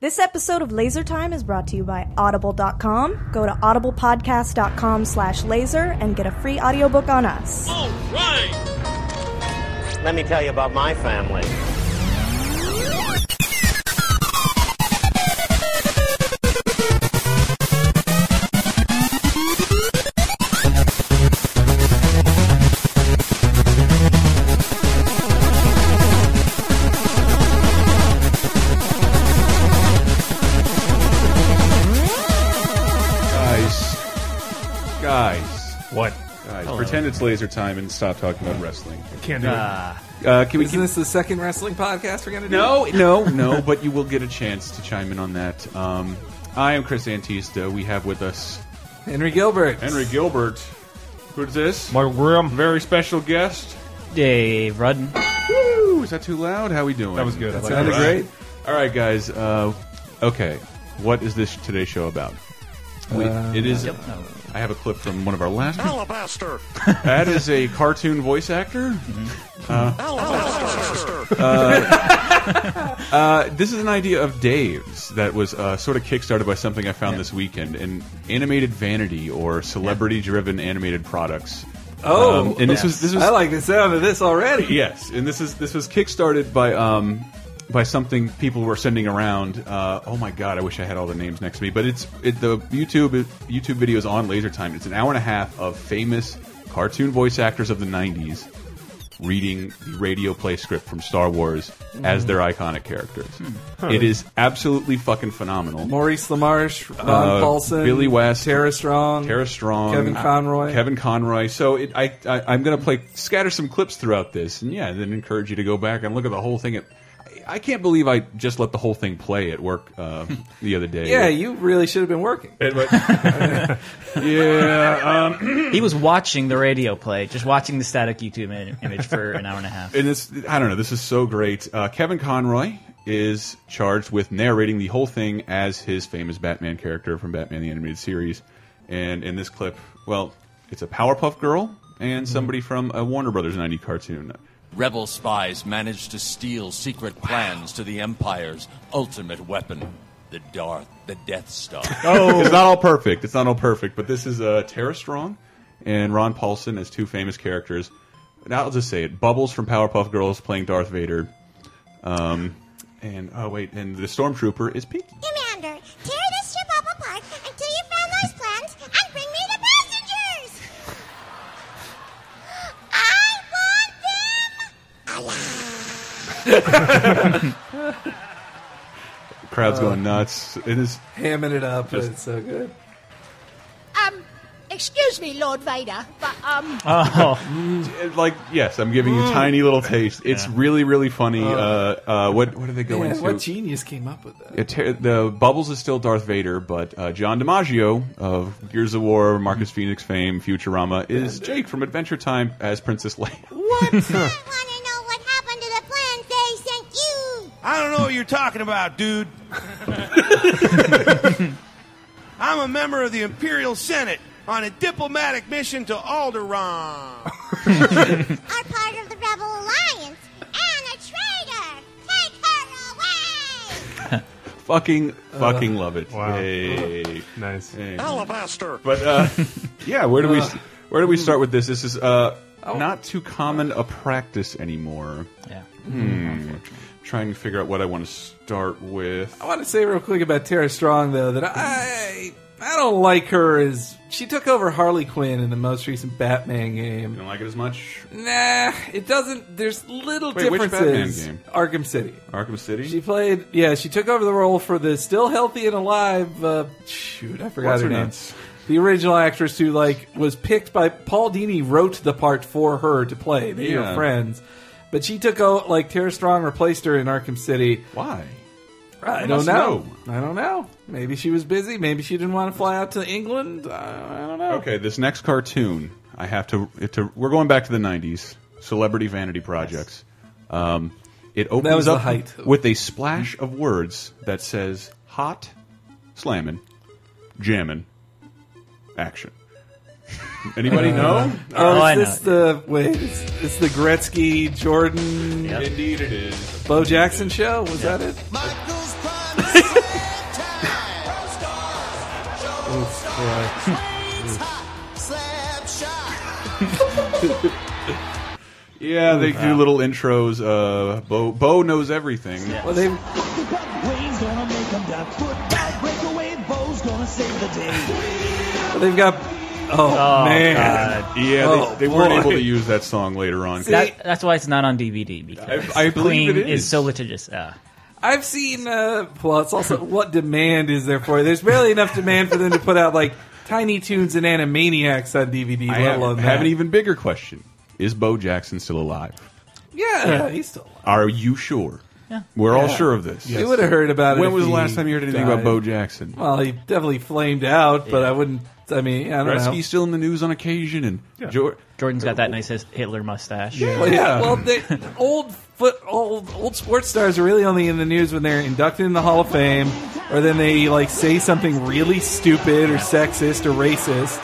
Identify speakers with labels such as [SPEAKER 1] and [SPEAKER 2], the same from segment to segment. [SPEAKER 1] This episode of Laser Time is brought to you by Audible.com. Go to audiblepodcast.com slash laser and get a free audiobook on us.
[SPEAKER 2] All right.
[SPEAKER 3] Let me tell you about my family.
[SPEAKER 4] Guys, guys,
[SPEAKER 5] What?
[SPEAKER 4] guys, pretend it's laser time and stop talking about wrestling.
[SPEAKER 5] Can't do
[SPEAKER 4] Uh, can we?
[SPEAKER 6] Isn't
[SPEAKER 4] Keep,
[SPEAKER 6] this the second wrestling podcast we're gonna do?
[SPEAKER 4] no, no, no. But you will get a chance to chime in on that. Um, I am Chris Antista. We have with us
[SPEAKER 6] Henry Gilbert.
[SPEAKER 4] Henry Gilbert. Who's this?
[SPEAKER 5] it. Mark Graham.
[SPEAKER 4] Very special guest.
[SPEAKER 7] Dave Rudden.
[SPEAKER 4] Woo! Is that too loud? How we doing?
[SPEAKER 5] That was good. I
[SPEAKER 4] That
[SPEAKER 5] like
[SPEAKER 4] sounded
[SPEAKER 6] that.
[SPEAKER 4] great. All right, guys. Uh, okay, what is this today's show about? We,
[SPEAKER 5] Uh,
[SPEAKER 4] it is. I have a clip from one of our last.
[SPEAKER 2] Alabaster.
[SPEAKER 4] That is a cartoon voice actor.
[SPEAKER 7] Mm-hmm.
[SPEAKER 2] Alabaster.
[SPEAKER 4] Uh, this is an idea of Dave's that was uh, sort of kickstarted by something I found this weekend an animated vanity or celebrity driven animated products.
[SPEAKER 6] Oh,
[SPEAKER 4] Um, and this was this was
[SPEAKER 6] I like the sound of this already.
[SPEAKER 4] yes, and this is this was kickstarted by um by something people were sending around. Uh, oh my god, I wish I had all the names next to me. But it's it, the YouTube YouTube videos on Laser Time. It's an hour and a half of famous cartoon voice actors of the '90s reading the radio play script from Star Wars as their iconic characters. It is absolutely fucking phenomenal.
[SPEAKER 6] Maurice LaMarche, Ron
[SPEAKER 4] Uh,
[SPEAKER 6] Paulson,
[SPEAKER 4] Billy West,
[SPEAKER 6] Tara Strong,
[SPEAKER 4] Tara Strong, uh,
[SPEAKER 6] Kevin Conroy.
[SPEAKER 4] Kevin Conroy. So it, I, I, I'm going to play scatter some clips throughout this, and yeah, and then encourage you to go back and look at the whole thing. It, I, I can't believe I just let the whole thing play at work uh, the other day.
[SPEAKER 6] Yeah, you really should have been working.
[SPEAKER 4] It was- yeah. Um,
[SPEAKER 7] He was watching the radio play, just watching the static YouTube im- image for an hour and a half.
[SPEAKER 4] and this, I don't know. This is so great. Uh, Kevin Conroy is charged with narrating the whole thing as his famous Batman character from Batman the Animated Series. And in this clip, well, it's a Powerpuff Girl and somebody from a Warner Brothers 90 cartoon.
[SPEAKER 8] Rebel spies managed to steal secret plans to the Empire's ultimate weapon, the Darth, the Death Star.
[SPEAKER 4] It's not all perfect. It's not all perfect, but this is uh, Tara Strong and Ron Paulson as two famous characters. Now I'll just say it: Bubbles from Powerpuff Girls playing Darth Vader, um, and oh wait, and the stormtrooper is Pinky.
[SPEAKER 9] Commander, tear this ship up apart until you found those plans and bring me the passengers! I want them!
[SPEAKER 4] The crowd's going nuts. It is
[SPEAKER 6] Hamming it up, but it's so good.
[SPEAKER 9] Um, excuse me, Lord Vader, but, um,
[SPEAKER 4] it- like yes, I'm giving you a tiny little taste. It's really really funny. Uh, uh, what what are they going
[SPEAKER 6] Man,
[SPEAKER 4] to?
[SPEAKER 6] what genius came up with that?
[SPEAKER 4] Uh, Ter- the Bubbles is still Darth Vader, but uh, John DiMaggio of Gears of War, Marcus Phoenix fame, Futurama is Jake from Adventure Time as Princess Leia.
[SPEAKER 9] I want to know what happened to the plans they sent you!
[SPEAKER 2] I don't know what you're talking about, dude. I'm a member of the Imperial Senate on a diplomatic mission to Alderaan.
[SPEAKER 9] Are part of the Rebel Alliance and a traitor! Take her away!
[SPEAKER 4] Fucking, fucking love it.
[SPEAKER 5] wow.
[SPEAKER 4] Yay.
[SPEAKER 5] Nice.
[SPEAKER 4] Yay.
[SPEAKER 2] Alabaster.
[SPEAKER 4] But uh, yeah, where do we where do we start with this? This is uh, not too common a practice anymore.
[SPEAKER 7] Yeah.
[SPEAKER 4] Trying to figure out what I want to start with.
[SPEAKER 6] I want to say real quick about Tara Strong though that I I don't like her as she took over Harley Quinn in the most recent Batman game.
[SPEAKER 4] You don't like it as much?
[SPEAKER 6] Nah, it doesn't. There's little
[SPEAKER 4] Wait, which
[SPEAKER 6] differences.
[SPEAKER 4] Batman game?
[SPEAKER 6] Arkham City.
[SPEAKER 4] Arkham City.
[SPEAKER 6] She played. Yeah, she took over the role for the still healthy and alive. Uh, shoot, I forgot
[SPEAKER 4] What's
[SPEAKER 6] her
[SPEAKER 4] her
[SPEAKER 6] name.
[SPEAKER 4] nuts?
[SPEAKER 6] The original actress who like was picked by Paul Dini wrote the part for her to play. They
[SPEAKER 4] Yeah.
[SPEAKER 6] were friends, but she took out like Tara Strong replaced her in Arkham City.
[SPEAKER 4] Why?
[SPEAKER 6] I
[SPEAKER 4] must
[SPEAKER 6] don't know. I don't know. Maybe she was busy. Maybe she didn't want to fly out to England. I, I don't know.
[SPEAKER 4] Okay, this next cartoon, I have to. It to we're going back to the '90s. Celebrity vanity projects. Um, it opens
[SPEAKER 6] was the
[SPEAKER 4] up
[SPEAKER 6] height.
[SPEAKER 4] with a splash of words that says "hot, slamming, jamming, action." Anybody know?
[SPEAKER 6] Oh,
[SPEAKER 7] Oh, I
[SPEAKER 6] is
[SPEAKER 7] know.
[SPEAKER 6] this the wait? It's, it's the Gretzky Jordan
[SPEAKER 4] Indeed, it is.
[SPEAKER 6] Bo Jackson show? Was that it?
[SPEAKER 2] Michael's prime
[SPEAKER 6] boy.
[SPEAKER 4] Yeah, they do little intros. Uh, Bo Bo knows everything.
[SPEAKER 6] Well, they they've got. Oh,
[SPEAKER 7] Oh,
[SPEAKER 6] man.
[SPEAKER 7] God.
[SPEAKER 4] Yeah,
[SPEAKER 6] Oh,
[SPEAKER 4] they, they weren't
[SPEAKER 6] boy.
[SPEAKER 4] able to use that song later on. 'cause
[SPEAKER 7] That, that's why it's not on DVD because
[SPEAKER 4] I believe
[SPEAKER 7] Queen
[SPEAKER 4] it is.
[SPEAKER 7] so litigious. Uh,
[SPEAKER 6] I've seen. Uh, well, it's also what demand is there for? There's barely enough demand for them to put out like Tiny Toons and Animaniacs on DVD.
[SPEAKER 4] I
[SPEAKER 6] let
[SPEAKER 4] have,
[SPEAKER 6] alone
[SPEAKER 4] have an
[SPEAKER 6] that.
[SPEAKER 4] even bigger question: Is Bo Jackson still alive?
[SPEAKER 6] Yeah, he's still. alive.
[SPEAKER 4] Are you sure? Yeah. We're all sure of this.
[SPEAKER 6] You would have heard about it.
[SPEAKER 4] When
[SPEAKER 6] if
[SPEAKER 4] was the
[SPEAKER 6] he
[SPEAKER 4] last time you heard anything
[SPEAKER 6] died.
[SPEAKER 4] about Bo Jackson?
[SPEAKER 6] Well, he definitely flamed out, but I wouldn't. I mean, I don't
[SPEAKER 4] Gretzky's still in the news on occasion, and Jor-
[SPEAKER 7] Jordan's got that nice his- Hitler mustache.
[SPEAKER 6] know. Well, yeah. Well, they, old foot, old old sports stars are really only in the news when they're inducted in the Hall of Fame, or then they like say something really stupid or sexist or racist,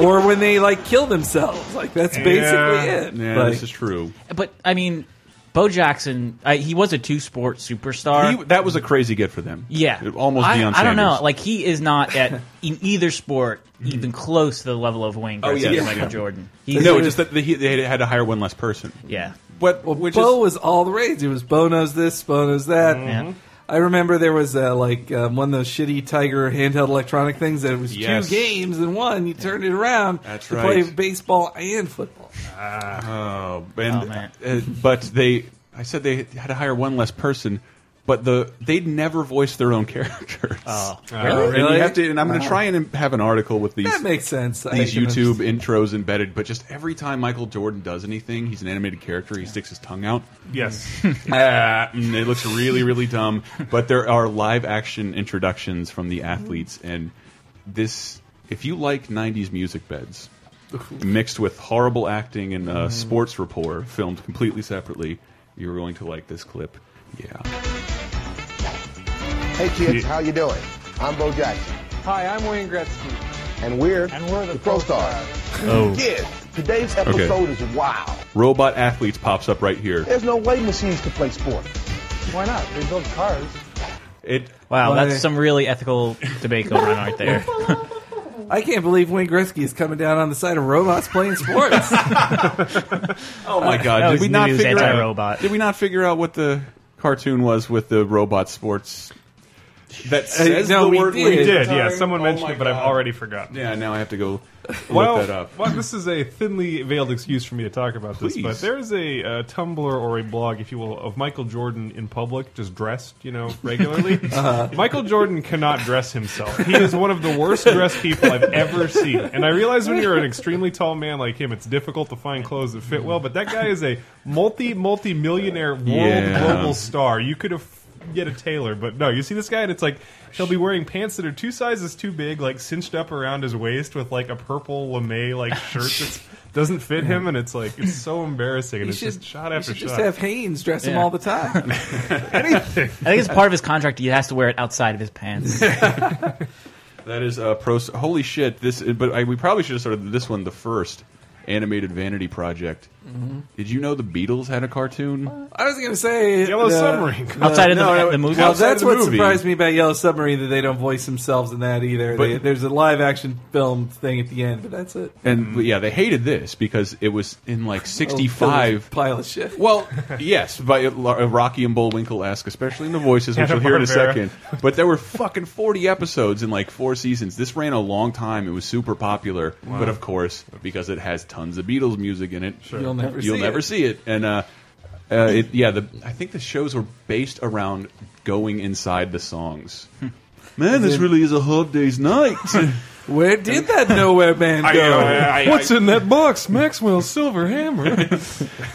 [SPEAKER 6] or when they like kill themselves. Like that's basically it.
[SPEAKER 4] Yeah,
[SPEAKER 6] Like,
[SPEAKER 4] this is true.
[SPEAKER 7] But I mean, Bo Jackson, I, he was a two-sport superstar.
[SPEAKER 4] He, that was a crazy get for them.
[SPEAKER 7] yeah,
[SPEAKER 4] almost.
[SPEAKER 7] I,
[SPEAKER 4] Deion
[SPEAKER 7] I don't know.
[SPEAKER 4] Sanders.
[SPEAKER 7] Like he is not at in either sport even close to the level of Wayne Gretzky
[SPEAKER 4] Oh, yeah.
[SPEAKER 7] or Michael Jordan. He's
[SPEAKER 4] no, it's just that they, they had to hire one less person.
[SPEAKER 7] yeah.
[SPEAKER 4] But which
[SPEAKER 6] Bo
[SPEAKER 4] is Mm-hmm.
[SPEAKER 6] was all the rage. It was Bo knows this, Bo knows that.
[SPEAKER 7] Yeah.
[SPEAKER 6] I remember there was uh, like um, one of those shitty Tiger handheld electronic things that it was
[SPEAKER 4] Yes.
[SPEAKER 6] two games in one. You turned it around
[SPEAKER 4] That's
[SPEAKER 6] to play
[SPEAKER 4] right.
[SPEAKER 6] baseball and football.
[SPEAKER 4] Oh, and,
[SPEAKER 7] Oh, man.
[SPEAKER 4] uh, but they, I said they had to hire one less person, but the they'd never voice their own characters.
[SPEAKER 7] Oh,
[SPEAKER 6] really?
[SPEAKER 4] And you have to, and I'm going to try and have an article with these
[SPEAKER 6] That makes sense. I
[SPEAKER 4] these
[SPEAKER 6] can
[SPEAKER 4] YouTube
[SPEAKER 6] understand.
[SPEAKER 4] intros embedded. But just every time Michael Jordan does anything, he's an animated character. He sticks his tongue out.
[SPEAKER 5] Yes.
[SPEAKER 4] Ah, mm, it looks really, really dumb. But there are live action introductions from the athletes, and this. If you like '90s music beds, mixed with horrible acting and uh, sports rapport, filmed completely separately, you're going to like this clip. Yeah,
[SPEAKER 10] Hey kids, how you doing? I'm Bo Jackson,
[SPEAKER 11] Hi, I'm Wayne Gretzky.
[SPEAKER 10] and we're
[SPEAKER 11] And we're the
[SPEAKER 10] Pro
[SPEAKER 11] Pro
[SPEAKER 10] Stars. Kids, today's
[SPEAKER 4] Okay.
[SPEAKER 10] episode is wow.
[SPEAKER 4] robot athletes pops up right here.
[SPEAKER 10] There's no way machines can play sport.
[SPEAKER 11] Why not? They build cars.
[SPEAKER 4] It
[SPEAKER 7] Wow,
[SPEAKER 6] Why-
[SPEAKER 7] that's some really ethical debate going on right there.
[SPEAKER 6] I can't believe Wayne Gretzky is coming down on the side of robots playing sports.
[SPEAKER 4] Oh my god!
[SPEAKER 7] that
[SPEAKER 4] did
[SPEAKER 7] was
[SPEAKER 4] we
[SPEAKER 7] the
[SPEAKER 4] not
[SPEAKER 7] news
[SPEAKER 4] figure out?
[SPEAKER 7] anti-robot.
[SPEAKER 4] Did we not figure out what the cartoon was with the robot sports? That says
[SPEAKER 6] Uh, no,
[SPEAKER 4] the
[SPEAKER 6] we
[SPEAKER 4] word
[SPEAKER 6] did.
[SPEAKER 5] We
[SPEAKER 4] wing.
[SPEAKER 5] did, yeah.
[SPEAKER 4] Sorry.
[SPEAKER 5] Someone
[SPEAKER 4] Oh
[SPEAKER 5] mentioned
[SPEAKER 4] my
[SPEAKER 5] it, but
[SPEAKER 4] God.
[SPEAKER 5] I've already forgotten.
[SPEAKER 4] Yeah, now I have to go
[SPEAKER 5] Well,
[SPEAKER 4] look that up.
[SPEAKER 5] well, this is a thinly veiled excuse for me to talk about this,
[SPEAKER 4] Please.
[SPEAKER 5] but there is a uh, Tumblr or a blog, if you will, of Michael Jordan in public, just dressed, you know, regularly.
[SPEAKER 4] Uh-huh.
[SPEAKER 5] Michael Jordan cannot dress himself. He is one of the worst dressed people I've ever seen. And I realize when you're an extremely tall man like him, it's difficult to find clothes that fit well. But that guy is a multi multi millionaire world
[SPEAKER 4] Yeah.
[SPEAKER 5] global star. You could have. Get a tailor, but no. You see this guy, and it's like he'll be wearing pants that are two sizes too big, like cinched up around his waist, with like a purple lame like shirt that doesn't fit him, and it's like it's so embarrassing, and
[SPEAKER 6] You
[SPEAKER 5] it's
[SPEAKER 6] should,
[SPEAKER 5] just shot
[SPEAKER 6] you
[SPEAKER 5] after shot.
[SPEAKER 6] should just have Haynes dress him
[SPEAKER 7] Yeah.
[SPEAKER 6] all the time.
[SPEAKER 7] I think it's part of his contract. He has to wear it outside of his pants.
[SPEAKER 4] that is uh, pro. Holy shit! This, but I, we probably should have started this one the first animated vanity project.
[SPEAKER 6] Mm-hmm.
[SPEAKER 4] Did you know the Beatles had a cartoon?
[SPEAKER 6] I was going to say
[SPEAKER 5] Yellow
[SPEAKER 6] the-
[SPEAKER 5] Submarine.
[SPEAKER 7] outside of the,
[SPEAKER 4] no, no,
[SPEAKER 7] the movie.
[SPEAKER 6] Well,
[SPEAKER 4] outside
[SPEAKER 6] that's
[SPEAKER 4] of the
[SPEAKER 6] what
[SPEAKER 4] movie.
[SPEAKER 6] surprised me about Yellow Submarine that they don't voice themselves in that either.
[SPEAKER 4] But-
[SPEAKER 6] They, there's a live action film thing at the end, but that's it.
[SPEAKER 4] And but yeah, they hated this because it was in like
[SPEAKER 6] Oh,
[SPEAKER 4] '65.
[SPEAKER 6] pile of shit.
[SPEAKER 4] Well, yes, by Rocky and Bullwinkle esque, especially in the voices, which
[SPEAKER 5] Hanna
[SPEAKER 4] you'll hear in a
[SPEAKER 5] Barbera.
[SPEAKER 4] second. But there were fucking forty episodes in like four seasons. This ran a long time. It was super popular, but of course, because it has tons of Beatles music in it,
[SPEAKER 6] You'll never
[SPEAKER 4] you'll
[SPEAKER 6] see
[SPEAKER 4] never
[SPEAKER 6] it.
[SPEAKER 4] see it. And uh, uh, it, yeah, the, I think the shows were based around going inside the songs. Hmm. Man, this really is a hard day's night.
[SPEAKER 6] Where did that nowhere man
[SPEAKER 4] uh,
[SPEAKER 6] go?
[SPEAKER 5] What's in that box? Maxwell Silver Hammer.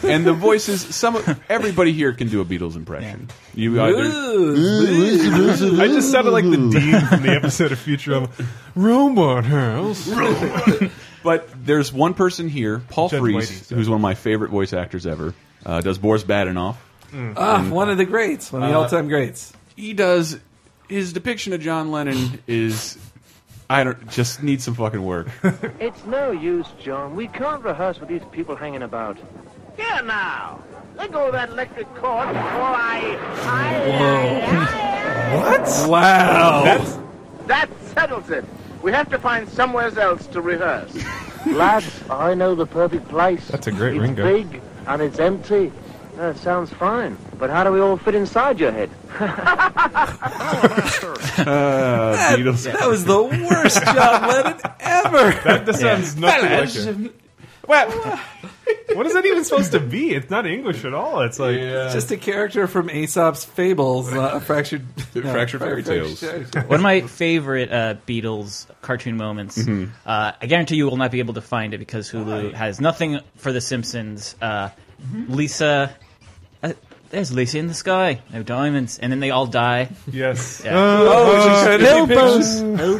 [SPEAKER 4] and the voices, some everybody here can do a Beatles impression. You either.
[SPEAKER 6] Ooh,
[SPEAKER 5] I just sounded like the dean from the episode of Futurama. Robot House.
[SPEAKER 4] But there's one person here, Paul
[SPEAKER 5] Judge
[SPEAKER 4] Freese,
[SPEAKER 5] Whitey, so-
[SPEAKER 4] who's one of my favorite voice actors ever. Uh, does Boris Badenoff.
[SPEAKER 6] ah, one of the greats, one of the all-time greats.
[SPEAKER 4] He does his depiction of John Lennon is I don't just need some fucking work.
[SPEAKER 11] It's no use, John. We can't rehearse with these people hanging about. Here now. Let go of that electric cord before I. I, I, I,
[SPEAKER 6] Wow,
[SPEAKER 11] That settles it. We have to find somewhere else to rehearse. Lads, I know the perfect place.
[SPEAKER 5] That's a great
[SPEAKER 11] it's
[SPEAKER 5] Ringo.
[SPEAKER 11] big and it's empty. That sounds fine. But how do we all fit inside your head?
[SPEAKER 4] Uh, Beatles.
[SPEAKER 6] That was the worst John Lennon ever.
[SPEAKER 5] That, that sounds nothing like it.
[SPEAKER 6] Well,
[SPEAKER 5] What is that even supposed to be? It's not English at all. It's like
[SPEAKER 6] just a character from Aesop's Fables, uh, fractured, no,
[SPEAKER 4] Fractured Fairy Tales.
[SPEAKER 6] Fractured-
[SPEAKER 7] One of my favorite uh, Beatles cartoon moments. Uh, I guarantee you will not be able to find it because Hulu has nothing for The Simpsons. Uh, Lisa, uh, there's Lisa in the sky, no diamonds, and then they all die.
[SPEAKER 5] yes.
[SPEAKER 7] Yeah.
[SPEAKER 6] Oh,
[SPEAKER 4] Is that when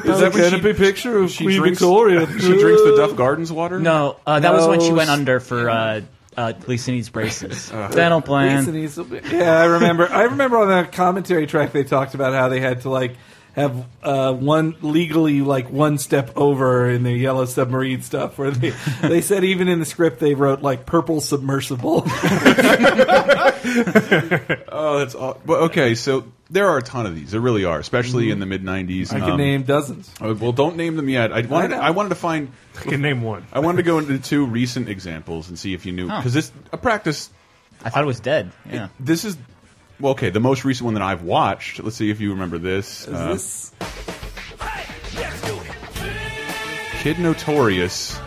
[SPEAKER 4] she-
[SPEAKER 6] Is that canopy picture of
[SPEAKER 4] she
[SPEAKER 6] Queen
[SPEAKER 4] drinks-
[SPEAKER 6] Victoria?
[SPEAKER 4] She drinks the Duff Gardens water.
[SPEAKER 7] No, uh, that was when she
[SPEAKER 6] No.
[SPEAKER 7] went under for uh, uh, Lisa needs braces. Dental
[SPEAKER 6] Reason
[SPEAKER 7] plan.
[SPEAKER 6] he's- Yeah, I remember. I remember on that commentary track they talked about how they had to like have uh, one legally like one step over in the yellow submarine stuff. Where they they said even in the script they wrote like purple submersible.
[SPEAKER 4] Oh, that's all. But okay, so there are a ton of these. There really are, especially in the mid '90s.
[SPEAKER 6] I can
[SPEAKER 4] Um,
[SPEAKER 6] name dozens.
[SPEAKER 4] uh, Well, don't name them yet. I wanted.
[SPEAKER 6] know.
[SPEAKER 4] I, wanted to find.
[SPEAKER 5] I can name one.
[SPEAKER 4] I wanted to go into two recent examples and see if you knew because it's a practice.
[SPEAKER 7] I thought it was dead. Yeah.
[SPEAKER 4] This is. Well, okay, the most recent one that I've watched. Let's see if you remember this.
[SPEAKER 6] Is
[SPEAKER 4] Uh,
[SPEAKER 6] this
[SPEAKER 4] Kid Notorious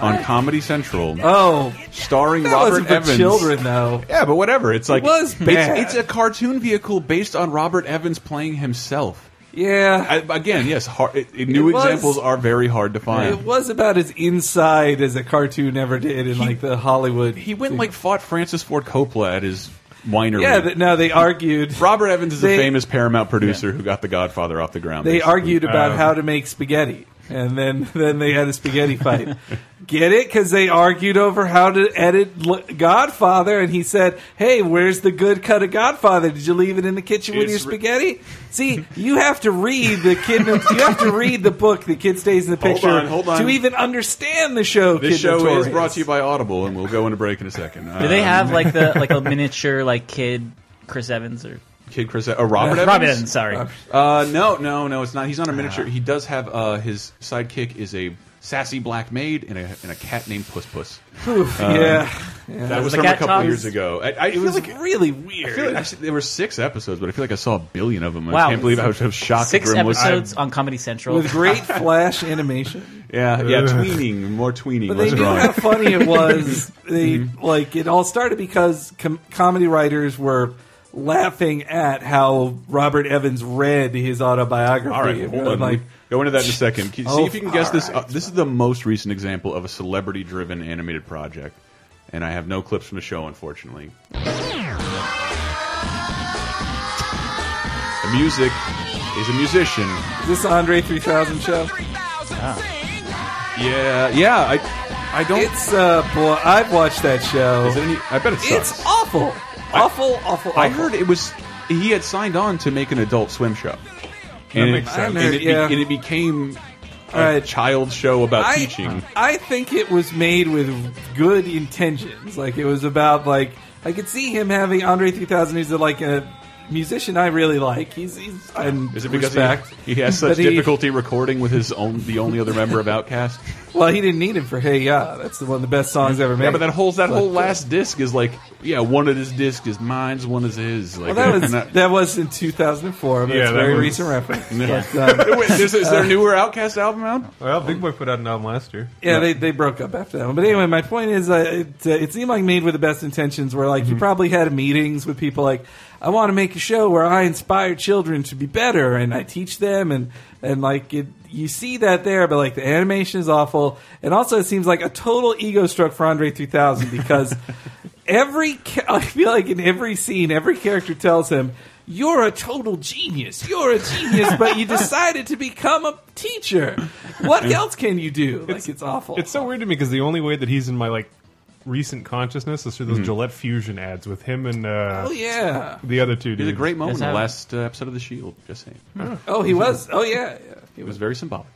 [SPEAKER 4] on Comedy Central,
[SPEAKER 6] oh
[SPEAKER 4] starring
[SPEAKER 6] that
[SPEAKER 4] Robert
[SPEAKER 6] wasn't for
[SPEAKER 4] Evans.
[SPEAKER 6] children though.
[SPEAKER 4] Yeah, but whatever. It's like
[SPEAKER 6] was bad.
[SPEAKER 4] It's, it's a cartoon vehicle based on Robert Evans playing himself.
[SPEAKER 6] Yeah.
[SPEAKER 4] I, again, yes, hard, it, it- new
[SPEAKER 6] It was-
[SPEAKER 4] examples are very hard to find.
[SPEAKER 6] it was about as inside as a cartoon ever did in like the Hollywood.
[SPEAKER 4] He went and, like fought Francis Ford Coppola at his winery.
[SPEAKER 6] yeah. th- No, they argued.
[SPEAKER 4] Robert Evans is
[SPEAKER 6] They-
[SPEAKER 4] a famous Paramount producer who got The Godfather off the ground.
[SPEAKER 6] They
[SPEAKER 4] basically.
[SPEAKER 6] argued about
[SPEAKER 5] Um,
[SPEAKER 6] how to make spaghetti, and then then they had a spaghetti fight. Get it? Because they argued over how to edit L- Godfather, and he said, "Hey, where's the good cut of Godfather? Did you leave it in the kitchen with your
[SPEAKER 4] It's re-
[SPEAKER 6] spaghetti?" See, you have to read the kid. you have to read the book. The kid stays in the
[SPEAKER 4] Hold
[SPEAKER 6] picture
[SPEAKER 4] on, hold on.
[SPEAKER 6] to even understand the show.
[SPEAKER 4] This
[SPEAKER 6] Kid
[SPEAKER 4] show
[SPEAKER 6] Notorious.
[SPEAKER 4] is brought to you by Audible, and we'll go into break in a second.
[SPEAKER 7] Do they
[SPEAKER 4] Um,
[SPEAKER 7] have like the like a miniature like kid Chris Evans or
[SPEAKER 4] Kid Chris? Oh, Robert Evans.
[SPEAKER 7] Robin? Evans, sorry. Ah.
[SPEAKER 4] Uh, no, no, no. It's not. He's not a miniature. He does have uh, his sidekick is a sassy black maid and a, and a cat named Puss Puss.
[SPEAKER 6] yeah.
[SPEAKER 4] That was
[SPEAKER 7] The
[SPEAKER 4] from a
[SPEAKER 7] cat
[SPEAKER 4] couple
[SPEAKER 7] talks.
[SPEAKER 4] years ago. I, I
[SPEAKER 6] It
[SPEAKER 4] feel
[SPEAKER 6] was
[SPEAKER 4] like.
[SPEAKER 6] really
[SPEAKER 4] I
[SPEAKER 6] weird.
[SPEAKER 4] feel like actually, there were six episodes, but I feel like I saw a billion of them. I
[SPEAKER 7] Wow.
[SPEAKER 4] can't believe I was, I was shocked.
[SPEAKER 7] Six
[SPEAKER 4] that Grim was-
[SPEAKER 7] episodes on Comedy Central.
[SPEAKER 6] with great flash animation.
[SPEAKER 4] Yeah, yeah, tweening, more tweening.
[SPEAKER 6] But they
[SPEAKER 4] What's
[SPEAKER 6] knew
[SPEAKER 4] wrong? Mm-hmm.
[SPEAKER 6] how funny it was. They like it all started because com- comedy writers were laughing at how Robert Evans read his autobiography.
[SPEAKER 4] All right,
[SPEAKER 6] And
[SPEAKER 4] hold on.
[SPEAKER 6] Like,
[SPEAKER 4] go into that in a second. Can- See
[SPEAKER 6] Oh,
[SPEAKER 4] if you can guess this.
[SPEAKER 6] all
[SPEAKER 4] up. this is the most recent example of a celebrity-driven animated project, and I have no clips from the show, unfortunately. The music is a musician.
[SPEAKER 6] is this Andre three thousand show?
[SPEAKER 11] Ah.
[SPEAKER 4] Yeah, yeah. I, I don't.
[SPEAKER 6] It's uh, boy, I've watched that show.
[SPEAKER 4] is it any, I bet it sucks.
[SPEAKER 6] it's awful, awful, awful.
[SPEAKER 4] I
[SPEAKER 6] awful.
[SPEAKER 4] heard it was. He had signed on to make an adult swim show. And
[SPEAKER 5] makes
[SPEAKER 4] it,
[SPEAKER 5] sense.
[SPEAKER 4] And it, be-
[SPEAKER 6] Yeah.
[SPEAKER 4] and it became a
[SPEAKER 6] All right.
[SPEAKER 4] child show about
[SPEAKER 6] I,
[SPEAKER 4] teaching.
[SPEAKER 6] I think it was made with good intentions. Like it was about like I could see him having Andre 3000, who's like a musician I really like. He's he's and
[SPEAKER 4] Is it because
[SPEAKER 6] respect.
[SPEAKER 4] he, he has such
[SPEAKER 6] But he-
[SPEAKER 4] difficulty recording with his own the only other member of Outcast?
[SPEAKER 6] Well, he didn't need him for Hey Ya. That's the one of the best songs ever made.
[SPEAKER 4] Yeah, but that whole that
[SPEAKER 6] But- uh,
[SPEAKER 4] whole last disc is like yeah, one of his disc is mine's, one is his.
[SPEAKER 6] Well,
[SPEAKER 4] Like
[SPEAKER 6] that was
[SPEAKER 4] not-
[SPEAKER 6] that was in 2004. But
[SPEAKER 5] Yeah,
[SPEAKER 6] it's a
[SPEAKER 5] that
[SPEAKER 6] very
[SPEAKER 5] was-
[SPEAKER 6] recent reference.
[SPEAKER 4] Yeah.
[SPEAKER 6] But, um,
[SPEAKER 4] Wait, is, is there a newer Outcast album out?
[SPEAKER 5] Well, Big Boy put out an album last year.
[SPEAKER 6] Yeah, they, they broke up after that one. But anyway, my point is, uh, it, uh, it seemed like made with the best intentions. Where like you probably had meetings with people like, I want to make a show where I inspire children to be better and I teach them and and like it, you see that there, but like the animation is awful, and also it seems like a total ego stroke for Andre 3000 because every ca- I feel like in every scene, every character tells him. You're a total genius. You're a genius, but you decided to become a teacher. What else can you do? Like it's, awful.
[SPEAKER 5] It's so weird to me because the only way that he's in my like recent consciousness is through
[SPEAKER 4] Hmm.
[SPEAKER 5] those Gillette Fusion ads with him and uh,
[SPEAKER 6] Oh yeah.
[SPEAKER 5] the other two
[SPEAKER 4] It was
[SPEAKER 5] dudes.
[SPEAKER 4] a great moment in the
[SPEAKER 7] how-
[SPEAKER 4] last uh, episode of The Shield. Just saying,
[SPEAKER 6] Oh, he was. Oh yeah. yeah. He
[SPEAKER 4] it
[SPEAKER 6] was.
[SPEAKER 4] was very symbolic.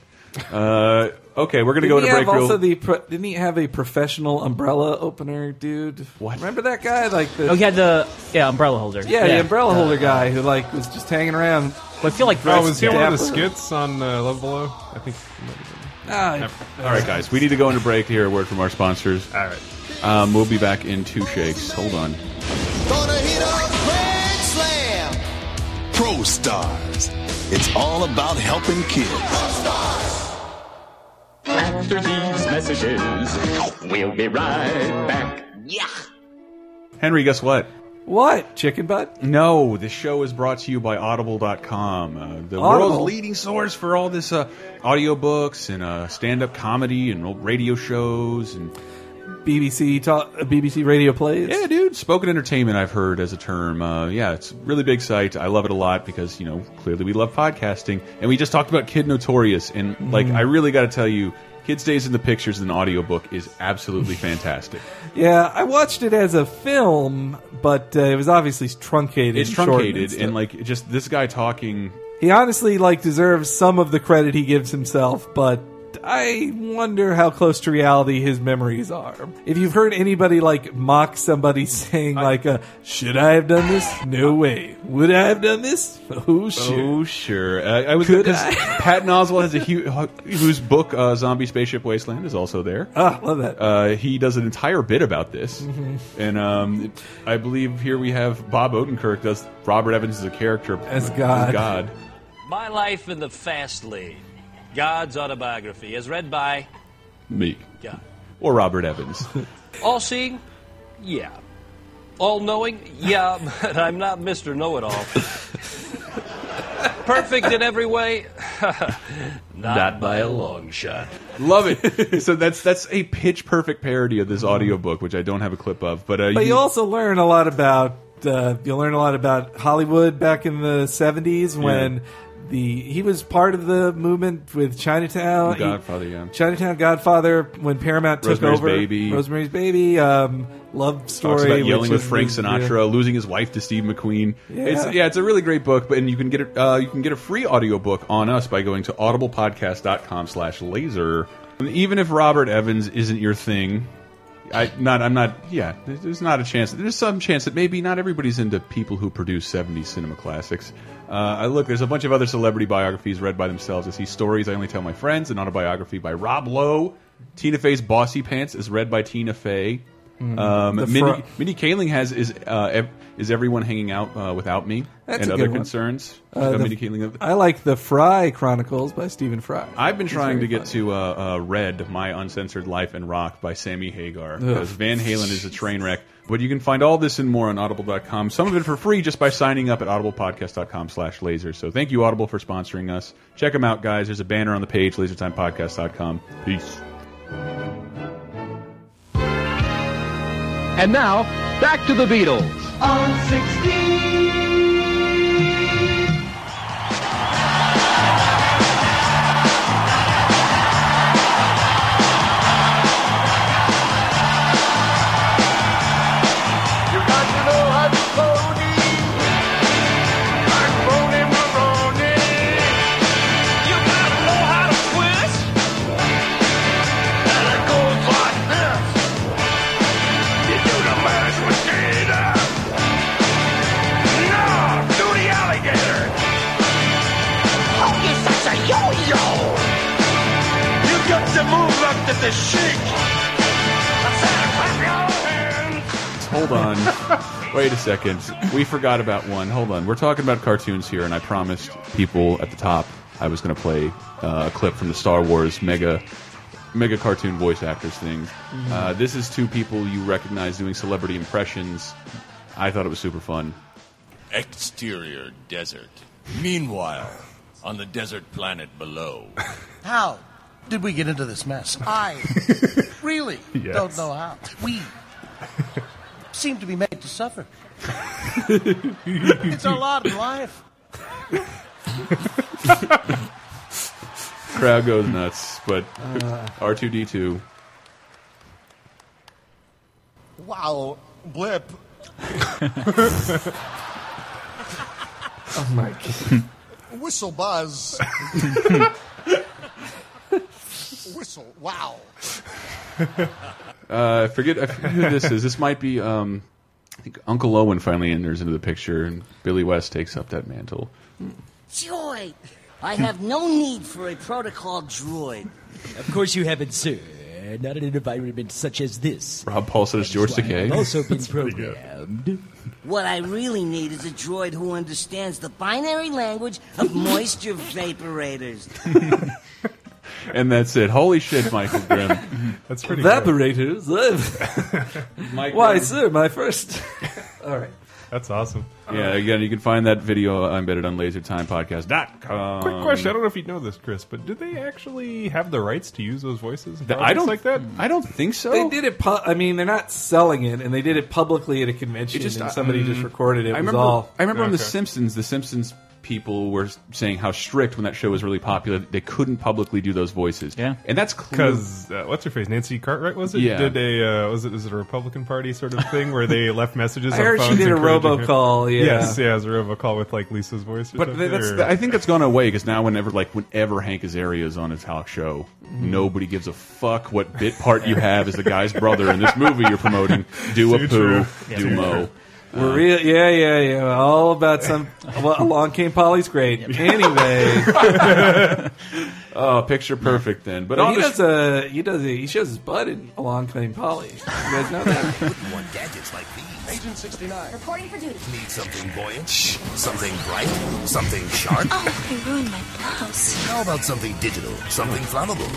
[SPEAKER 4] Uh, okay, we're gonna
[SPEAKER 6] Did
[SPEAKER 4] go
[SPEAKER 6] he
[SPEAKER 4] to
[SPEAKER 6] have
[SPEAKER 4] break. real-
[SPEAKER 6] also the pro- didn't he have a professional umbrella opener dude?
[SPEAKER 4] What? Oh,
[SPEAKER 6] Remember that guy? Like the
[SPEAKER 7] oh, he had the yeah umbrella holder.
[SPEAKER 6] yeah, the umbrella holder guy who like was just hanging around.
[SPEAKER 7] But I feel like
[SPEAKER 5] Oh, was he on one of the
[SPEAKER 7] Dapper-
[SPEAKER 5] skits on uh, Love Below? I think.
[SPEAKER 6] Ah,
[SPEAKER 4] All right, guys, we need to go into break here. A word from our sponsors. All
[SPEAKER 5] right.
[SPEAKER 4] Um, we'll be back in two shakes. Hold on.
[SPEAKER 12] Gonna hit a grand slam. Pro Stars. It's all about helping kids.
[SPEAKER 13] After these messages, we'll be right back. Yeah.
[SPEAKER 4] Henry, guess what?
[SPEAKER 6] What? Chicken butt?
[SPEAKER 4] No, this show is brought to you by Audible.com, uh, the
[SPEAKER 6] Audible?
[SPEAKER 4] world's leading source for all this uh, audiobooks and uh, stand up comedy and old radio shows and.
[SPEAKER 6] BBC talk, uh, BBC radio plays.
[SPEAKER 4] Mm. Yeah, dude. Spoken entertainment, I've heard as a term. Uh, yeah, it's a really big site. I love it a lot because you know clearly we love podcasting, and we just talked about Kid Notorious, and like
[SPEAKER 6] Mm.
[SPEAKER 4] I really got to tell you, Kid Stays in the Pictures, an audiobook is absolutely fantastic.
[SPEAKER 6] Yeah, I watched it as a film, but uh, it was obviously truncated.
[SPEAKER 4] It's
[SPEAKER 6] and shortened
[SPEAKER 4] truncated
[SPEAKER 6] stuff.
[SPEAKER 4] and like just this guy talking.
[SPEAKER 6] he honestly like deserves some of the credit he gives himself, but I wonder how close to reality his memories are. If you've heard anybody like mock somebody saying like, uh, "Should I have done this? No way. Would I have done this? Oh shit."
[SPEAKER 4] Oh sure, uh, I was
[SPEAKER 6] Could
[SPEAKER 4] because Patton Oswalt has a huge whose book uh, Zombie Spaceship Wasteland is also there.
[SPEAKER 6] Ah, love that.
[SPEAKER 4] Uh, he does an entire bit about this,
[SPEAKER 6] Mhm.
[SPEAKER 4] and um, it- I believe here we have Bob Odenkirk does Robert Evans as a character
[SPEAKER 6] As God.
[SPEAKER 14] My Life in the Fast Lane, God's Autobiography, as read by
[SPEAKER 4] me
[SPEAKER 14] God.
[SPEAKER 4] or Robert Evans.
[SPEAKER 14] All seeing? Yeah. All knowing? Yeah, but I'm not Mr. Know It All. Perfect in every way? not,
[SPEAKER 4] Not by a
[SPEAKER 14] long shot.
[SPEAKER 4] Love it. so that's that's a pitch perfect parody of this audiobook, which I don't have a clip of, but, uh,
[SPEAKER 6] Mm-hmm. But
[SPEAKER 4] you-
[SPEAKER 6] you also learn a lot about uh, you learn a lot about Hollywood back in the seventies when the he was part of the movement with Chinatown,
[SPEAKER 4] Godfather, yeah.
[SPEAKER 6] Chinatown Godfather when Paramount took
[SPEAKER 4] Rosemary's
[SPEAKER 6] over,
[SPEAKER 4] Baby.
[SPEAKER 6] Rosemary's Baby, um, Love Story,
[SPEAKER 4] Talks about
[SPEAKER 6] which
[SPEAKER 4] yelling with
[SPEAKER 6] is-
[SPEAKER 4] Frank
[SPEAKER 6] yeah.
[SPEAKER 4] Sinatra, losing his wife to Steve McQueen.
[SPEAKER 6] Yeah.
[SPEAKER 4] It's yeah, it's a really great book, but and you can get it uh, you can get a free audiobook on us by going to audiblepodcast.com slash laser. And even if Robert Evans isn't your thing, I not I'm not yeah, there's- there's not a chance. There's some chance that maybe not everybody's into people who produce 70s cinema classics. Uh, I look, there's a bunch of other celebrity biographies read by themselves. I see stories I only tell my friends, an autobiography by Rob Lowe. Tina Fey's Bossy Pants is read by Tina Fey.
[SPEAKER 6] Mm.
[SPEAKER 4] Um,
[SPEAKER 6] The fro-
[SPEAKER 4] Minnie, Minnie Kaling has is uh, ev is everyone hanging out uh, without me
[SPEAKER 6] That's
[SPEAKER 4] and
[SPEAKER 6] a
[SPEAKER 4] other
[SPEAKER 6] good one.
[SPEAKER 4] concerns.
[SPEAKER 6] Uh,
[SPEAKER 4] Uh,
[SPEAKER 6] the-
[SPEAKER 4] Minnie Kaling.
[SPEAKER 6] I like the Fry Chronicles by Stephen Fry.
[SPEAKER 4] I've been
[SPEAKER 6] It's
[SPEAKER 4] trying to
[SPEAKER 6] very
[SPEAKER 4] get to uh, uh, Red, My Uncensored Life and Rock by Sammy Hagar because Van Halen is a train wreck. But you can find all this and more on audible.com. Some of it for free just by signing up at audiblepodcast.com slash laser. So thank you, Audible, for sponsoring us. Check them out, guys. There's a banner on the page, lasertimepodcast.com. Peace.
[SPEAKER 15] And now, back to the Beatles.
[SPEAKER 13] On 16.
[SPEAKER 2] Move up to the shake.
[SPEAKER 4] Hold on. Wait a second. We forgot about one. Hold on. We're talking about cartoons here, and I promised people at the top I was going to play uh, a clip from the Star Wars mega mega cartoon voice actors thing.
[SPEAKER 6] Mhm.
[SPEAKER 4] Uh, this is two people you recognize doing celebrity impressions. I thought it was super fun.
[SPEAKER 8] Exterior desert. Meanwhile, on the desert planet below.
[SPEAKER 16] How did we get into this mess? I really
[SPEAKER 8] Yes.
[SPEAKER 16] don't know how. We seem to be made to suffer. it's our lot in life.
[SPEAKER 4] Crowd goes nuts, but
[SPEAKER 16] Uh.
[SPEAKER 4] R two D two.
[SPEAKER 17] Wow, blip.
[SPEAKER 4] Oh my god.
[SPEAKER 17] Whistle buzz. Whistle, wow.
[SPEAKER 4] Uh, I forget, I forget who this is. This might be um, I think Uncle Owen finally enters into the picture, and Billy West takes up that mantle.
[SPEAKER 18] Joy! I have no need for a protocol droid.
[SPEAKER 19] Of course you haven't, sir. Not in an environment such as this.
[SPEAKER 4] Rob Paul says George Takei.
[SPEAKER 19] I've also been programmed.
[SPEAKER 18] What I really need is a droid who understands the binary language of moisture vaporators.
[SPEAKER 4] And that's it. Holy shit, Michael Grimm.
[SPEAKER 5] that's
[SPEAKER 6] pretty Evaporators. live. Why, sir, my first. All right.
[SPEAKER 5] That's awesome.
[SPEAKER 4] Yeah, again, you can find that video embedded on lasertimepodcast.com.
[SPEAKER 5] Quick question. I don't know if you know this, Chris, but do they actually have the rights to use those voices? in
[SPEAKER 4] The- I
[SPEAKER 5] projects
[SPEAKER 4] don't-
[SPEAKER 5] like that.
[SPEAKER 4] I don't think so.
[SPEAKER 6] They did it. Pu- I mean, they're not selling it, and they did it publicly at a convention,
[SPEAKER 4] It just-
[SPEAKER 6] and somebody
[SPEAKER 4] mm,
[SPEAKER 6] just recorded it. It
[SPEAKER 4] I
[SPEAKER 6] was
[SPEAKER 4] remember,
[SPEAKER 6] all.
[SPEAKER 4] I remember on The
[SPEAKER 6] Okay.
[SPEAKER 4] Simpsons, The Simpsons people were saying how strict when that show was really popular, they couldn't publicly do those voices. Yeah. And that's
[SPEAKER 5] Because uh, what's her face? Nancy Cartwright was it?
[SPEAKER 4] Yeah.
[SPEAKER 5] Did a uh, was it is it a Republican Party sort of thing where they left messages?
[SPEAKER 6] I
[SPEAKER 5] on
[SPEAKER 6] heard she
[SPEAKER 5] phones
[SPEAKER 6] did a
[SPEAKER 5] encouraging her-
[SPEAKER 6] robocall, yeah.
[SPEAKER 5] yes, yeah, it was a robocall with like Lisa's voice. Or
[SPEAKER 4] But
[SPEAKER 5] something,
[SPEAKER 4] that's
[SPEAKER 5] or-
[SPEAKER 4] I think that's gone away because now whenever like whenever Hank Azaria is on a talk show,
[SPEAKER 5] Mhm.
[SPEAKER 4] nobody gives a fuck what bit part you have as the guy's brother in this movie you're promoting. Do a
[SPEAKER 6] Too
[SPEAKER 4] poo,
[SPEAKER 6] true.
[SPEAKER 4] do
[SPEAKER 6] Too
[SPEAKER 4] mo.
[SPEAKER 6] true. We're real, yeah, yeah, yeah. We're All about some. Well, along came Polly's great. Anyway,
[SPEAKER 4] oh, picture perfect then. But,
[SPEAKER 6] But
[SPEAKER 4] on
[SPEAKER 6] he
[SPEAKER 4] the
[SPEAKER 6] does a he does a, he shows his butt in Along Came Polly. You guys know that?
[SPEAKER 12] Want gadgets like these?
[SPEAKER 10] Agent 69.
[SPEAKER 12] Reporting for duty. Need something buoyant, something bright, something sharp.
[SPEAKER 13] Oh, you ruined my blouse.
[SPEAKER 12] How about something digital, something flammable,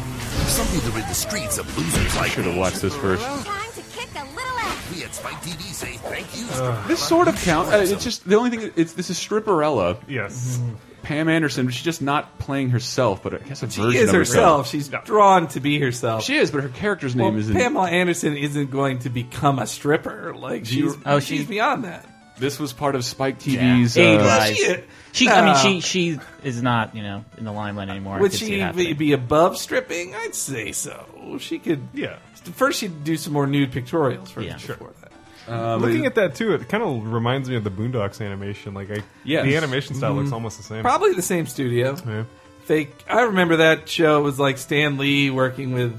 [SPEAKER 12] something to rid the streets of losers like
[SPEAKER 4] should have watched this first.
[SPEAKER 12] we at Spike TV say thank you.
[SPEAKER 4] This sort of count. Uh, it's just the only thing. It's this is Stripperella.
[SPEAKER 5] Yes.
[SPEAKER 6] Mm-hmm.
[SPEAKER 4] Pam Anderson, but she's just not playing herself, but I guess a
[SPEAKER 6] She
[SPEAKER 4] version
[SPEAKER 6] is
[SPEAKER 4] of
[SPEAKER 6] herself. She's drawn to be herself.
[SPEAKER 4] She is, but her character's
[SPEAKER 6] Well,
[SPEAKER 4] name is
[SPEAKER 6] Pamela Anderson isn't going to become a stripper. Like
[SPEAKER 4] She-
[SPEAKER 6] she's
[SPEAKER 4] Oh,
[SPEAKER 6] she's
[SPEAKER 4] she-
[SPEAKER 6] beyond that.
[SPEAKER 4] This was part of Spike
[SPEAKER 7] Yeah.
[SPEAKER 4] TV's.
[SPEAKER 7] Age
[SPEAKER 4] uh,
[SPEAKER 7] lies.
[SPEAKER 6] She-
[SPEAKER 7] She, I mean,
[SPEAKER 6] No.
[SPEAKER 7] she she is not you know in the limelight anymore. I
[SPEAKER 6] Would
[SPEAKER 7] could see it
[SPEAKER 6] she
[SPEAKER 7] happening.
[SPEAKER 6] be, be above stripping? I'd say so. She could.
[SPEAKER 5] Yeah.
[SPEAKER 6] First, she'd do some more nude pictorials for
[SPEAKER 5] Yeah.
[SPEAKER 6] us before that. Uh,
[SPEAKER 5] Looking at that too, it kind of reminds me of the Boondocks animation. Like, I,
[SPEAKER 6] Yes.
[SPEAKER 5] the animation style looks
[SPEAKER 6] Mhm.
[SPEAKER 5] almost the same.
[SPEAKER 6] Probably the same studio. Fake. I remember that show was like Stan Lee working with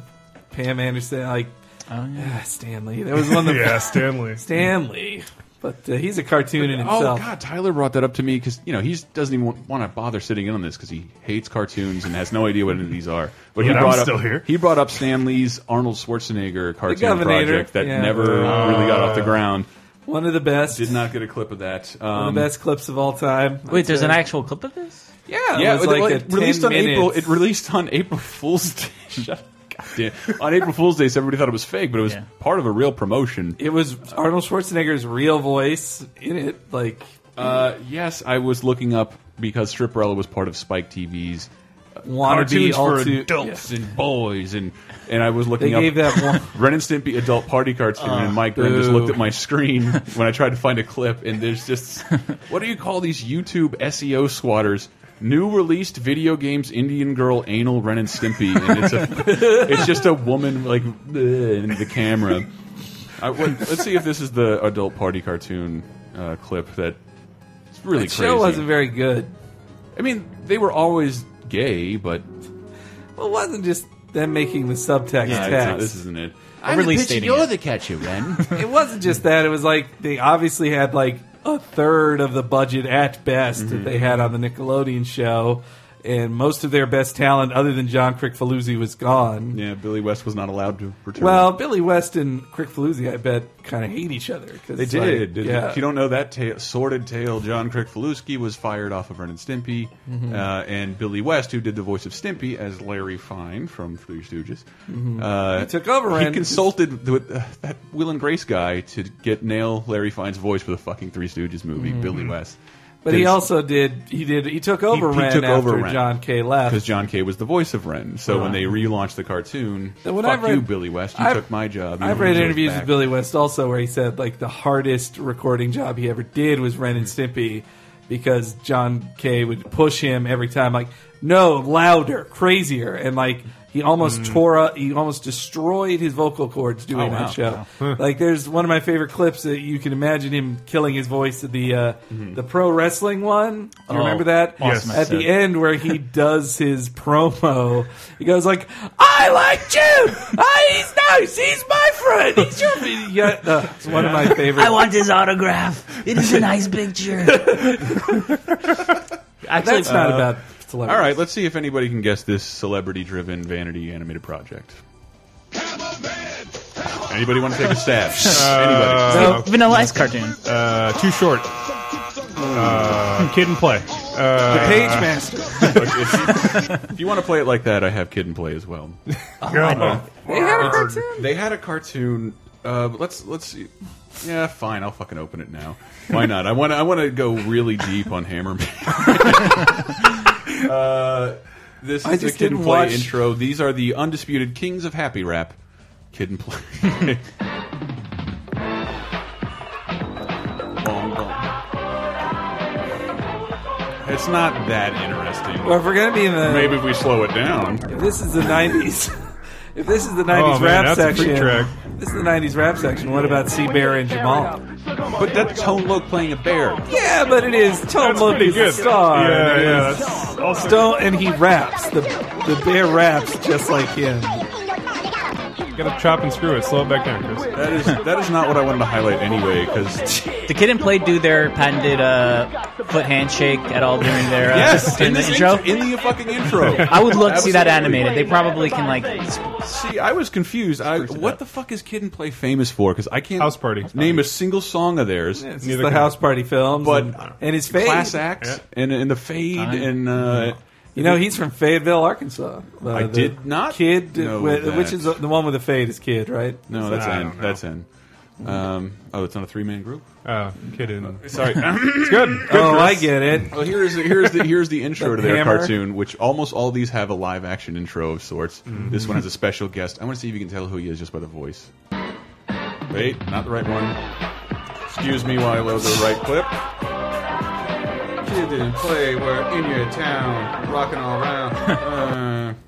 [SPEAKER 6] Pam Anderson. Like,
[SPEAKER 7] oh,
[SPEAKER 6] yeah. Stan Lee. That was one of the
[SPEAKER 5] Yeah, Stan Lee.
[SPEAKER 6] Stan Lee. But uh, he's a cartoon in
[SPEAKER 4] Oh
[SPEAKER 6] himself.
[SPEAKER 4] God, Tyler brought that up to me because you know he doesn't even want, want to bother sitting in on this because he hates cartoons and has no idea what any of these are. he
[SPEAKER 5] Yet I'm
[SPEAKER 4] brought
[SPEAKER 5] still
[SPEAKER 4] up
[SPEAKER 5] here.
[SPEAKER 4] he brought up Stan Lee's Arnold Schwarzenegger cartoon
[SPEAKER 6] Governator,
[SPEAKER 4] project that
[SPEAKER 6] yeah.
[SPEAKER 4] never really got off the
[SPEAKER 6] Uh,
[SPEAKER 4] ground.
[SPEAKER 6] One of the best.
[SPEAKER 4] Did not get a clip of that. Um,
[SPEAKER 6] One of the best clips of all time.
[SPEAKER 7] Wait, there's an
[SPEAKER 6] Uh,
[SPEAKER 7] actual clip of this?
[SPEAKER 6] Yeah,
[SPEAKER 4] yeah,
[SPEAKER 6] it was
[SPEAKER 4] it-
[SPEAKER 6] like
[SPEAKER 4] well,
[SPEAKER 6] a
[SPEAKER 4] it released
[SPEAKER 6] 10
[SPEAKER 4] on April.
[SPEAKER 6] minutes.
[SPEAKER 4] It released on April Fool's Day. Shut up. God damn. on April Fool's Day, so everybody thought it was fake, but it was part of a real promotion.
[SPEAKER 6] It was Arnold Schwarzenegger's real voice in it. Like,
[SPEAKER 4] uh, yes, I was looking up because Stripperella was part of Spike TV's uh,
[SPEAKER 6] Wannabe
[SPEAKER 4] cartoons
[SPEAKER 6] all
[SPEAKER 4] for
[SPEAKER 6] too-
[SPEAKER 4] adults and boys, and and I was looking
[SPEAKER 6] They
[SPEAKER 4] up
[SPEAKER 6] gave that one-
[SPEAKER 4] Ren and Stimpy adult party cartoon,
[SPEAKER 6] Ugh.
[SPEAKER 4] and Mike Grimm just
[SPEAKER 6] Boo.
[SPEAKER 4] looked at my screen when I tried to find a clip, and there's just what do you call these YouTube SEO squatters? New released video games, Indian girl, anal, Ren and Stimpy, and it's a, it's just a woman like bleh, in the camera. I, wait, let's see if this is the adult party cartoon uh, clip that it's really
[SPEAKER 6] That
[SPEAKER 4] crazy.
[SPEAKER 6] show wasn't very good.
[SPEAKER 4] I mean, they were always gay, but
[SPEAKER 6] well, it wasn't just them making the subtext
[SPEAKER 4] Yeah, it's
[SPEAKER 6] text.
[SPEAKER 4] not- this isn't it. I'm I'm the release pitch, dating you're it. the catcher, Ren.
[SPEAKER 6] it wasn't just that. It was like they obviously had like a third of the budget at best that
[SPEAKER 4] Mhm.
[SPEAKER 6] they had on the Nickelodeon show, and most of their best talent, other than John Crickfaluzzi, was gone.
[SPEAKER 4] Yeah, Billy West was not allowed to return.
[SPEAKER 6] Well, Billy West and Crickfaluzzi, I bet, kind of hate each other. 'cause
[SPEAKER 4] they
[SPEAKER 6] it's
[SPEAKER 4] did.
[SPEAKER 6] like,
[SPEAKER 4] did
[SPEAKER 6] yeah.
[SPEAKER 4] If you don't know that tale, sordid tale, John Krikfaluski was fired off of Ren and Stimpy,
[SPEAKER 6] Mhm.
[SPEAKER 4] uh, and Billy West, who did the voice of Stimpy as Larry Fine from Three Stooges,
[SPEAKER 6] Mhm.
[SPEAKER 4] uh,
[SPEAKER 6] He took over
[SPEAKER 4] He
[SPEAKER 6] and-
[SPEAKER 4] consulted with uh, that Will and Grace guy to get nail Larry Fine's voice for the fucking Three Stooges movie.
[SPEAKER 6] Mhm.
[SPEAKER 4] Billy West.
[SPEAKER 6] But he
[SPEAKER 4] Did-
[SPEAKER 6] also did. He did. He took over
[SPEAKER 4] he
[SPEAKER 6] Ren
[SPEAKER 4] took
[SPEAKER 6] after
[SPEAKER 4] over Ren.
[SPEAKER 6] John K. left.
[SPEAKER 4] because John K was the voice of Ren. So
[SPEAKER 6] Ah.
[SPEAKER 4] when they relaunched the cartoon,
[SPEAKER 6] And when
[SPEAKER 4] fuck
[SPEAKER 6] I've read-
[SPEAKER 4] you, Billy West, you
[SPEAKER 6] I've-
[SPEAKER 4] took my job. You
[SPEAKER 6] I've
[SPEAKER 4] don't
[SPEAKER 6] read
[SPEAKER 4] deserve
[SPEAKER 6] interviews
[SPEAKER 4] back.
[SPEAKER 6] with Billy West also where he said like the hardest recording job he ever did was Ren
[SPEAKER 19] Hmm.
[SPEAKER 6] and Stimpy because John Kay would push him every time like no louder crazier and like he almost
[SPEAKER 19] Mm.
[SPEAKER 6] tore up he almost destroyed his vocal cords doing
[SPEAKER 19] Oh, wow.
[SPEAKER 6] that show
[SPEAKER 19] Wow.
[SPEAKER 6] like there's one of my favorite clips that you can imagine him killing his voice at the uh, the pro wrestling one you
[SPEAKER 19] Mm-hmm. Oh,
[SPEAKER 6] remember that
[SPEAKER 19] awesome
[SPEAKER 6] at the
[SPEAKER 19] episode.
[SPEAKER 6] end where he does his promo he goes like I like you. I, he's nice. He's my friend. He's your friend. Yeah, uh, it's one of my favorite.
[SPEAKER 13] I want his autograph. It is a nice picture.
[SPEAKER 7] Actually,
[SPEAKER 6] That's not about celebrities.
[SPEAKER 4] All right, let's see if anybody can guess this celebrity-driven vanity animated project. Anybody want to take a stab?
[SPEAKER 7] Uh,
[SPEAKER 4] anybody?
[SPEAKER 7] Vanilla Ice cartoon.
[SPEAKER 5] Uh, too short. Uh, kid and play. Uh,
[SPEAKER 4] The Page Master. if you want to play it like that, I have Kid and Play as well.
[SPEAKER 5] Oh,
[SPEAKER 6] They had a cartoon?
[SPEAKER 4] They had a cartoon. Uh, but let's let's see. Yeah, fine. I'll fucking open it now. Why not? I want I want to go really deep on Hammerman. uh, this
[SPEAKER 6] I
[SPEAKER 4] is the
[SPEAKER 6] just
[SPEAKER 4] Kid and
[SPEAKER 6] didn't
[SPEAKER 4] Play
[SPEAKER 6] watch-
[SPEAKER 4] intro. These are the undisputed kings of happy rap. Kid and Play. Bong, bong. It's not that interesting.
[SPEAKER 6] Well, if we're gonna be in the-
[SPEAKER 4] maybe if we slow it down.
[SPEAKER 6] If this is the '90s, if this is the '90s
[SPEAKER 4] Oh, man,
[SPEAKER 6] rap
[SPEAKER 4] that's a
[SPEAKER 6] section,
[SPEAKER 4] freak track.
[SPEAKER 6] this is the '90s rap section. What about Sea Bear and Jamal?
[SPEAKER 4] But that's Tone Loc playing a bear.
[SPEAKER 6] Yeah, but it is Tone
[SPEAKER 4] That's
[SPEAKER 6] Loc
[SPEAKER 4] pretty
[SPEAKER 6] is a
[SPEAKER 4] good.
[SPEAKER 6] star.
[SPEAKER 4] Yeah,
[SPEAKER 6] and it
[SPEAKER 4] yeah,
[SPEAKER 6] is
[SPEAKER 4] that's
[SPEAKER 6] Stone, and he raps. The the bear raps just like him.
[SPEAKER 5] Gotta chop and screw it. Slow it back down, Chris.
[SPEAKER 4] That is that is not what I wanted to highlight anyway. Because
[SPEAKER 7] The kid and play do their patented uh, foot handshake at all during their uh,
[SPEAKER 4] yes,
[SPEAKER 7] during
[SPEAKER 4] in,
[SPEAKER 7] the
[SPEAKER 4] this
[SPEAKER 7] intro.
[SPEAKER 4] in the fucking intro.
[SPEAKER 7] I would love to see that
[SPEAKER 4] Absolutely.
[SPEAKER 7] animated. They probably can like. s-
[SPEAKER 4] See, I was confused. I, what the fuck is Kid and Play famous for? Because I can't
[SPEAKER 6] House Party.
[SPEAKER 4] name a single song of theirs.
[SPEAKER 6] Yeah, it's just Neither the can I. House Party films
[SPEAKER 4] but
[SPEAKER 6] and- and his Fade.
[SPEAKER 4] class act
[SPEAKER 6] Yeah.
[SPEAKER 4] and and the fade
[SPEAKER 6] I-
[SPEAKER 4] and uh,
[SPEAKER 6] You know, he's from Fayetteville, Arkansas. Uh,
[SPEAKER 4] I
[SPEAKER 6] the
[SPEAKER 4] did not
[SPEAKER 6] Kid,
[SPEAKER 4] know
[SPEAKER 6] with-
[SPEAKER 4] that.
[SPEAKER 6] which is the the one with the fade is Kid, right?
[SPEAKER 4] no, that's
[SPEAKER 6] I
[SPEAKER 4] N.
[SPEAKER 6] don't know.
[SPEAKER 4] That's N. Um, oh, it's not a three man group.
[SPEAKER 5] Uh, kid and
[SPEAKER 4] Sorry,
[SPEAKER 5] it's good. good
[SPEAKER 6] Oh,
[SPEAKER 5] Chris.
[SPEAKER 6] I get it.
[SPEAKER 4] Well, here's here's the here's the intro
[SPEAKER 6] The
[SPEAKER 4] to their
[SPEAKER 6] hammer.
[SPEAKER 4] cartoon, which almost all these have a live action intro of sorts.
[SPEAKER 6] Mhm.
[SPEAKER 4] This one has a special guest. I want to see if you can tell who he is just by the voice. Wait, not the right one. Excuse me while I load the right clip. Kid didn't play. We're in your town, rocking all around.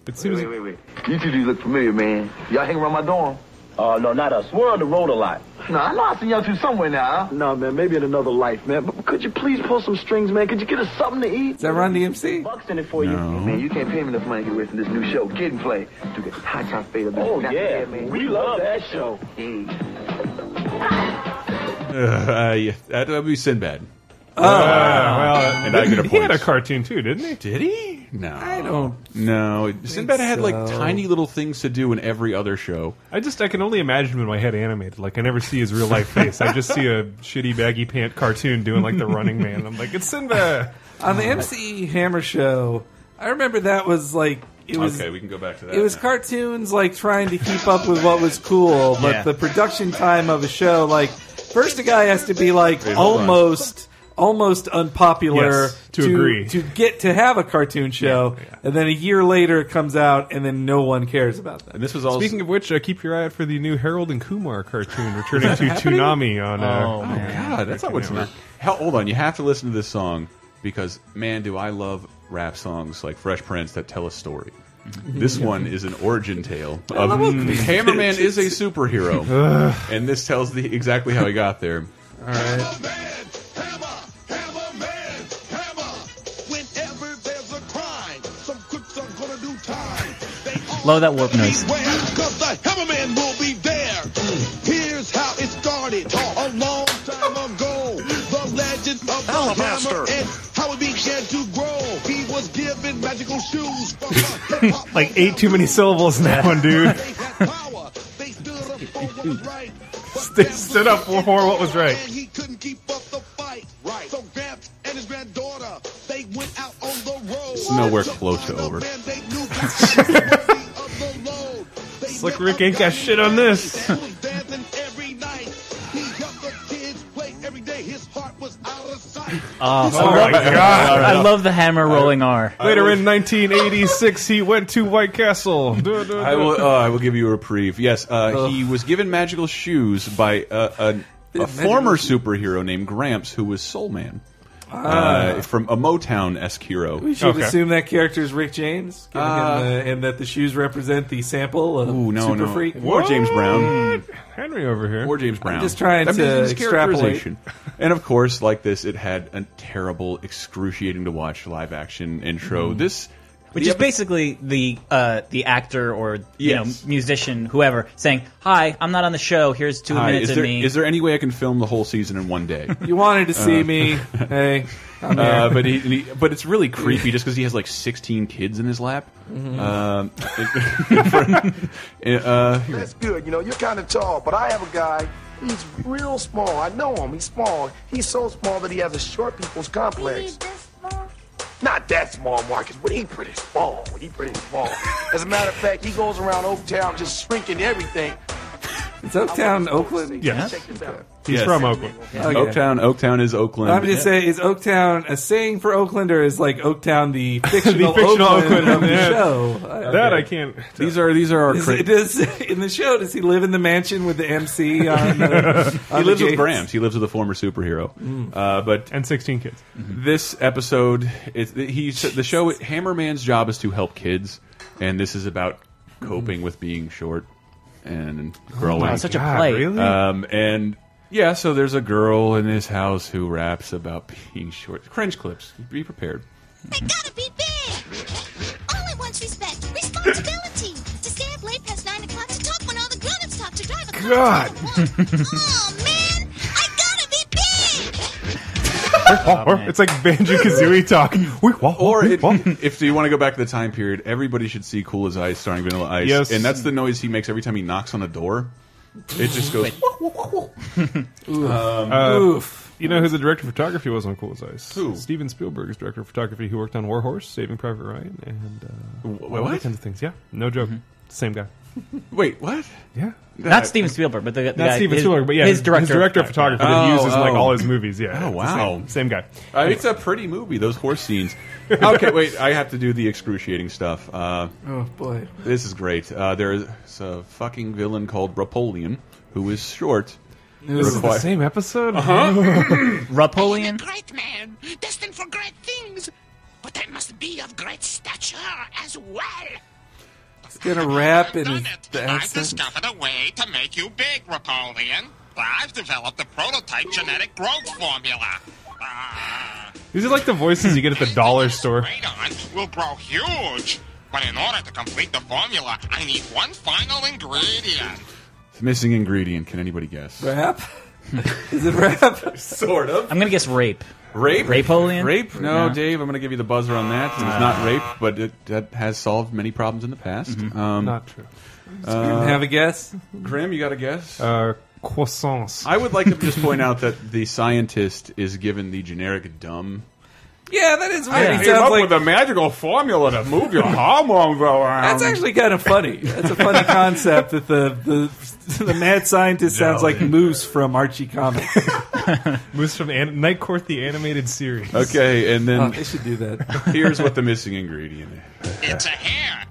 [SPEAKER 5] it seems.
[SPEAKER 20] Wait, wait, wait. You two do look familiar, man. Y'all hang around my dorm? Oh, no, not us. We're on the road a lot. No, I know I seen y'all two somewhere now. No, man, maybe in another life, man. But could you please pull some strings, man? Could you get us something to eat? Is
[SPEAKER 6] that Run DMC?
[SPEAKER 20] Bucks in it for you. Man, you can't pay me enough money to get away from this new show. Get and play. Dude, get hot top fade up.
[SPEAKER 11] Oh, yeah. We love
[SPEAKER 20] that show.
[SPEAKER 4] Uh, yeah, that would be Sinbad.
[SPEAKER 5] Oh, well,
[SPEAKER 4] and I get a
[SPEAKER 5] he had
[SPEAKER 4] point.
[SPEAKER 5] a cartoon too, didn't he?
[SPEAKER 4] Did he? No, I
[SPEAKER 6] don't.
[SPEAKER 4] No, Sinbad had like
[SPEAKER 5] so.
[SPEAKER 4] tiny little things to do in every other show.
[SPEAKER 5] I just I can only imagine him in my head animated. Like I never see his real life face. I just see a shitty baggy pant cartoon doing like the Running Man. I'm like, it's Sinbad.
[SPEAKER 6] On the MC Hammer show, I remember that was like it was.
[SPEAKER 4] Okay, we can go back to that
[SPEAKER 6] It was
[SPEAKER 4] now.
[SPEAKER 6] cartoons like trying to keep up with what was cool, but
[SPEAKER 4] Yeah.
[SPEAKER 6] the production time of a show like first a guy has to be like
[SPEAKER 4] Wait, hold on.
[SPEAKER 6] almost almost unpopular
[SPEAKER 5] Yes, to agree.
[SPEAKER 6] to get to have a cartoon show, and then a year later it comes out, and then no one cares about that.
[SPEAKER 4] And this was
[SPEAKER 5] Speaking of which, uh, keep your eye out for the new Harold and Kumar cartoon returning to Toonami on. Uh,
[SPEAKER 4] Oh, God, that's not what's not. Hell, hold on, you have to listen to this song because man, do I love rap songs like Fresh Prince that tell a story. This one is an origin tale of
[SPEAKER 6] Mm-hmm. love what
[SPEAKER 4] Mm.
[SPEAKER 6] Chris
[SPEAKER 4] Hammerman
[SPEAKER 6] did.
[SPEAKER 4] is a superhero, and this tells the exactly how he got there.
[SPEAKER 6] All right.
[SPEAKER 7] Love that warp noise.
[SPEAKER 12] Cause the Hammerman will be there. Here's how it started a long time ago. The legend of the Hammer
[SPEAKER 11] Alabaster.
[SPEAKER 12] and how it began to grow. He was given magical shoes from the
[SPEAKER 5] like eight too many syllables in that one, dude. St- stood up for what was right.
[SPEAKER 4] It's nowhere close to over.
[SPEAKER 5] Slick Rick ain't got shit on this.
[SPEAKER 4] Ah.
[SPEAKER 7] Oh,
[SPEAKER 5] Oh my God.
[SPEAKER 7] I love the hammer rolling R.
[SPEAKER 5] Later in 1986, he went to White Castle. Duh, duh, duh.
[SPEAKER 4] I will. Uh, I will give you a reprieve. Yes, uh, he was given magical shoes by uh, a, a former superhero named Gramps, who was Soul Man
[SPEAKER 6] Ah.
[SPEAKER 4] uh, from a Motown esque hero.
[SPEAKER 6] We should assume that character is Rick James, given him
[SPEAKER 4] Uh,
[SPEAKER 6] the- and that the shoes represent the sample of
[SPEAKER 4] Ooh, no,
[SPEAKER 6] Super
[SPEAKER 4] no.
[SPEAKER 6] Freak
[SPEAKER 4] Or James Brown.
[SPEAKER 5] Henry over here.
[SPEAKER 4] Or James Brown.
[SPEAKER 6] just trying
[SPEAKER 4] That
[SPEAKER 6] to
[SPEAKER 4] means his
[SPEAKER 6] extrapolate.
[SPEAKER 4] characterization. and of course, like this, it had a terrible, excruciating to watch live action intro.
[SPEAKER 6] Mhm.
[SPEAKER 4] This
[SPEAKER 7] Which is basically the uh, the actor or you
[SPEAKER 4] Yes.
[SPEAKER 7] know musician whoever saying, "Hi, I'm not on the show. Here's two
[SPEAKER 4] Hi,
[SPEAKER 7] minutes
[SPEAKER 4] is
[SPEAKER 7] of
[SPEAKER 4] there,
[SPEAKER 7] me."
[SPEAKER 4] is there any way I can film the whole season in one day?
[SPEAKER 6] You wanted to see
[SPEAKER 4] Uh,
[SPEAKER 6] me. Hey, I'm
[SPEAKER 4] Uh,
[SPEAKER 6] here.
[SPEAKER 4] but he, and he- but it's really creepy just because he has like 16 kids in his lap.
[SPEAKER 10] Mhm.
[SPEAKER 4] Um, it- uh, here.
[SPEAKER 10] That's good. You know, you're kind of tall, but I have a guy. He's real small. I know him. He's small. He's so small that he has a short people's complex. Not that small, Marcus, but he pretty small. He pretty small. As a matter of fact, he goes around Oaktown just shrinking everything.
[SPEAKER 6] Is Oaktown Oakland?
[SPEAKER 10] Yes. Check this out.
[SPEAKER 5] He's
[SPEAKER 4] Yes.
[SPEAKER 5] from Oakland.
[SPEAKER 6] Okay.
[SPEAKER 4] Oaktown. Oaktown is Oakland.
[SPEAKER 6] I'm just saying, is Oaktown a saying for Oakland, or is like Oaktown the fictional,
[SPEAKER 5] fictional
[SPEAKER 6] Oakland,
[SPEAKER 5] Oakland,
[SPEAKER 6] of the
[SPEAKER 5] yeah.
[SPEAKER 6] show?
[SPEAKER 5] That I can't tell.
[SPEAKER 4] These are these are our.
[SPEAKER 6] Is,
[SPEAKER 4] cra-
[SPEAKER 6] does, in the show, does he live in the mansion with the MC? On the,
[SPEAKER 4] he
[SPEAKER 6] on the
[SPEAKER 4] lives with
[SPEAKER 6] gates?
[SPEAKER 4] Grams. He lives with a former superhero. Uh, but
[SPEAKER 5] and sixteen kids.
[SPEAKER 4] This episode, it's he the show. Hammerman's job is to help kids, and this is about coping with being short and growing.
[SPEAKER 7] wow, such a God, plight. really?
[SPEAKER 4] Um, and yeah, so there's a girl in his house who raps about being short. Cringe clips. Be prepared.
[SPEAKER 9] They gotta be big! Only one's respect, responsibility! To stay up late past 9 o'clock, to talk when all the grown-ups talk, to drive a car. Oh,
[SPEAKER 5] God. it's like Banjo Kazooie talk.
[SPEAKER 4] Or it, if you want to go back to the time period, everybody should see Cool as Ice starring Vanilla Ice.
[SPEAKER 5] Yes.
[SPEAKER 4] And that's the noise he makes every time he knocks on a door. It just goes. Um,
[SPEAKER 5] Oof. You know who the director of photography was on Cool as Ice?
[SPEAKER 4] Who?
[SPEAKER 5] Steven Spielberg is director of photography. He worked on War Horse, Saving Private Ryan, and uh,
[SPEAKER 4] Wh-
[SPEAKER 5] all
[SPEAKER 4] what?
[SPEAKER 5] kinds of things. Yeah, no joke.
[SPEAKER 4] Mm-hmm.
[SPEAKER 5] Same guy.
[SPEAKER 4] Wait, what?
[SPEAKER 5] Yeah.
[SPEAKER 7] Not Steven Spielberg, but the, the
[SPEAKER 5] Not
[SPEAKER 7] guy,
[SPEAKER 5] Steven
[SPEAKER 7] his-
[SPEAKER 5] Spielberg, but yeah,
[SPEAKER 7] his director,
[SPEAKER 5] director of photography that
[SPEAKER 4] Oh,
[SPEAKER 5] uses like
[SPEAKER 4] oh.
[SPEAKER 5] all his movies. Yeah.
[SPEAKER 4] Oh
[SPEAKER 5] it's the
[SPEAKER 4] wow,
[SPEAKER 5] Same, same guy.
[SPEAKER 4] Uh, it's a pretty movie. Those horse scenes. Okay, wait. I have to do the excruciating stuff. Uh,
[SPEAKER 6] Oh, boy.
[SPEAKER 4] this is great. Uh, there's a fucking villain called Rapolian who is short.
[SPEAKER 5] This is the
[SPEAKER 4] Require-
[SPEAKER 5] same episode.
[SPEAKER 4] Uh-huh.
[SPEAKER 7] Rapolian.
[SPEAKER 21] Great man, destined for great things. But I must be of great stature as well.
[SPEAKER 6] He's gonna rap in his the
[SPEAKER 21] I've
[SPEAKER 6] accent.
[SPEAKER 21] discovered a way to make you big, Rapolian. I've developed a prototype genetic growth formula.
[SPEAKER 5] These are like the voices you get at the dollar store.
[SPEAKER 21] Radon will grow huge. But in order to complete the formula, I need one final ingredient.
[SPEAKER 4] The missing ingredient. Can anybody guess?
[SPEAKER 6] Rap? Is it rap?
[SPEAKER 4] sort of.
[SPEAKER 7] I'm gonna guess rape.
[SPEAKER 4] Rape?
[SPEAKER 7] Rapolian?
[SPEAKER 4] Rape? No,
[SPEAKER 7] No.
[SPEAKER 4] Dave. I'm going to give you the buzzer on that. It's not rape, but it, that has solved many problems in the past. Um,
[SPEAKER 5] Not true.
[SPEAKER 4] uh,
[SPEAKER 6] Have a guess?
[SPEAKER 4] Grim, you got a guess?
[SPEAKER 5] Uh, croissants.
[SPEAKER 4] I would like to just point out that the scientist is given the generic dumb.
[SPEAKER 6] Yeah, that is weird. He
[SPEAKER 4] came
[SPEAKER 6] sounds
[SPEAKER 4] up
[SPEAKER 6] like
[SPEAKER 4] with a magical formula to move your hormones around.
[SPEAKER 6] That's actually kind of funny. That's a funny concept that the the, the mad scientist sounds like Moose from Archie Comics.
[SPEAKER 5] Moose from an- Night Court, the animated series.
[SPEAKER 4] Okay, and then
[SPEAKER 6] Oh, they should do that.
[SPEAKER 4] Here's what the missing ingredient is.
[SPEAKER 21] It's a hair,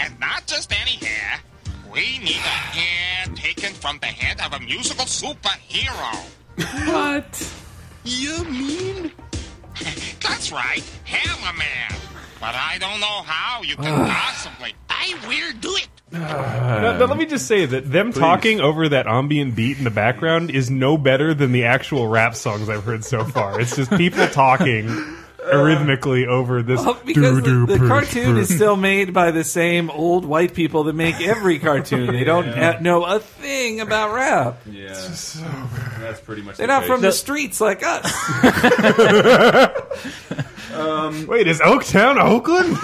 [SPEAKER 21] and not just any hair. We need a hair taken from the head of a musical superhero.
[SPEAKER 6] What?
[SPEAKER 21] You mean? That's right, Hammerman. But I don't know how you can possibly. I will do it.
[SPEAKER 5] No, no, let me just say that them talking over that ambient beat in the background is no better than the actual rap songs I've heard so far. It's just people talking rhythmically over this.
[SPEAKER 6] Well, because the,
[SPEAKER 5] doo-doo,
[SPEAKER 6] the
[SPEAKER 5] bruh,
[SPEAKER 6] cartoon
[SPEAKER 5] bruh.
[SPEAKER 6] is still made by the same old white people that make every cartoon. They don't
[SPEAKER 4] Yeah.
[SPEAKER 6] ha- know a thing about rap.
[SPEAKER 4] Yeah, that's pretty much.
[SPEAKER 6] They're not from the streets like us.
[SPEAKER 4] Um,
[SPEAKER 5] Wait, is Oaktown Oakland?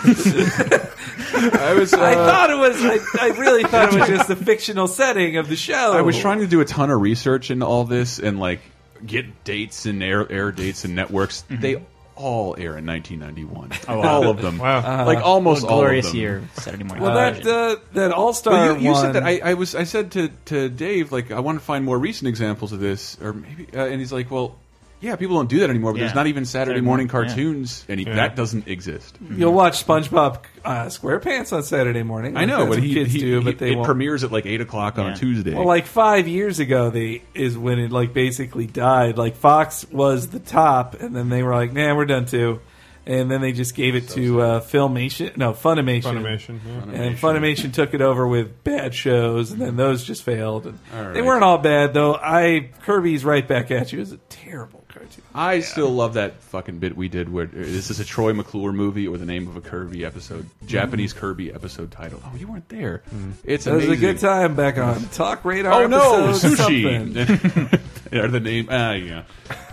[SPEAKER 4] I was.
[SPEAKER 6] I
[SPEAKER 4] uh,
[SPEAKER 6] thought it was. I, I really thought it was just the fictional setting of the Oh. show.
[SPEAKER 4] I was trying to do a ton of research into all this and like get dates and air air dates and networks. They all air in 1991.
[SPEAKER 7] Oh, wow.
[SPEAKER 4] All of them.
[SPEAKER 6] Uh-huh.
[SPEAKER 7] Wow.
[SPEAKER 4] Like
[SPEAKER 7] Uh,
[SPEAKER 4] almost
[SPEAKER 7] what a
[SPEAKER 4] all of
[SPEAKER 7] glorious
[SPEAKER 4] them.
[SPEAKER 7] year of Saturday morning
[SPEAKER 6] Well, that uh, that All Star.
[SPEAKER 4] Well, you, you said that I, I was. I said to, to Dave, like, I want to find more recent examples of this, or maybe. Uh, and he's like, well, yeah, people don't do that anymore. But there's
[SPEAKER 6] Yeah.
[SPEAKER 4] not even Saturday,
[SPEAKER 6] Saturday
[SPEAKER 4] morning
[SPEAKER 6] morning, yeah.
[SPEAKER 4] cartoons, and
[SPEAKER 6] Yeah.
[SPEAKER 4] that doesn't exist.
[SPEAKER 6] You'll watch SpongeBob uh, SquarePants on Saturday morning.
[SPEAKER 4] I know,
[SPEAKER 6] That's
[SPEAKER 4] but
[SPEAKER 6] what
[SPEAKER 4] he,
[SPEAKER 6] kids
[SPEAKER 4] he-
[SPEAKER 6] do,
[SPEAKER 4] he-
[SPEAKER 6] but they
[SPEAKER 4] it
[SPEAKER 6] won't.
[SPEAKER 4] premieres at like eight o'clock on a Tuesday.
[SPEAKER 6] Well, like five years ago, they is when it like basically died. Like Fox was the top, and then they were like, "Nah, we're done too." And then they just gave it to uh, Filmation, no Funimation.
[SPEAKER 5] Funimation, yeah.
[SPEAKER 6] and Funimation took it over with bad shows, and then those just failed. And
[SPEAKER 4] All right.
[SPEAKER 6] They weren't all bad though. I Kirby's right back at you is a terrible
[SPEAKER 1] cartoon.
[SPEAKER 4] I still love that fucking bit we did where this is a Troy McClure movie or the name of a Kirby episode,
[SPEAKER 6] Mm-hmm.
[SPEAKER 4] Japanese Kirby episode title. Oh, you weren't there. It's
[SPEAKER 6] That was a
[SPEAKER 4] amazing.
[SPEAKER 6] good time back on Talk Radar
[SPEAKER 4] Oh no,
[SPEAKER 6] episode
[SPEAKER 4] sushi. or the name? Ah, yeah.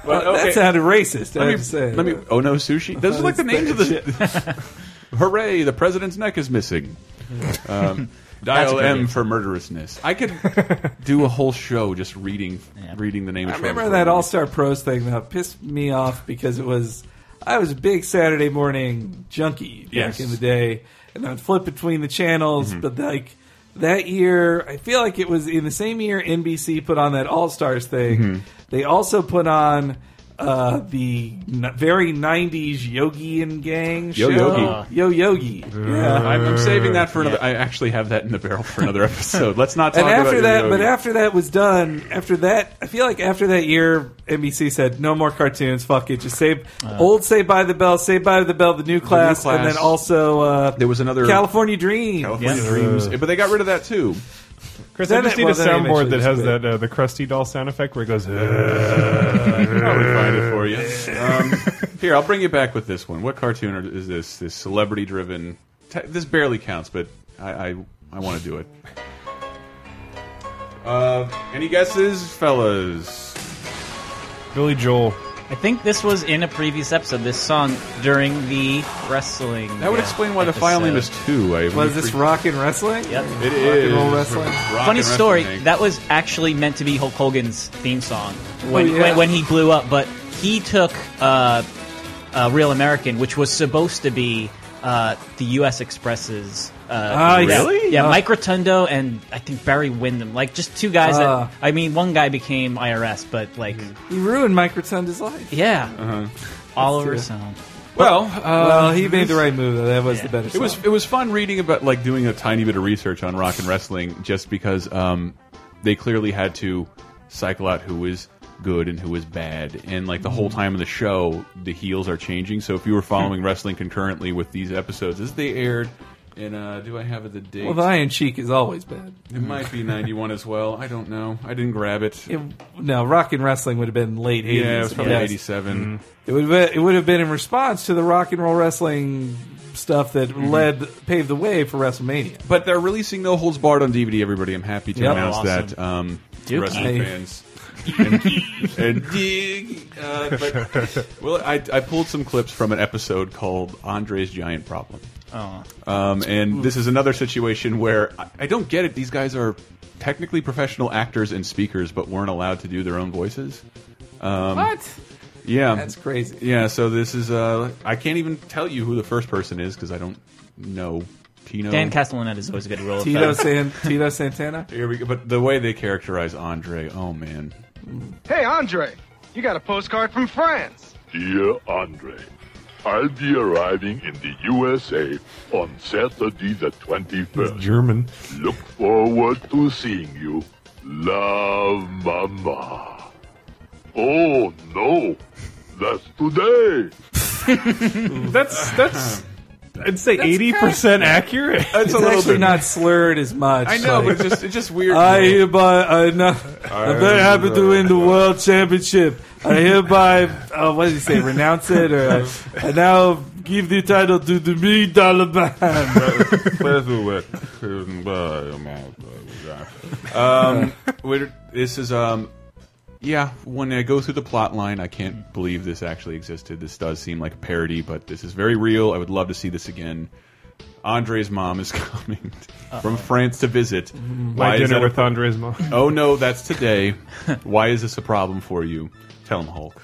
[SPEAKER 6] Well, that sounded racist, I
[SPEAKER 4] Let me,
[SPEAKER 6] have to say.
[SPEAKER 4] let me. Oh no, sushi. Those are like the names of the. Hooray! The president's neck is missing. Um,
[SPEAKER 1] That's
[SPEAKER 4] dial
[SPEAKER 1] a good
[SPEAKER 4] M
[SPEAKER 1] name.
[SPEAKER 4] for murderousness. I could do a whole show just reading reading the name.
[SPEAKER 6] I
[SPEAKER 4] of
[SPEAKER 6] remember
[SPEAKER 4] Charles
[SPEAKER 6] that All Star Pros thing that pissed me off because it was I was a big Saturday morning junkie back
[SPEAKER 4] Yes.
[SPEAKER 6] in the day, and I'd flip between the channels.
[SPEAKER 4] Mhm.
[SPEAKER 6] But like that year, I feel like it was in the same year NBC put on that All Stars thing.
[SPEAKER 4] Mhm.
[SPEAKER 6] They also put on. Uh, the n- very '90s Yogi and Gang
[SPEAKER 4] Yo
[SPEAKER 6] show.
[SPEAKER 4] Yogi.
[SPEAKER 6] Yo Yogi. Yeah,
[SPEAKER 4] I'm, I'm saving that for another. I actually have that in the barrel for another episode. Let's not talk
[SPEAKER 6] and after
[SPEAKER 4] about
[SPEAKER 6] that,
[SPEAKER 4] Yo-Yo
[SPEAKER 6] but
[SPEAKER 4] yet.
[SPEAKER 6] after that was done, after that, I feel like after that year, NBC said no more cartoons. Fuck it, just save old Say by the Bell, Say by the Bell, the new class, and
[SPEAKER 4] Uh. Class.
[SPEAKER 6] then also uh,
[SPEAKER 4] there was another
[SPEAKER 6] California Dreams.
[SPEAKER 4] California Dreams, but they got rid of that too.
[SPEAKER 5] Chris, I just need a
[SPEAKER 4] well, then
[SPEAKER 5] soundboard
[SPEAKER 4] eventually
[SPEAKER 5] that has
[SPEAKER 4] just
[SPEAKER 5] that uh, the crusty doll sound effect where it goes. "Uh,
[SPEAKER 4] I can probably find it for you. Um, here, I'll bring you back with this one. What cartoon are- is this? This celebrity-driven. te- This barely counts, but I I, I want to do it. Uh, any guesses, fellas?
[SPEAKER 5] Billy Joel.
[SPEAKER 7] I think this was in a previous episode. This song during the wrestling.
[SPEAKER 4] That would
[SPEAKER 7] uh,
[SPEAKER 4] explain why the file name is
[SPEAKER 7] episode.
[SPEAKER 4] two. I
[SPEAKER 6] Was this rock and wrestling?
[SPEAKER 7] Yep.
[SPEAKER 4] It
[SPEAKER 6] rock and roll
[SPEAKER 4] is.
[SPEAKER 6] wrestling.
[SPEAKER 4] Rock
[SPEAKER 7] Funny
[SPEAKER 4] and wrestling,
[SPEAKER 7] story.
[SPEAKER 4] Hank.
[SPEAKER 7] That was actually meant to be Hulk Hogan's theme song when
[SPEAKER 6] Oh, yeah.
[SPEAKER 7] when, when he blew up, but he took uh, uh, "Real American," which was supposed to be uh, the U.S. Express's. Uh,
[SPEAKER 6] Ah,
[SPEAKER 7] rep.
[SPEAKER 6] really?
[SPEAKER 7] Yeah,
[SPEAKER 6] Ah.
[SPEAKER 7] Mike Rotundo and I think Barry Windham, like just two guys
[SPEAKER 6] Ah.
[SPEAKER 7] that. I mean, one guy became IRS, but like,
[SPEAKER 6] You ruined Mike Rotunda's life.
[SPEAKER 7] yeah, Oliver
[SPEAKER 6] That's too-
[SPEAKER 7] Stone.
[SPEAKER 4] Well,
[SPEAKER 6] well,
[SPEAKER 4] uh,
[SPEAKER 6] he made the right move. though. That was the better.
[SPEAKER 4] It was it was fun reading about like doing a tiny bit of research on rock and wrestling just because um, they clearly had to cycle out who was good and who was bad and like the whole time of the show the heels are changing so if you were following wrestling concurrently with these episodes as they aired and uh, do I have the date
[SPEAKER 6] Well, the Iron Cheek is always bad.
[SPEAKER 4] it might be 91 as well I don't know I didn't grab it
[SPEAKER 6] No, rock and wrestling would have been late eighties.
[SPEAKER 4] yeah it was probably 87
[SPEAKER 6] It would have been, it would have been in response to the rock and roll wrestling stuff that
[SPEAKER 4] Mhm.
[SPEAKER 6] led paved the way for WrestleMania.
[SPEAKER 4] But they're releasing No Holds Barred on DVD. Everybody, I'm happy to
[SPEAKER 6] Yep.
[SPEAKER 4] announce
[SPEAKER 6] Awesome.
[SPEAKER 4] that. Um,
[SPEAKER 6] Dookie.
[SPEAKER 4] wrestling
[SPEAKER 6] I-
[SPEAKER 4] fans. and, and dig. Uh, but, well, I, I pulled some clips from an episode called Andre's Giant Problem.
[SPEAKER 7] Oh.
[SPEAKER 4] Um, and this is another situation where I, I don't get it. These guys are technically professional actors and speakers, but weren't allowed to do their own voices. Um,
[SPEAKER 6] What?
[SPEAKER 4] Yeah,
[SPEAKER 6] That's crazy.
[SPEAKER 4] Yeah, so this is. Uh, I can't even tell you who the first person is because I don't know. Tino
[SPEAKER 7] Dan Castellaneta is always a good rule. of thumb.
[SPEAKER 6] Tito San, Tito Santana.
[SPEAKER 4] Here we go. But the way they characterize Andre, oh man.
[SPEAKER 22] Hey, Andre, you got a postcard from France.
[SPEAKER 23] Dear Andre, I'll be arriving in the USA on Saturday the 21st.
[SPEAKER 5] German.
[SPEAKER 23] Look forward to seeing you. Love, Mama. Oh, no. That's today.
[SPEAKER 5] that's that's. I'd say eighty percent accurate.
[SPEAKER 6] It's, actually not slurred as much.
[SPEAKER 5] I know,
[SPEAKER 6] like-
[SPEAKER 5] but just-
[SPEAKER 4] it's just
[SPEAKER 6] I hereby, I know, I'm very happy to win the world championship. I hereby, uh, what did he say, renounce it, or uh, I now give the title to the Million Dollar
[SPEAKER 4] um, we're- this is um, yeah. When I go through the plot line, I can't believe this actually existed. This does seem like a parody, but this is very real. I would love to see this again. Andre's mom is coming from France to visit.
[SPEAKER 5] My
[SPEAKER 4] is
[SPEAKER 5] dinner
[SPEAKER 4] that a-
[SPEAKER 5] with Andre's mom.
[SPEAKER 4] Oh no, that's today. Why is this a problem for you? Tell him, Hulk.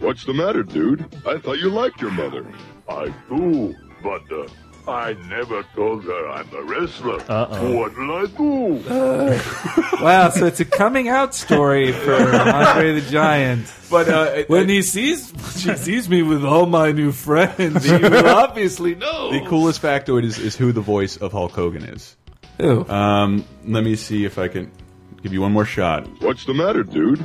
[SPEAKER 23] What's the matter, dude? I thought you liked your mother. I do, but uh, I never told her I'm a wrestler.
[SPEAKER 6] Uh-oh.
[SPEAKER 23] What'll I do?
[SPEAKER 6] wow, so it's a coming out story for Andre the Giant.
[SPEAKER 4] But uh,
[SPEAKER 6] when he sees she sees me with all my new friends, you will obviously know.
[SPEAKER 4] The coolest factoid is, is who the voice of Hulk Hogan is.
[SPEAKER 6] Who?
[SPEAKER 4] Um, let me see if I can give you one more shot.
[SPEAKER 23] What's the matter, dude?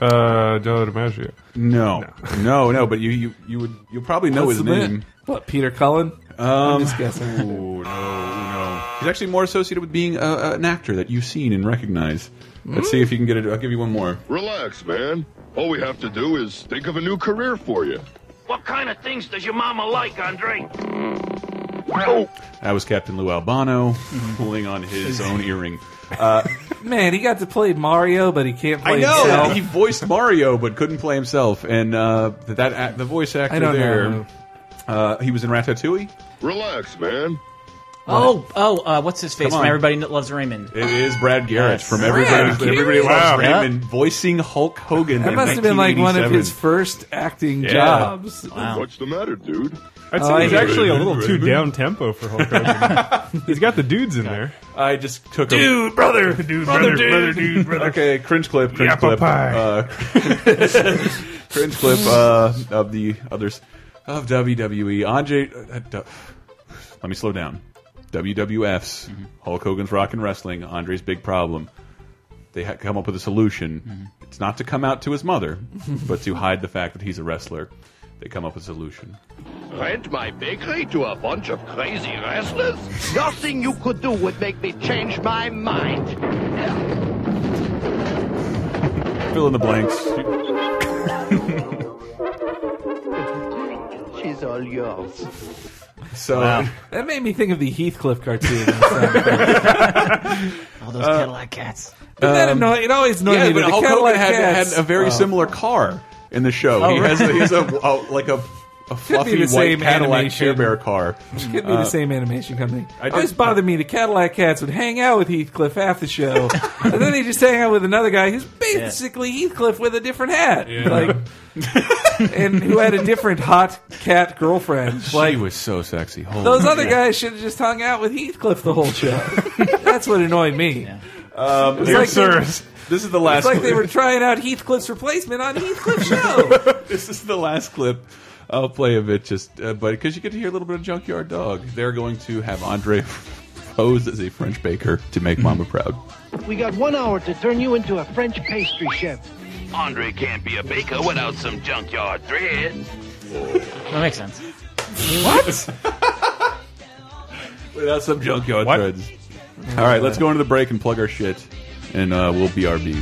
[SPEAKER 5] Uh, Joe DiMaggio.
[SPEAKER 4] No, no, no. But you, you, you would, you probably know
[SPEAKER 6] What's
[SPEAKER 4] his
[SPEAKER 6] the man?
[SPEAKER 4] name.
[SPEAKER 6] What, Peter Cullen?
[SPEAKER 4] Um,
[SPEAKER 6] just guessing.
[SPEAKER 4] ooh, no, no. He's actually more associated with being a, a- an actor that you've seen and recognize. Let's see if you can get it. I'll give you one more.
[SPEAKER 23] Relax, man. All we have to do is think of a new career for you.
[SPEAKER 11] What kind of things does your mama like, Andre?
[SPEAKER 4] That was Captain Lou Albano pulling on his own earring. Uh,
[SPEAKER 6] Man, he got to play Mario, but he can't play
[SPEAKER 4] I know
[SPEAKER 6] himself.
[SPEAKER 4] he voiced Mario, but couldn't play himself. And uh, that act, the voice actor
[SPEAKER 6] I don't
[SPEAKER 4] there,
[SPEAKER 6] know.
[SPEAKER 4] uh, he was in Ratatouille.
[SPEAKER 23] Relax, man.
[SPEAKER 7] Oh, oh, uh, what's his face?
[SPEAKER 4] Come on.
[SPEAKER 7] From Everybody loves Raymond.
[SPEAKER 4] It is Brad Garrett
[SPEAKER 7] Yes.
[SPEAKER 4] from everybody.
[SPEAKER 7] Brad
[SPEAKER 4] everybody
[SPEAKER 7] Garrett.
[SPEAKER 4] loves
[SPEAKER 7] Wow.
[SPEAKER 4] Raymond voicing Hulk Hogan.
[SPEAKER 6] That
[SPEAKER 4] in
[SPEAKER 6] must have been like one of
[SPEAKER 4] 1987.
[SPEAKER 6] his first acting
[SPEAKER 4] Yeah.
[SPEAKER 6] jobs.
[SPEAKER 23] What's the matter, dude?
[SPEAKER 5] I'd
[SPEAKER 6] Oh,
[SPEAKER 5] say he's actually a little too down tempo for Hulk Hogan. he's got the dudes in there.
[SPEAKER 4] I just took a-
[SPEAKER 5] Dude, brother! Dude, brother, dude. brother, dude, brother.
[SPEAKER 4] Okay, cringe clip, cringe
[SPEAKER 5] Yappa
[SPEAKER 4] clip,
[SPEAKER 5] pie.
[SPEAKER 4] Uh, cringe clip uh, of the others of WWE. Andre, uh, du- let me slow down. WWF's Hulk Hogan's Rock and Wrestling. Andre's big problem. They ha come up with a solution. It's not to come out to his mother, but to hide the fact that he's a wrestler. They come up with a solution.
[SPEAKER 1] Rent my bakery to a bunch of crazy wrestlers? Nothing you could do would make me change my mind.
[SPEAKER 4] Fill in the blanks.
[SPEAKER 1] She's all yours.
[SPEAKER 4] So
[SPEAKER 6] that made me think of the Heathcliff cartoon.
[SPEAKER 7] All those
[SPEAKER 6] Uh,
[SPEAKER 7] Cadillac cats.
[SPEAKER 6] But that annoy- it always annoyed
[SPEAKER 4] Um, yeah,
[SPEAKER 6] me
[SPEAKER 4] but
[SPEAKER 6] that the
[SPEAKER 4] Hulk Hogan
[SPEAKER 6] Cadillac
[SPEAKER 4] had,
[SPEAKER 6] cats-
[SPEAKER 4] had a very
[SPEAKER 6] Oh.
[SPEAKER 4] similar car in the show.
[SPEAKER 6] Oh,
[SPEAKER 4] he
[SPEAKER 6] right.
[SPEAKER 4] has a, he's a, a like a, a fluffy
[SPEAKER 6] the
[SPEAKER 4] white
[SPEAKER 6] same
[SPEAKER 4] Cadillac
[SPEAKER 6] animation.
[SPEAKER 4] Care Bear car.
[SPEAKER 6] It could be
[SPEAKER 4] Uh,
[SPEAKER 6] the same animation company.
[SPEAKER 4] I
[SPEAKER 6] It always
[SPEAKER 4] did-
[SPEAKER 6] bothered me. The Cadillac Cats would hang out with Heathcliff half the show, and then they just hang out with another guy who's basically Heathcliff with a different hat,
[SPEAKER 4] Yeah.
[SPEAKER 6] like, and who had a different hot cat girlfriend.
[SPEAKER 4] She
[SPEAKER 6] Like
[SPEAKER 4] was so sexy. Holy
[SPEAKER 6] those other
[SPEAKER 4] shit.
[SPEAKER 6] guys should have just hung out with Heathcliff the whole show. That's what annoyed me.
[SPEAKER 4] Um,
[SPEAKER 6] It's like sirs,
[SPEAKER 4] This is the
[SPEAKER 6] It's
[SPEAKER 4] last.
[SPEAKER 6] like they
[SPEAKER 4] clip.
[SPEAKER 6] were trying out Heathcliff's replacement on Heathcliff's show.
[SPEAKER 4] this is the last clip. I'll play a bit just, uh, but because you get to hear a little bit of Junkyard Dog. They're going to have Andre pose as a French baker to make Mama proud.
[SPEAKER 3] We got one hour to turn you into a French pastry chef.
[SPEAKER 1] Andre can't be a baker without some junkyard thread.
[SPEAKER 7] That makes sense.
[SPEAKER 6] What?
[SPEAKER 4] Without some junkyard threads. All right, let's go into the break and plug our shit, and uh, we'll BRB.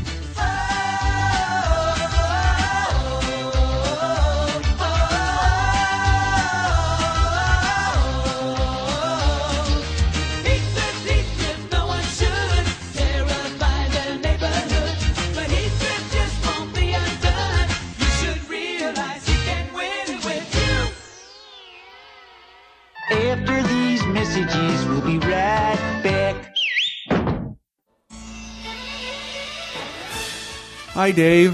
[SPEAKER 14] After these messages, we'll be right back.
[SPEAKER 4] Hi, Dave.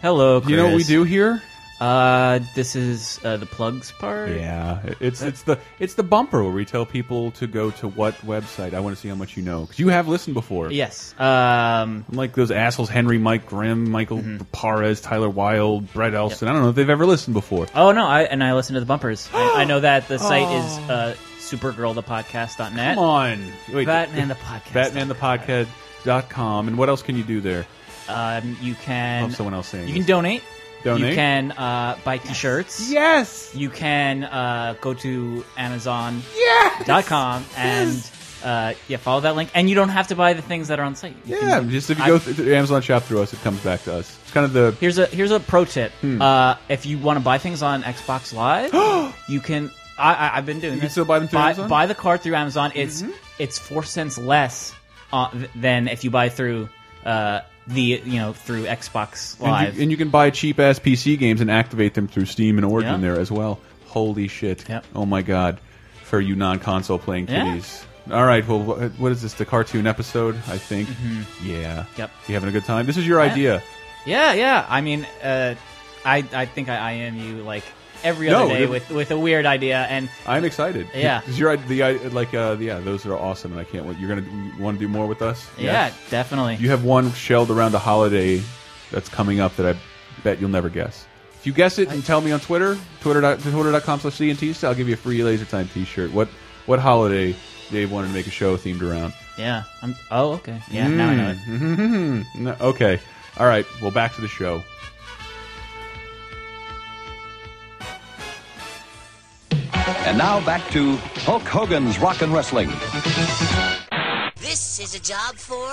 [SPEAKER 7] Hello, Chris.
[SPEAKER 4] You know what we do here?
[SPEAKER 7] Uh, this is uh, the plugs part.
[SPEAKER 4] Yeah, it's it's the it's the bumper where we tell people to go to what website. I want to see how much you know because you have listened before.
[SPEAKER 7] Yes. Um,
[SPEAKER 4] like those assholes Henry, Mike Grimm, Michael
[SPEAKER 7] Mm-hmm.
[SPEAKER 4] Parez, Tyler Wilde, Brett Elson. I don't know if they've ever listened before.
[SPEAKER 7] Oh no, I and I listen to the bumpers. I, I know that the site is uh, supergirlthepodcast.net.
[SPEAKER 4] Come on,
[SPEAKER 7] Batman the podcast.
[SPEAKER 4] Batman the podcast dot com. And what else can you do there?
[SPEAKER 7] Um, you can.
[SPEAKER 4] Love someone else saying
[SPEAKER 7] You
[SPEAKER 4] this.
[SPEAKER 7] can donate.
[SPEAKER 4] Donate?
[SPEAKER 7] You can uh, buy T-shirts.
[SPEAKER 4] Yes.
[SPEAKER 7] You can uh, go to Amazon.
[SPEAKER 4] Yes!
[SPEAKER 7] Dot com and uh, yeah, follow that link. And you don't have to buy the things that are on site. You
[SPEAKER 4] Yeah,
[SPEAKER 7] can-
[SPEAKER 4] just if you
[SPEAKER 7] I-
[SPEAKER 4] go through the Amazon shop through us, it comes back to us. It's kind of the
[SPEAKER 7] Here's a here's a pro tip.
[SPEAKER 4] Hmm.
[SPEAKER 7] Uh, if you want to buy things on Xbox Live, you can. I, I, I've been doing. You this. can still buy them
[SPEAKER 4] through
[SPEAKER 7] buy,
[SPEAKER 4] Amazon? Mm-hmm.
[SPEAKER 7] the card through Amazon. It's it's four cents less uh, th- than if you buy through uh, the you know through Xbox Live.
[SPEAKER 4] And you, and you can buy cheap ass PC games and activate them through Steam and Origin
[SPEAKER 7] Yeah.
[SPEAKER 4] there as well. Holy shit! Oh my god, for you non-console playing
[SPEAKER 7] Yeah.
[SPEAKER 4] kiddies. All right, well, wh- what is this? The cartoon episode, I think.
[SPEAKER 7] Mhm.
[SPEAKER 4] Yeah.
[SPEAKER 7] Yep.
[SPEAKER 4] You having a good time? This is your
[SPEAKER 7] Yeah.
[SPEAKER 4] idea.
[SPEAKER 7] Yeah, yeah. I mean, uh, I I think I am you like every
[SPEAKER 4] No,
[SPEAKER 7] other day
[SPEAKER 4] the-
[SPEAKER 7] with with a weird idea, and
[SPEAKER 4] I'm excited.
[SPEAKER 7] Yeah.
[SPEAKER 4] This is your idea. The i- like, uh, yeah, those are awesome, and I can't wait. You're gonna want to do more with us?
[SPEAKER 7] Yeah, definitely.
[SPEAKER 4] You have one shelled around a holiday that's coming up that I bet you'll never guess. If you guess it and tell me on Twitter, Twitter dot- twitter.com slash cnt, I'll give you a free Laser Time T-shirt. What what holiday Dave wanted to make a show themed around?
[SPEAKER 7] yeah. I'm, oh, okay. Yeah, now I know it.
[SPEAKER 4] Mm-hmm. know it. okay. All right. Well, back to the show.
[SPEAKER 24] And now back to Hulk Hogan's Rock and Wrestling.
[SPEAKER 9] This is a job for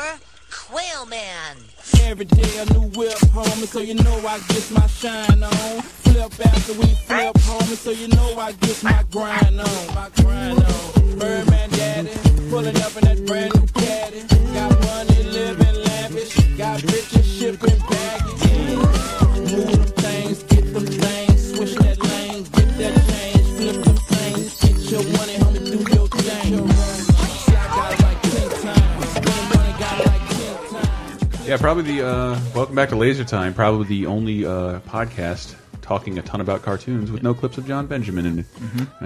[SPEAKER 9] Whale Man.
[SPEAKER 2] Every day a new whip, homie, so you know I get my shine on. Flip after we flip, homie, so you know I get my grind on. My grind on. Birdman daddy, pulling up in that brand new caddy. Got money, living lavish, got riches shipping baggage. Yeah. Move them things, get them things, switch that lane, get that change, flip them things, get your money, homie, do your thing. See, I got it like ten times, spend money, got it like ten times.
[SPEAKER 4] Yeah, probably the uh, welcome back to Laser Time. Probably the only uh, podcast talking a ton about cartoons with no clips of John Benjamin in it.
[SPEAKER 7] Mm-hmm.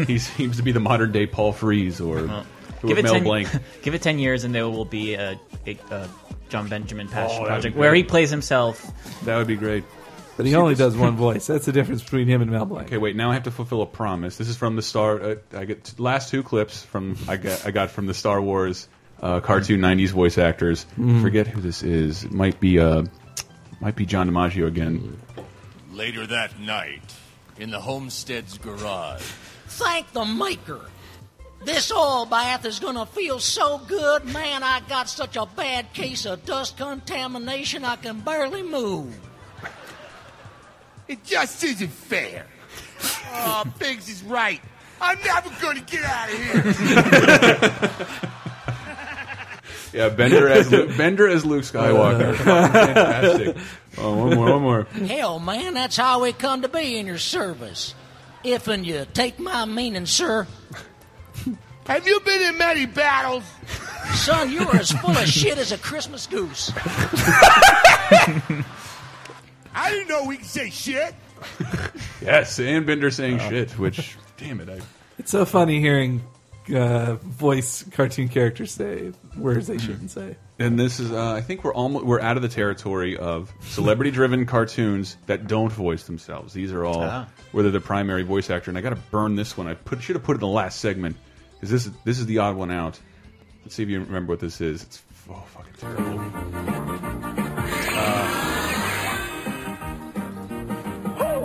[SPEAKER 4] Uh, he's- he seems to be the modern day Paul Freeze or or
[SPEAKER 7] Uh-huh. Give it,
[SPEAKER 4] Mel
[SPEAKER 7] 10,
[SPEAKER 4] Blanc.
[SPEAKER 7] give it 10 years and there will be a, a, a John Benjamin
[SPEAKER 4] Oh,
[SPEAKER 7] passion
[SPEAKER 4] that would
[SPEAKER 7] project
[SPEAKER 4] be
[SPEAKER 7] where he
[SPEAKER 4] great.
[SPEAKER 7] plays himself.
[SPEAKER 4] That would be great.
[SPEAKER 6] But he only does one voice. That's the difference between him and Mel Blanc.
[SPEAKER 4] Okay, wait. Now I have to fulfill a promise. This is from the Star. Uh, I get t- last two clips from I got I got from the Star Wars uh, cartoon '90s voice actors.
[SPEAKER 7] Mm-hmm.
[SPEAKER 8] Mm.
[SPEAKER 4] Forget who this is. It might be uh, might be John DiMaggio again.
[SPEAKER 8] Later that night, in the homestead's garage.
[SPEAKER 15] Thank the maker. This oil bath is going to feel so good. Man, I got such a bad case of dust contamination I can barely move.
[SPEAKER 22] It just isn't fair. Oh, Biggs is right. I'm never going to get out of here.
[SPEAKER 4] Yeah, Bender as Lu Bender as Luke Skywalker. Fantastic. Uh. Oh, one more, one more.
[SPEAKER 15] Hell, man, that's how we come to be in your service. If and you take my meaning, sir. Have you been in many battles? Son, you are as full of shit as a Christmas goose.
[SPEAKER 22] I didn't know we could say shit.
[SPEAKER 4] Yes, and Bender saying shit, which damn it, I
[SPEAKER 6] It's so funny hearing uh, voice cartoon characters say words they shouldn't say.
[SPEAKER 4] And this is, uh, I think we're almost we're out of the territory of celebrity-driven cartoons that don't voice themselves. These are all
[SPEAKER 8] Ah.
[SPEAKER 4] whether they're the primary voice actor. And I got to burn this one. I put should have put it in the last segment because this is this is the odd one out. Let's see if you remember what this is. It's oh fucking terrible.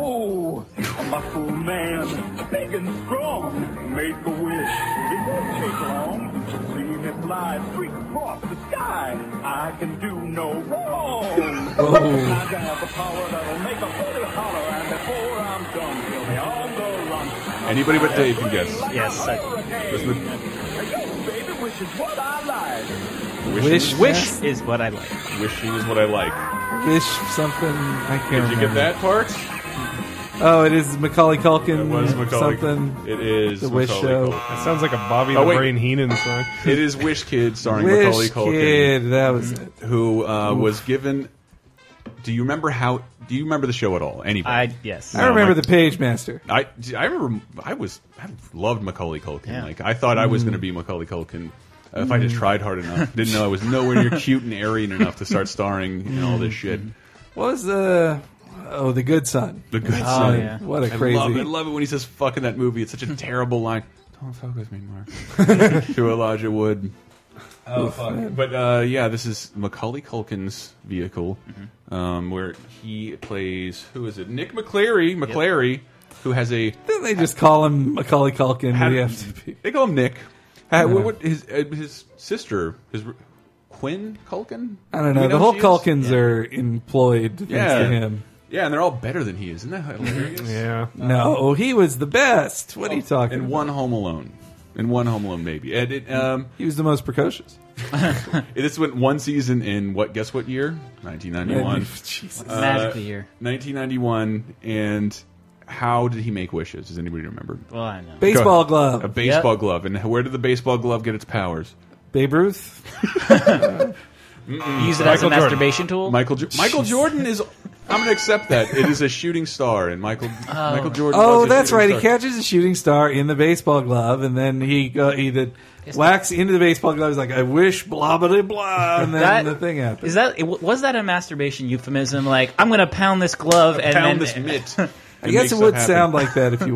[SPEAKER 16] Oh, a muscle man, big and strong, make a wish. It won't take long to see me fly straight across the sky. I can do no wrong. I got the power
[SPEAKER 21] Oh.
[SPEAKER 16] that'll make a holy holler, and before I'm done, he'll be on the run.
[SPEAKER 4] Anybody but Dave can guess.
[SPEAKER 16] Yes, I-
[SPEAKER 4] Listen to-
[SPEAKER 16] Yo, baby, which is what I like.
[SPEAKER 4] Wish-
[SPEAKER 7] wish is what I like.
[SPEAKER 4] Wishing is what I like.
[SPEAKER 6] Fish something. I can't
[SPEAKER 4] Did you get
[SPEAKER 6] remember.
[SPEAKER 4] that part?
[SPEAKER 6] Oh, it is Macaulay Culkin.
[SPEAKER 4] It was Macaulay.
[SPEAKER 6] Something.
[SPEAKER 4] It is
[SPEAKER 6] the Wish
[SPEAKER 4] Macaulay
[SPEAKER 6] Show.
[SPEAKER 4] Culkin.
[SPEAKER 5] That sounds like a Bobby
[SPEAKER 4] Oh,
[SPEAKER 5] the
[SPEAKER 4] wait.
[SPEAKER 5] Brain Heenan song.
[SPEAKER 4] It is Wish Kid starring
[SPEAKER 6] Wish
[SPEAKER 4] Macaulay Culkin.
[SPEAKER 6] Kid, that was it.
[SPEAKER 4] Who uh,
[SPEAKER 6] Oof.
[SPEAKER 4] was given? Do you remember how? Do you remember the show at all? Anybody?
[SPEAKER 7] I- yes.
[SPEAKER 4] Oh,
[SPEAKER 6] I remember the Page Master.
[SPEAKER 4] I, I remember I was I loved Macaulay Culkin.
[SPEAKER 6] Yeah.
[SPEAKER 4] Like I thought I was
[SPEAKER 6] Mm.
[SPEAKER 4] going to be Macaulay Culkin uh, if I just
[SPEAKER 6] Mm.
[SPEAKER 4] tried hard enough. Didn't know I was nowhere near cute and Aryan enough to start starring in all this shit.
[SPEAKER 6] Mm. What was the? Oh, the Good Son.
[SPEAKER 4] The good
[SPEAKER 6] Oh,
[SPEAKER 4] son.
[SPEAKER 6] yeah. What a
[SPEAKER 4] I
[SPEAKER 6] crazy.
[SPEAKER 4] Love, it. I love it when he says "fuck" in that movie. It's such a terrible line. Don't fuck with me, Mark. to Elijah Wood.
[SPEAKER 8] Oh,
[SPEAKER 4] Oof,
[SPEAKER 8] fuck.
[SPEAKER 4] man. But uh, yeah, this is Macaulay Culkin's vehicle,
[SPEAKER 8] Mm-hmm.
[SPEAKER 4] um, where he plays who is it? Nick McCleary. McCleary, who has a
[SPEAKER 6] Didn't they just call him Macaulay Culkin?
[SPEAKER 4] How
[SPEAKER 6] We
[SPEAKER 4] did-
[SPEAKER 6] have to be-
[SPEAKER 4] They call him Nick. Uh,
[SPEAKER 6] Yeah.
[SPEAKER 4] what, what- his uh, his sister his r- Quinn Culkin?
[SPEAKER 6] I
[SPEAKER 4] Do
[SPEAKER 6] don't know.
[SPEAKER 4] we
[SPEAKER 6] The
[SPEAKER 4] who
[SPEAKER 6] whole
[SPEAKER 4] she is?
[SPEAKER 6] Culkins are employed thanks
[SPEAKER 4] Yeah.
[SPEAKER 6] to him.
[SPEAKER 4] Yeah, and they're all better than he is. Isn't that hilarious?
[SPEAKER 5] yeah.
[SPEAKER 6] No, oh, he was the best. What are you talking?
[SPEAKER 4] In
[SPEAKER 6] about?
[SPEAKER 4] Uh, Oh, one Home Alone. In one Home Alone, maybe. And it, um,
[SPEAKER 6] he was the most precocious.
[SPEAKER 4] this went one season in what? Guess what year? 1991.
[SPEAKER 6] Jesus.
[SPEAKER 4] Uh,
[SPEAKER 7] Magical year.
[SPEAKER 4] 1991. And how did he make wishes? Does anybody remember?
[SPEAKER 7] Well, I know.
[SPEAKER 6] Baseball
[SPEAKER 4] Go ahead.
[SPEAKER 6] glove.
[SPEAKER 4] A baseball
[SPEAKER 6] Yep.
[SPEAKER 4] glove. And where did the baseball glove get its powers?
[SPEAKER 6] Babe Ruth.
[SPEAKER 4] Mm-mm.
[SPEAKER 7] Use it as a Michael Jordan. masturbation tool?
[SPEAKER 4] Michael Jo- Michael Jordan is. I'm gonna accept that it is a shooting star, and Michael Michael Jordan.
[SPEAKER 6] Oh,
[SPEAKER 4] was a
[SPEAKER 6] that's
[SPEAKER 4] shooting
[SPEAKER 6] right. He
[SPEAKER 4] star.
[SPEAKER 6] catches a shooting star in the baseball glove, and then he go, he did, whacks into the baseball glove. He's like, "I wish blah blah blah," and then
[SPEAKER 7] That-
[SPEAKER 6] the thing happens.
[SPEAKER 7] Is that was that a masturbation euphemism? Like I'm gonna pound this glove and
[SPEAKER 4] pound
[SPEAKER 7] then
[SPEAKER 4] this mitt.
[SPEAKER 6] I guess it would sound like that if you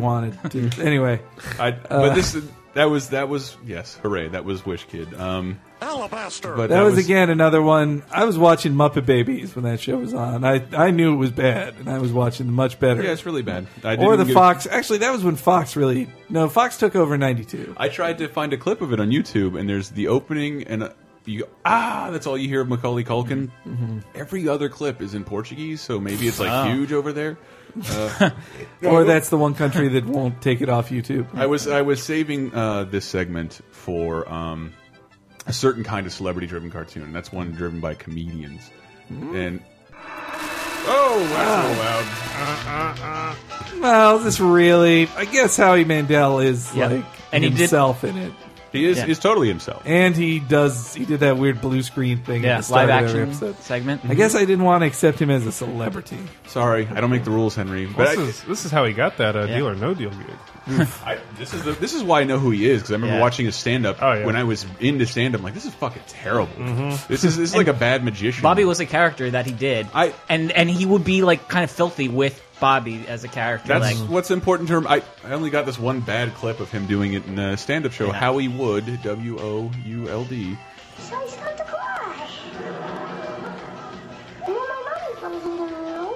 [SPEAKER 6] wanted to. anyway,
[SPEAKER 4] I, but
[SPEAKER 6] Uh,
[SPEAKER 4] this that was that was yes, hooray! That was Wish Kid. Um, Alabaster.
[SPEAKER 6] that, was, again another one. I was watching Muppet Babies when that show was on. I I knew it was bad, and I was watching the much better.
[SPEAKER 4] Yeah, it's really bad. I
[SPEAKER 6] or
[SPEAKER 4] didn't
[SPEAKER 6] the
[SPEAKER 4] get-
[SPEAKER 6] Fox. Actually, that was when Fox really. No, Fox took over in '92.
[SPEAKER 4] I tried to find a clip of it on YouTube, and there's the opening and. uh you go, ah, that's all you hear of Macaulay Culkin.
[SPEAKER 6] Mm-hmm.
[SPEAKER 4] Every other clip is in Portuguese, so maybe it's like
[SPEAKER 6] Wow.
[SPEAKER 4] huge over there. Uh,
[SPEAKER 6] or that's the one country that won't take it off YouTube.
[SPEAKER 4] I was I was saving uh, this segment for um, a certain kind of celebrity-driven cartoon. and That's one driven by comedians,
[SPEAKER 6] Mm.
[SPEAKER 4] and oh, that's so loud.
[SPEAKER 6] Well, this really, I guess, Howie Mandel is
[SPEAKER 4] Yeah.
[SPEAKER 6] like
[SPEAKER 4] And he did-
[SPEAKER 6] himself in it.
[SPEAKER 4] He is- Yeah. he's totally himself.
[SPEAKER 6] and he does. He did that weird blue screen thing.
[SPEAKER 4] Yeah,
[SPEAKER 6] at the start
[SPEAKER 4] live
[SPEAKER 6] of every
[SPEAKER 4] action
[SPEAKER 6] episode.
[SPEAKER 4] segment.
[SPEAKER 6] I guess I didn't want to accept him as a celebrity.
[SPEAKER 4] Sorry, I don't make the rules, Henry. But
[SPEAKER 5] This
[SPEAKER 4] I-
[SPEAKER 5] is, this is how he got that uh,
[SPEAKER 4] Yeah.
[SPEAKER 5] deal or no deal gig.
[SPEAKER 4] I, this is the, this is why I know who he is because I remember
[SPEAKER 5] Yeah.
[SPEAKER 4] watching his stand up
[SPEAKER 5] Oh, yeah.
[SPEAKER 4] when I was into stand up. Like this is fucking terrible.
[SPEAKER 7] Mhm.
[SPEAKER 4] This is this is
[SPEAKER 7] And
[SPEAKER 4] like a bad magician.
[SPEAKER 7] Bobby was a character that he did, I, and and he would be like kind of filthy with Bobby as a character.
[SPEAKER 4] That's
[SPEAKER 7] like,
[SPEAKER 4] what's important to him. I, I only got this one bad clip of him doing it in a stand up show. Howie Wood, W O U L D.
[SPEAKER 13] So he's come to cry. And then my mommy comes into the room.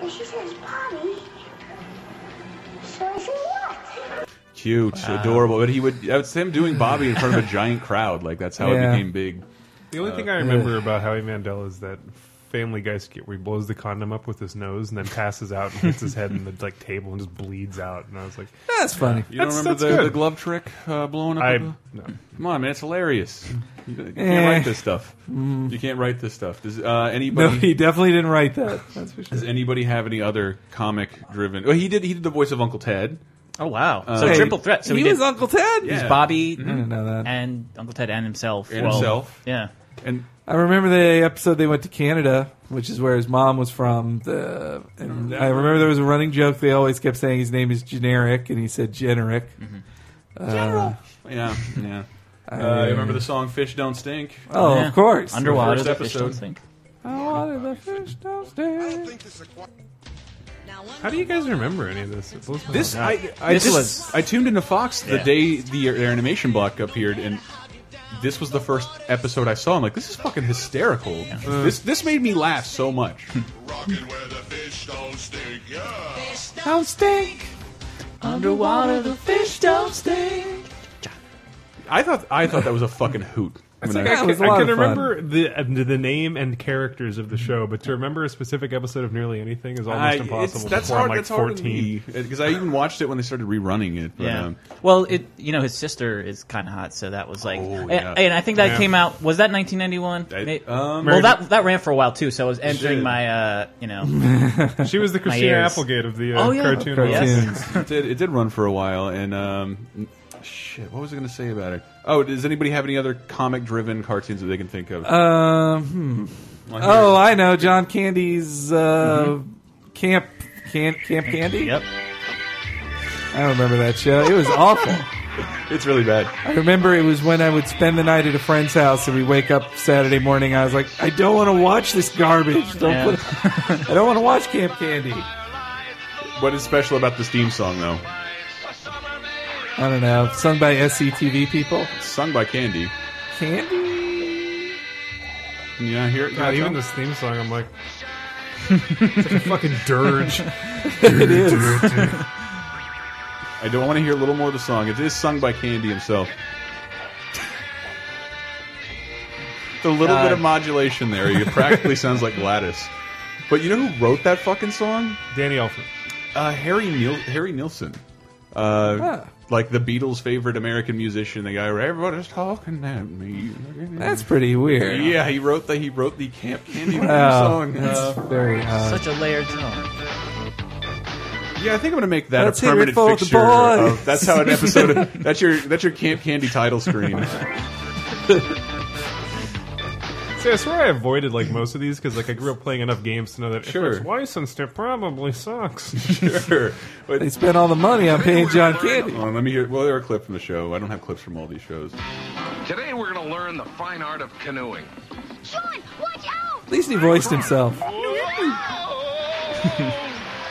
[SPEAKER 13] And she says, Bobby, so I say what?
[SPEAKER 4] Cute,
[SPEAKER 5] Wow.
[SPEAKER 4] adorable. But he would that's him doing Bobby in front of a giant crowd. Like that's how
[SPEAKER 5] Yeah.
[SPEAKER 4] it became big.
[SPEAKER 5] The only
[SPEAKER 4] Uh,
[SPEAKER 5] thing I remember about Howie Mandel is that Family Guy skit where he blows the condom up with his nose and then passes out and hits his head in the like table and just bleeds out. And I was like,
[SPEAKER 6] That's funny.
[SPEAKER 4] You don't remember the, the glove trick uh, blowing up?
[SPEAKER 5] I-
[SPEAKER 4] a glove? Come on, man, it's hilarious. You, you
[SPEAKER 6] Eh.
[SPEAKER 4] can't write this stuff.
[SPEAKER 6] Mm.
[SPEAKER 4] You can't write this stuff. Does uh,
[SPEAKER 6] No,
[SPEAKER 4] anybody?
[SPEAKER 6] he definitely didn't write that. That's for sure.
[SPEAKER 4] Does anybody have any other comic-driven? Well, he did. He did the voice of Uncle Ted.
[SPEAKER 7] oh wow, so triple threat. So
[SPEAKER 6] he
[SPEAKER 7] did-
[SPEAKER 6] was Uncle Ted?
[SPEAKER 7] He's
[SPEAKER 6] Yeah. Mm-hmm.
[SPEAKER 7] Bobby.
[SPEAKER 6] I didn't know that.
[SPEAKER 7] And Uncle Ted and himself.
[SPEAKER 4] And
[SPEAKER 7] Well,
[SPEAKER 4] himself.
[SPEAKER 7] Yeah.
[SPEAKER 4] And
[SPEAKER 6] I remember the episode they went to Canada, which is where his mom was from. The, and I remember there was a running joke. They always kept saying his name is generic, and he said generic. Uh,
[SPEAKER 4] General. Yeah, yeah. Uh, you remember the song "Fish Don't Stink"?
[SPEAKER 6] Oh, of Yeah. course.
[SPEAKER 7] Underwater,
[SPEAKER 4] First
[SPEAKER 7] the fish don't
[SPEAKER 4] episode.
[SPEAKER 7] stink.
[SPEAKER 5] How do you guys remember any of this? It blows my
[SPEAKER 4] This
[SPEAKER 5] mind.
[SPEAKER 4] I, I just- I tuned into Fox the
[SPEAKER 5] Yeah.
[SPEAKER 4] day the their animation block appeared, and this was the first episode I saw. I'm like, this is fucking hysterical.
[SPEAKER 5] Uh.
[SPEAKER 4] This this made me laugh so much.
[SPEAKER 6] Don't stink.
[SPEAKER 14] Underwater, the fish don't stink.
[SPEAKER 4] I thought I thought that was a fucking hoot.
[SPEAKER 5] It's
[SPEAKER 4] When
[SPEAKER 5] like I,
[SPEAKER 4] I-
[SPEAKER 5] can, I can remember the uh, the name and characters of the show, but to remember a specific episode of nearly anything is almost
[SPEAKER 4] I-
[SPEAKER 5] impossible.
[SPEAKER 4] it's- that's
[SPEAKER 5] before
[SPEAKER 4] hard.
[SPEAKER 5] I'm like
[SPEAKER 4] that's hard to
[SPEAKER 5] 14.
[SPEAKER 4] me because I even watched it when they started rerunning it. But,
[SPEAKER 7] yeah.
[SPEAKER 4] um,
[SPEAKER 7] well, it you know his sister is kind of hot, so that was like, and,
[SPEAKER 4] yeah.
[SPEAKER 7] and I think that
[SPEAKER 4] Yeah.
[SPEAKER 7] came out was that 1991. May- well,
[SPEAKER 4] Married-
[SPEAKER 7] that that ran for a while too, so I was entering
[SPEAKER 4] Shit.
[SPEAKER 7] my uh, you know.
[SPEAKER 5] She was the
[SPEAKER 7] my
[SPEAKER 5] Christina
[SPEAKER 7] years.
[SPEAKER 5] Applegate of the, uh,
[SPEAKER 7] oh, yeah.
[SPEAKER 5] cartoon
[SPEAKER 7] Yes.
[SPEAKER 4] it did. It did run for a while, and um, shit. What was I going to say about it? Oh, does anybody have any other comic-driven cartoons that they can think of?
[SPEAKER 6] Uh, Um, hmm.
[SPEAKER 4] Well,
[SPEAKER 6] Oh, I know John Candy's uh, camp, camp, camp candy.
[SPEAKER 7] Yep.
[SPEAKER 6] I don't remember that show. It was awful.
[SPEAKER 4] it's really bad.
[SPEAKER 6] I remember it was when I would spend the night at a friend's house, and we wake up Saturday morning. I was like, I don't want to watch this garbage. Don't
[SPEAKER 4] Yeah.
[SPEAKER 6] put, I don't want to watch Camp Candy.
[SPEAKER 4] What is special about this theme song, though?
[SPEAKER 6] I don't know. Sung by SCTV people.
[SPEAKER 4] Sung by Candy.
[SPEAKER 6] Candy.
[SPEAKER 4] Yeah, here.
[SPEAKER 5] God, Uh, even this theme song, I'm like, it's like a fucking dirge.
[SPEAKER 4] it is. I don't want to hear a little more of the song. It is sung by Candy himself. The little bit of modulation there, it practically sounds like Gladys. But you know who wrote that fucking song?
[SPEAKER 5] Danny Elfman.
[SPEAKER 4] Uh, Harry Nil Harry Nilsson. Uh,
[SPEAKER 6] Huh.
[SPEAKER 4] Like the Beatles' favorite American musician, the guy. where Everybody's talking at me.
[SPEAKER 6] That's pretty weird.
[SPEAKER 4] Yeah, he wrote the he wrote the Camp Candy theme
[SPEAKER 6] Wow,
[SPEAKER 4] song. Uh,
[SPEAKER 6] that's very odd.
[SPEAKER 7] Such a layered song.
[SPEAKER 4] Yeah, I think I'm gonna make that
[SPEAKER 6] Let's
[SPEAKER 4] a
[SPEAKER 6] hear it
[SPEAKER 4] permanent
[SPEAKER 6] for the
[SPEAKER 4] fixture.
[SPEAKER 6] boys.
[SPEAKER 4] Of, that's how an episode. Of, that's your that's your Camp Candy title screen.
[SPEAKER 5] See, I swear I avoided like most of these because like I grew up playing enough games to know that
[SPEAKER 4] Sure.
[SPEAKER 5] if it's licensed, it probably sucks.
[SPEAKER 4] sure, but
[SPEAKER 6] They spent all the money on paying John Candy.
[SPEAKER 4] Hold on, let me hear. Well, there are a clip from the show. I don't have clips from all these shows.
[SPEAKER 17] Today we're going to learn the fine art of canoeing.
[SPEAKER 13] Sean, watch out!
[SPEAKER 6] At least he voiced himself.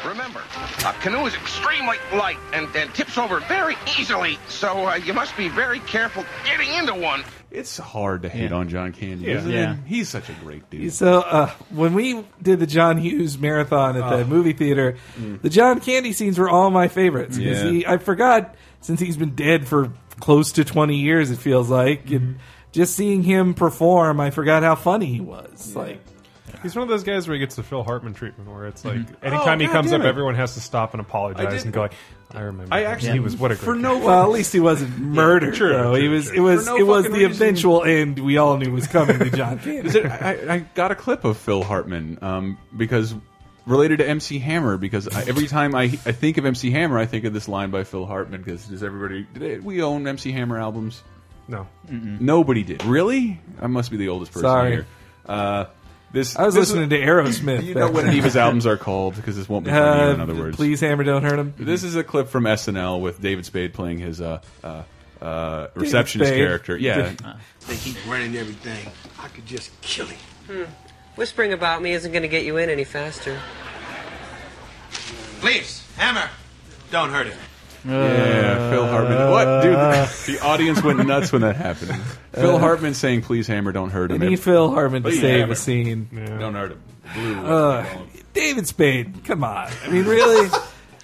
[SPEAKER 17] Remember, a canoe is extremely light and, and tips over very easily, so uh, you must be very careful getting into one.
[SPEAKER 4] It's hard to hate on John Candy.
[SPEAKER 17] Yeah.
[SPEAKER 4] Isn't
[SPEAKER 17] Yeah.
[SPEAKER 4] It? he's such a great dude.
[SPEAKER 6] So uh, when we did the John Hughes marathon at
[SPEAKER 4] Oh.
[SPEAKER 6] the movie theater,
[SPEAKER 4] Mm.
[SPEAKER 6] the John Candy scenes were all my favorites. 'cause
[SPEAKER 4] Yeah.
[SPEAKER 6] he- I forgot since he's been dead for close to 20 years, it feels like. And
[SPEAKER 4] Mm-hmm.
[SPEAKER 6] just seeing him perform, I forgot how funny he was. Like,
[SPEAKER 5] He's one of those guys where he gets the Phil Hartman treatment, where it's like
[SPEAKER 6] Mhm.
[SPEAKER 5] anytime
[SPEAKER 6] Oh,
[SPEAKER 5] he comes up,
[SPEAKER 6] goddammit.
[SPEAKER 5] everyone has to stop and
[SPEAKER 6] I
[SPEAKER 5] apologize
[SPEAKER 6] did-
[SPEAKER 5] and go, like, "I remember."
[SPEAKER 6] I
[SPEAKER 5] that.
[SPEAKER 6] actually-
[SPEAKER 5] he was what a great
[SPEAKER 6] for no
[SPEAKER 5] guy."
[SPEAKER 6] well, at least he wasn't murdered.
[SPEAKER 5] true,
[SPEAKER 6] though.
[SPEAKER 5] true,
[SPEAKER 6] he was.
[SPEAKER 5] true.
[SPEAKER 6] It was.
[SPEAKER 5] For no
[SPEAKER 6] it was the
[SPEAKER 5] fucking reason.
[SPEAKER 6] eventual end we all knew was coming to John Candy.
[SPEAKER 4] Is it, I, I got a clip of Phil Hartman um, because related to MC Hammer because I, every time I I think of MC Hammer I think of this line by Phil Hartman because does everybody did it, we own MC Hammer albums?
[SPEAKER 5] No,
[SPEAKER 4] nobody did. Really? I must be the oldest person
[SPEAKER 6] Sorry.
[SPEAKER 4] here. Uh, this
[SPEAKER 6] I was
[SPEAKER 4] this
[SPEAKER 6] listening to Aerosmith
[SPEAKER 4] You
[SPEAKER 6] back
[SPEAKER 4] know what
[SPEAKER 6] then.
[SPEAKER 4] Diva's albums are called because this won't be funny
[SPEAKER 6] Uh,
[SPEAKER 4] in other words.
[SPEAKER 6] please, Hammer, don't hurt him.
[SPEAKER 4] This is a clip from SNL with David Spade playing his uh, uh, uh, receptionist
[SPEAKER 6] Spade.
[SPEAKER 4] character. Yeah,
[SPEAKER 12] They keep running everything. I could just kill him.
[SPEAKER 18] Hmm. Whispering about me isn't going to get you in any faster.
[SPEAKER 22] Please, hammer. Don't hurt him.
[SPEAKER 4] Yeah, Phil Hartman. What, dude? The, the audience went nuts when that happened. Phil
[SPEAKER 6] Uh,
[SPEAKER 4] Hartman saying, "Please, Hammer, don't hurt him."
[SPEAKER 6] They need Phil Hartman to
[SPEAKER 4] Please,
[SPEAKER 6] save
[SPEAKER 4] Hammer,
[SPEAKER 6] a scene.
[SPEAKER 4] Don't hurt him. Blue.
[SPEAKER 6] Uh, David Spade, come on. I mean, really?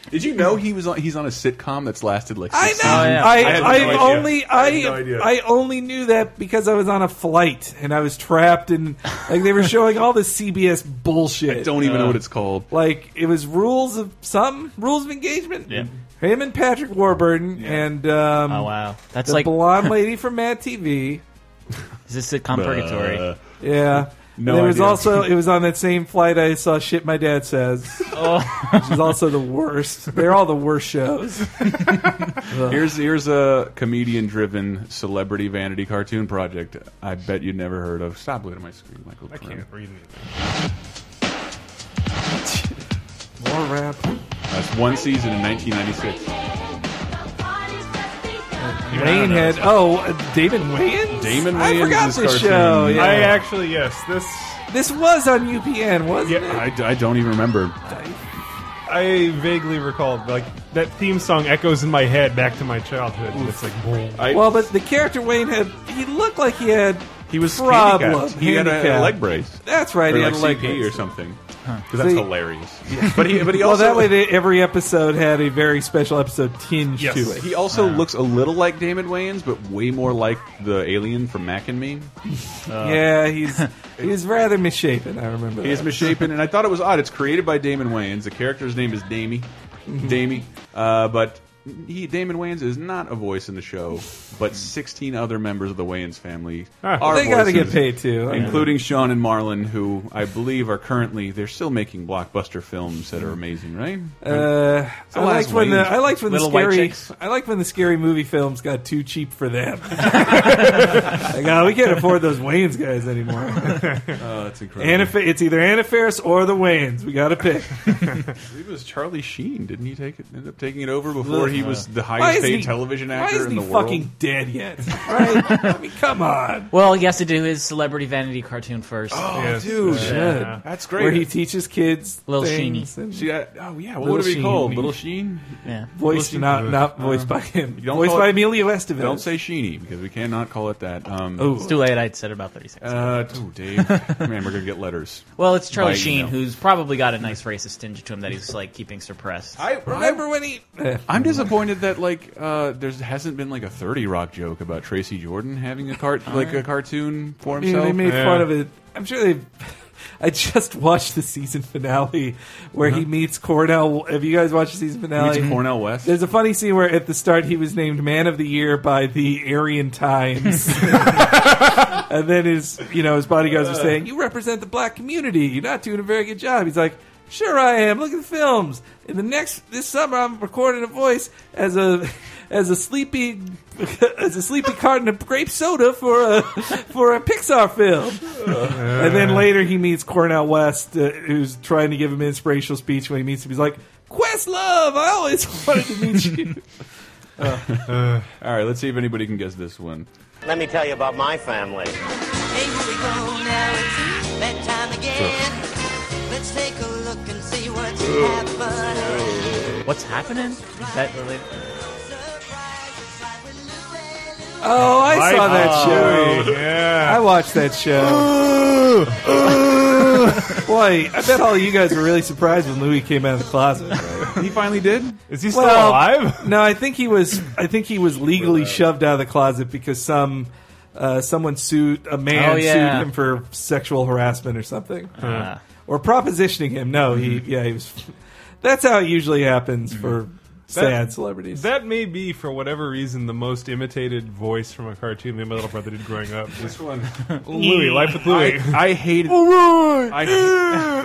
[SPEAKER 4] Did you know he was on? He's on a sitcom that's lasted like.
[SPEAKER 6] I know.
[SPEAKER 4] Six
[SPEAKER 6] I,
[SPEAKER 4] Oh, had no
[SPEAKER 6] I,
[SPEAKER 4] idea.
[SPEAKER 6] only I
[SPEAKER 4] had no idea.
[SPEAKER 6] I only knew that because I was on a flight and I was trapped and like they were showing all this CBS bullshit.
[SPEAKER 4] I don't e- even know what it's called.
[SPEAKER 6] Like it was rules of some rules of engagement.
[SPEAKER 4] Yeah.
[SPEAKER 6] Him and Patrick Warburton and um,
[SPEAKER 7] Oh, wow. That's
[SPEAKER 6] the
[SPEAKER 7] like-
[SPEAKER 6] blonde lady from Mad TV.
[SPEAKER 7] Is this sitcom
[SPEAKER 6] Uh,
[SPEAKER 7] Purgatory?
[SPEAKER 6] Yeah.
[SPEAKER 7] No
[SPEAKER 6] there was
[SPEAKER 7] idea.
[SPEAKER 6] also it was on that same flight I saw shit my dad says,
[SPEAKER 7] Oh.
[SPEAKER 6] which is also the worst. They're all the worst shows.
[SPEAKER 4] Here's here's a comedian-driven celebrity vanity cartoon project. I bet you'd never heard of. Stop looking at my screen, Michael.
[SPEAKER 5] I
[SPEAKER 4] Corinne.
[SPEAKER 5] can't
[SPEAKER 6] Mm.
[SPEAKER 5] read anything.
[SPEAKER 6] More rap.
[SPEAKER 4] That's one season in 1996.
[SPEAKER 6] Rainhead. Oh, uh, Damon Wayans.
[SPEAKER 4] Damon
[SPEAKER 6] I
[SPEAKER 4] Wayans
[SPEAKER 6] forgot
[SPEAKER 4] is
[SPEAKER 6] this
[SPEAKER 4] cartoon.
[SPEAKER 6] show. Yeah.
[SPEAKER 5] I actually yes, this
[SPEAKER 6] this was on UPN, wasn't it?
[SPEAKER 4] I, I don't even remember.
[SPEAKER 5] I vaguely recall like that theme song echoes in my head back to my childhood. and It's like, boom.
[SPEAKER 6] well, but the character Wayne had, he looked like he had he
[SPEAKER 4] was
[SPEAKER 6] problem.
[SPEAKER 4] handicapped. He had a-
[SPEAKER 6] handicap.
[SPEAKER 4] a leg brace.
[SPEAKER 6] That's right.
[SPEAKER 4] Or
[SPEAKER 6] he
[SPEAKER 4] like
[SPEAKER 6] had a leg
[SPEAKER 4] CP
[SPEAKER 6] brace.
[SPEAKER 4] or something. 'Cause that's
[SPEAKER 6] See?
[SPEAKER 4] hilarious. But he- but he
[SPEAKER 6] well,
[SPEAKER 4] also-
[SPEAKER 6] that way they, every episode had a very special episode tinge
[SPEAKER 4] Yes.
[SPEAKER 6] to it.
[SPEAKER 4] He also looks a little like Damon Wayans, but way more like the alien from Mac and Me. Uh,
[SPEAKER 6] yeah, he's he's rather misshapen. I remember.
[SPEAKER 4] He is
[SPEAKER 6] that.
[SPEAKER 4] misshapen, and I thought it was odd. It's created by Damon Wayans. The character's name is Damie.
[SPEAKER 6] Mhm.
[SPEAKER 4] Damie. Uh, but he, Damon Wayans is not a voice in the show, but 16 other members of the Wayans family
[SPEAKER 6] Ah.
[SPEAKER 4] are
[SPEAKER 6] They gotta
[SPEAKER 4] voices,
[SPEAKER 6] get paid, too. I mean-
[SPEAKER 4] Including Sean and Marlon, who I believe are currently, they're still making blockbuster films that are amazing, right?
[SPEAKER 6] Uh,
[SPEAKER 4] It's the last
[SPEAKER 6] I liked when the
[SPEAKER 4] Wayans-
[SPEAKER 6] I liked when the
[SPEAKER 4] Little White
[SPEAKER 6] scary
[SPEAKER 4] Chicks.
[SPEAKER 6] I liked when the scary movie films got too cheap for them. like, oh, we can't afford those Wayans guys anymore.
[SPEAKER 4] Oh, that's incredible.
[SPEAKER 6] Anna, Fa- it's either Anna Faris or the Wayans. We got to pick.
[SPEAKER 4] I believe it was Charlie Sheen. Didn't he take it, end up taking it over before he was the
[SPEAKER 6] Why
[SPEAKER 4] highest
[SPEAKER 6] isn't
[SPEAKER 4] paid
[SPEAKER 6] he-
[SPEAKER 4] television
[SPEAKER 6] why
[SPEAKER 4] actor
[SPEAKER 6] isn't
[SPEAKER 4] in the
[SPEAKER 6] he
[SPEAKER 4] world?
[SPEAKER 6] fucking dead yet? Right? I mean, come on.
[SPEAKER 7] Well, he has to do his celebrity vanity cartoon first.
[SPEAKER 4] Oh, dude, that's great.
[SPEAKER 6] Where he teaches kids
[SPEAKER 7] Little
[SPEAKER 6] things
[SPEAKER 7] Sheeny.
[SPEAKER 6] and-
[SPEAKER 4] See, I- oh yeah, what
[SPEAKER 6] Little
[SPEAKER 4] would it be
[SPEAKER 6] Sheen.
[SPEAKER 4] called? Little Sheen?
[SPEAKER 7] Yeah.
[SPEAKER 6] Voiced,
[SPEAKER 4] Little Sheen?
[SPEAKER 6] not- not voiced
[SPEAKER 4] Uh,
[SPEAKER 6] by him.
[SPEAKER 4] you don't
[SPEAKER 6] Voiced
[SPEAKER 4] call
[SPEAKER 6] by
[SPEAKER 4] it-
[SPEAKER 6] Emilio Estevez.
[SPEAKER 4] Don't say Sheeny because we cannot call it that. Um,
[SPEAKER 7] Oh. It's too late. I'd said about thirty seconds.
[SPEAKER 4] Uh, oh, Dave, man, we're gonna get letters.
[SPEAKER 7] Well, it's Charlie
[SPEAKER 4] By
[SPEAKER 7] Sheen,
[SPEAKER 4] email.
[SPEAKER 7] who's probably got a nice racist tinge to him that he's like keeping suppressed.
[SPEAKER 6] I remember when he
[SPEAKER 4] I'm disappointed that like uh, there hasn't been like a Thirty Rock joke about Tracy Jordan having a cart like a cartoon for
[SPEAKER 6] I mean,
[SPEAKER 4] himself.
[SPEAKER 6] they made fun of it. I'm sure they. I just watched the season finale where he
[SPEAKER 4] Uh-huh.
[SPEAKER 6] meets Cornell. Have you guys watched the season finale?
[SPEAKER 4] meets Cornell West?
[SPEAKER 6] There's a funny scene where at the start he was named Man of the Year by the Aryan Times, and then his you know his bodyguards are saying, "You represent the black community. You're not doing a very good job." He's like. Sure, I am. Look at the films. In the next this summer, I'm recording a voice as a as a sleepy as a sleepy carton of grape soda for a for a Pixar film. And then later he meets Cornell West, uh, who's trying to give him an inspirational speech. When he meets him, he's like, "Quest love, I always wanted to meet you."
[SPEAKER 4] All right, let's see if anybody can guess this one.
[SPEAKER 19] Let me tell you about my family.
[SPEAKER 20] Hey, here we go now. It's bedtime again. Let's take a look and see what's happening.
[SPEAKER 7] What's happening? Is that related?
[SPEAKER 6] Oh, I saw that
[SPEAKER 7] Life-
[SPEAKER 6] show.
[SPEAKER 7] Oh, yeah.
[SPEAKER 6] I watched that show. Boy, I bet all you guys were really surprised when Louis came out of the closet.
[SPEAKER 5] he finally did. Is he still
[SPEAKER 6] Well,
[SPEAKER 5] alive?
[SPEAKER 6] No, I think he was. I think he was legally shoved out of the closet because some uh, someone sued a man
[SPEAKER 7] Oh, yeah.
[SPEAKER 6] sued him for sexual harassment or something,
[SPEAKER 5] Uh-huh.
[SPEAKER 7] Ah.
[SPEAKER 6] or propositioning him. No, he
[SPEAKER 5] Mm-hmm.
[SPEAKER 6] yeah he was. That's how it usually happens for sad
[SPEAKER 5] That-
[SPEAKER 6] celebrities.
[SPEAKER 5] That may be, for whatever reason, the most imitated voice from a cartoon that my little brother did growing up. This one, Louie, Life with Louie.
[SPEAKER 4] I, I hated. I,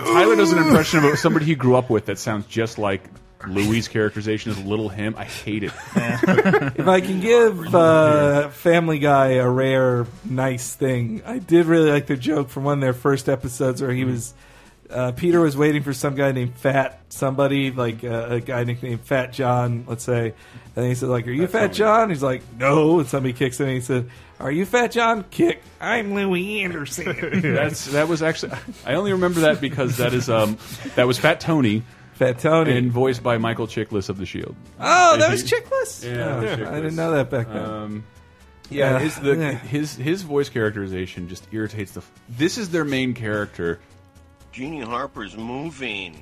[SPEAKER 4] Tyler does an impression of somebody he grew up with that sounds just like Louis' characterization as Little Him. I hate it.
[SPEAKER 6] if I can give uh, Family Guy a rare nice thing, I did really like the joke from one of their first episodes where he
[SPEAKER 4] Mm-hmm.
[SPEAKER 6] was uh, Peter was waiting for some guy named Fat somebody, like uh, a guy nicknamed Fat John, let's say, and he said like, "Are you Fat John?" He's like, "No," and somebody kicks him. and He said, "Are you Fat John?" Kick. I'm Louis Anderson.
[SPEAKER 4] That's that was actually. I only remember that because that is um that was Fat Tony.
[SPEAKER 6] Fat Tony,
[SPEAKER 4] and voiced by Michael Chiklis of the Shield.
[SPEAKER 6] Oh,
[SPEAKER 4] And
[SPEAKER 6] that
[SPEAKER 4] he-
[SPEAKER 6] was Chiklis?
[SPEAKER 4] Yeah,
[SPEAKER 6] Oh,
[SPEAKER 4] that was
[SPEAKER 6] I didn't know that back then.
[SPEAKER 4] Um, yeah,
[SPEAKER 6] Yeah.
[SPEAKER 4] his the,
[SPEAKER 6] Yeah.
[SPEAKER 4] his his voice characterization just irritates the. f- This is their main character.
[SPEAKER 19] Jeannie Harper's moving.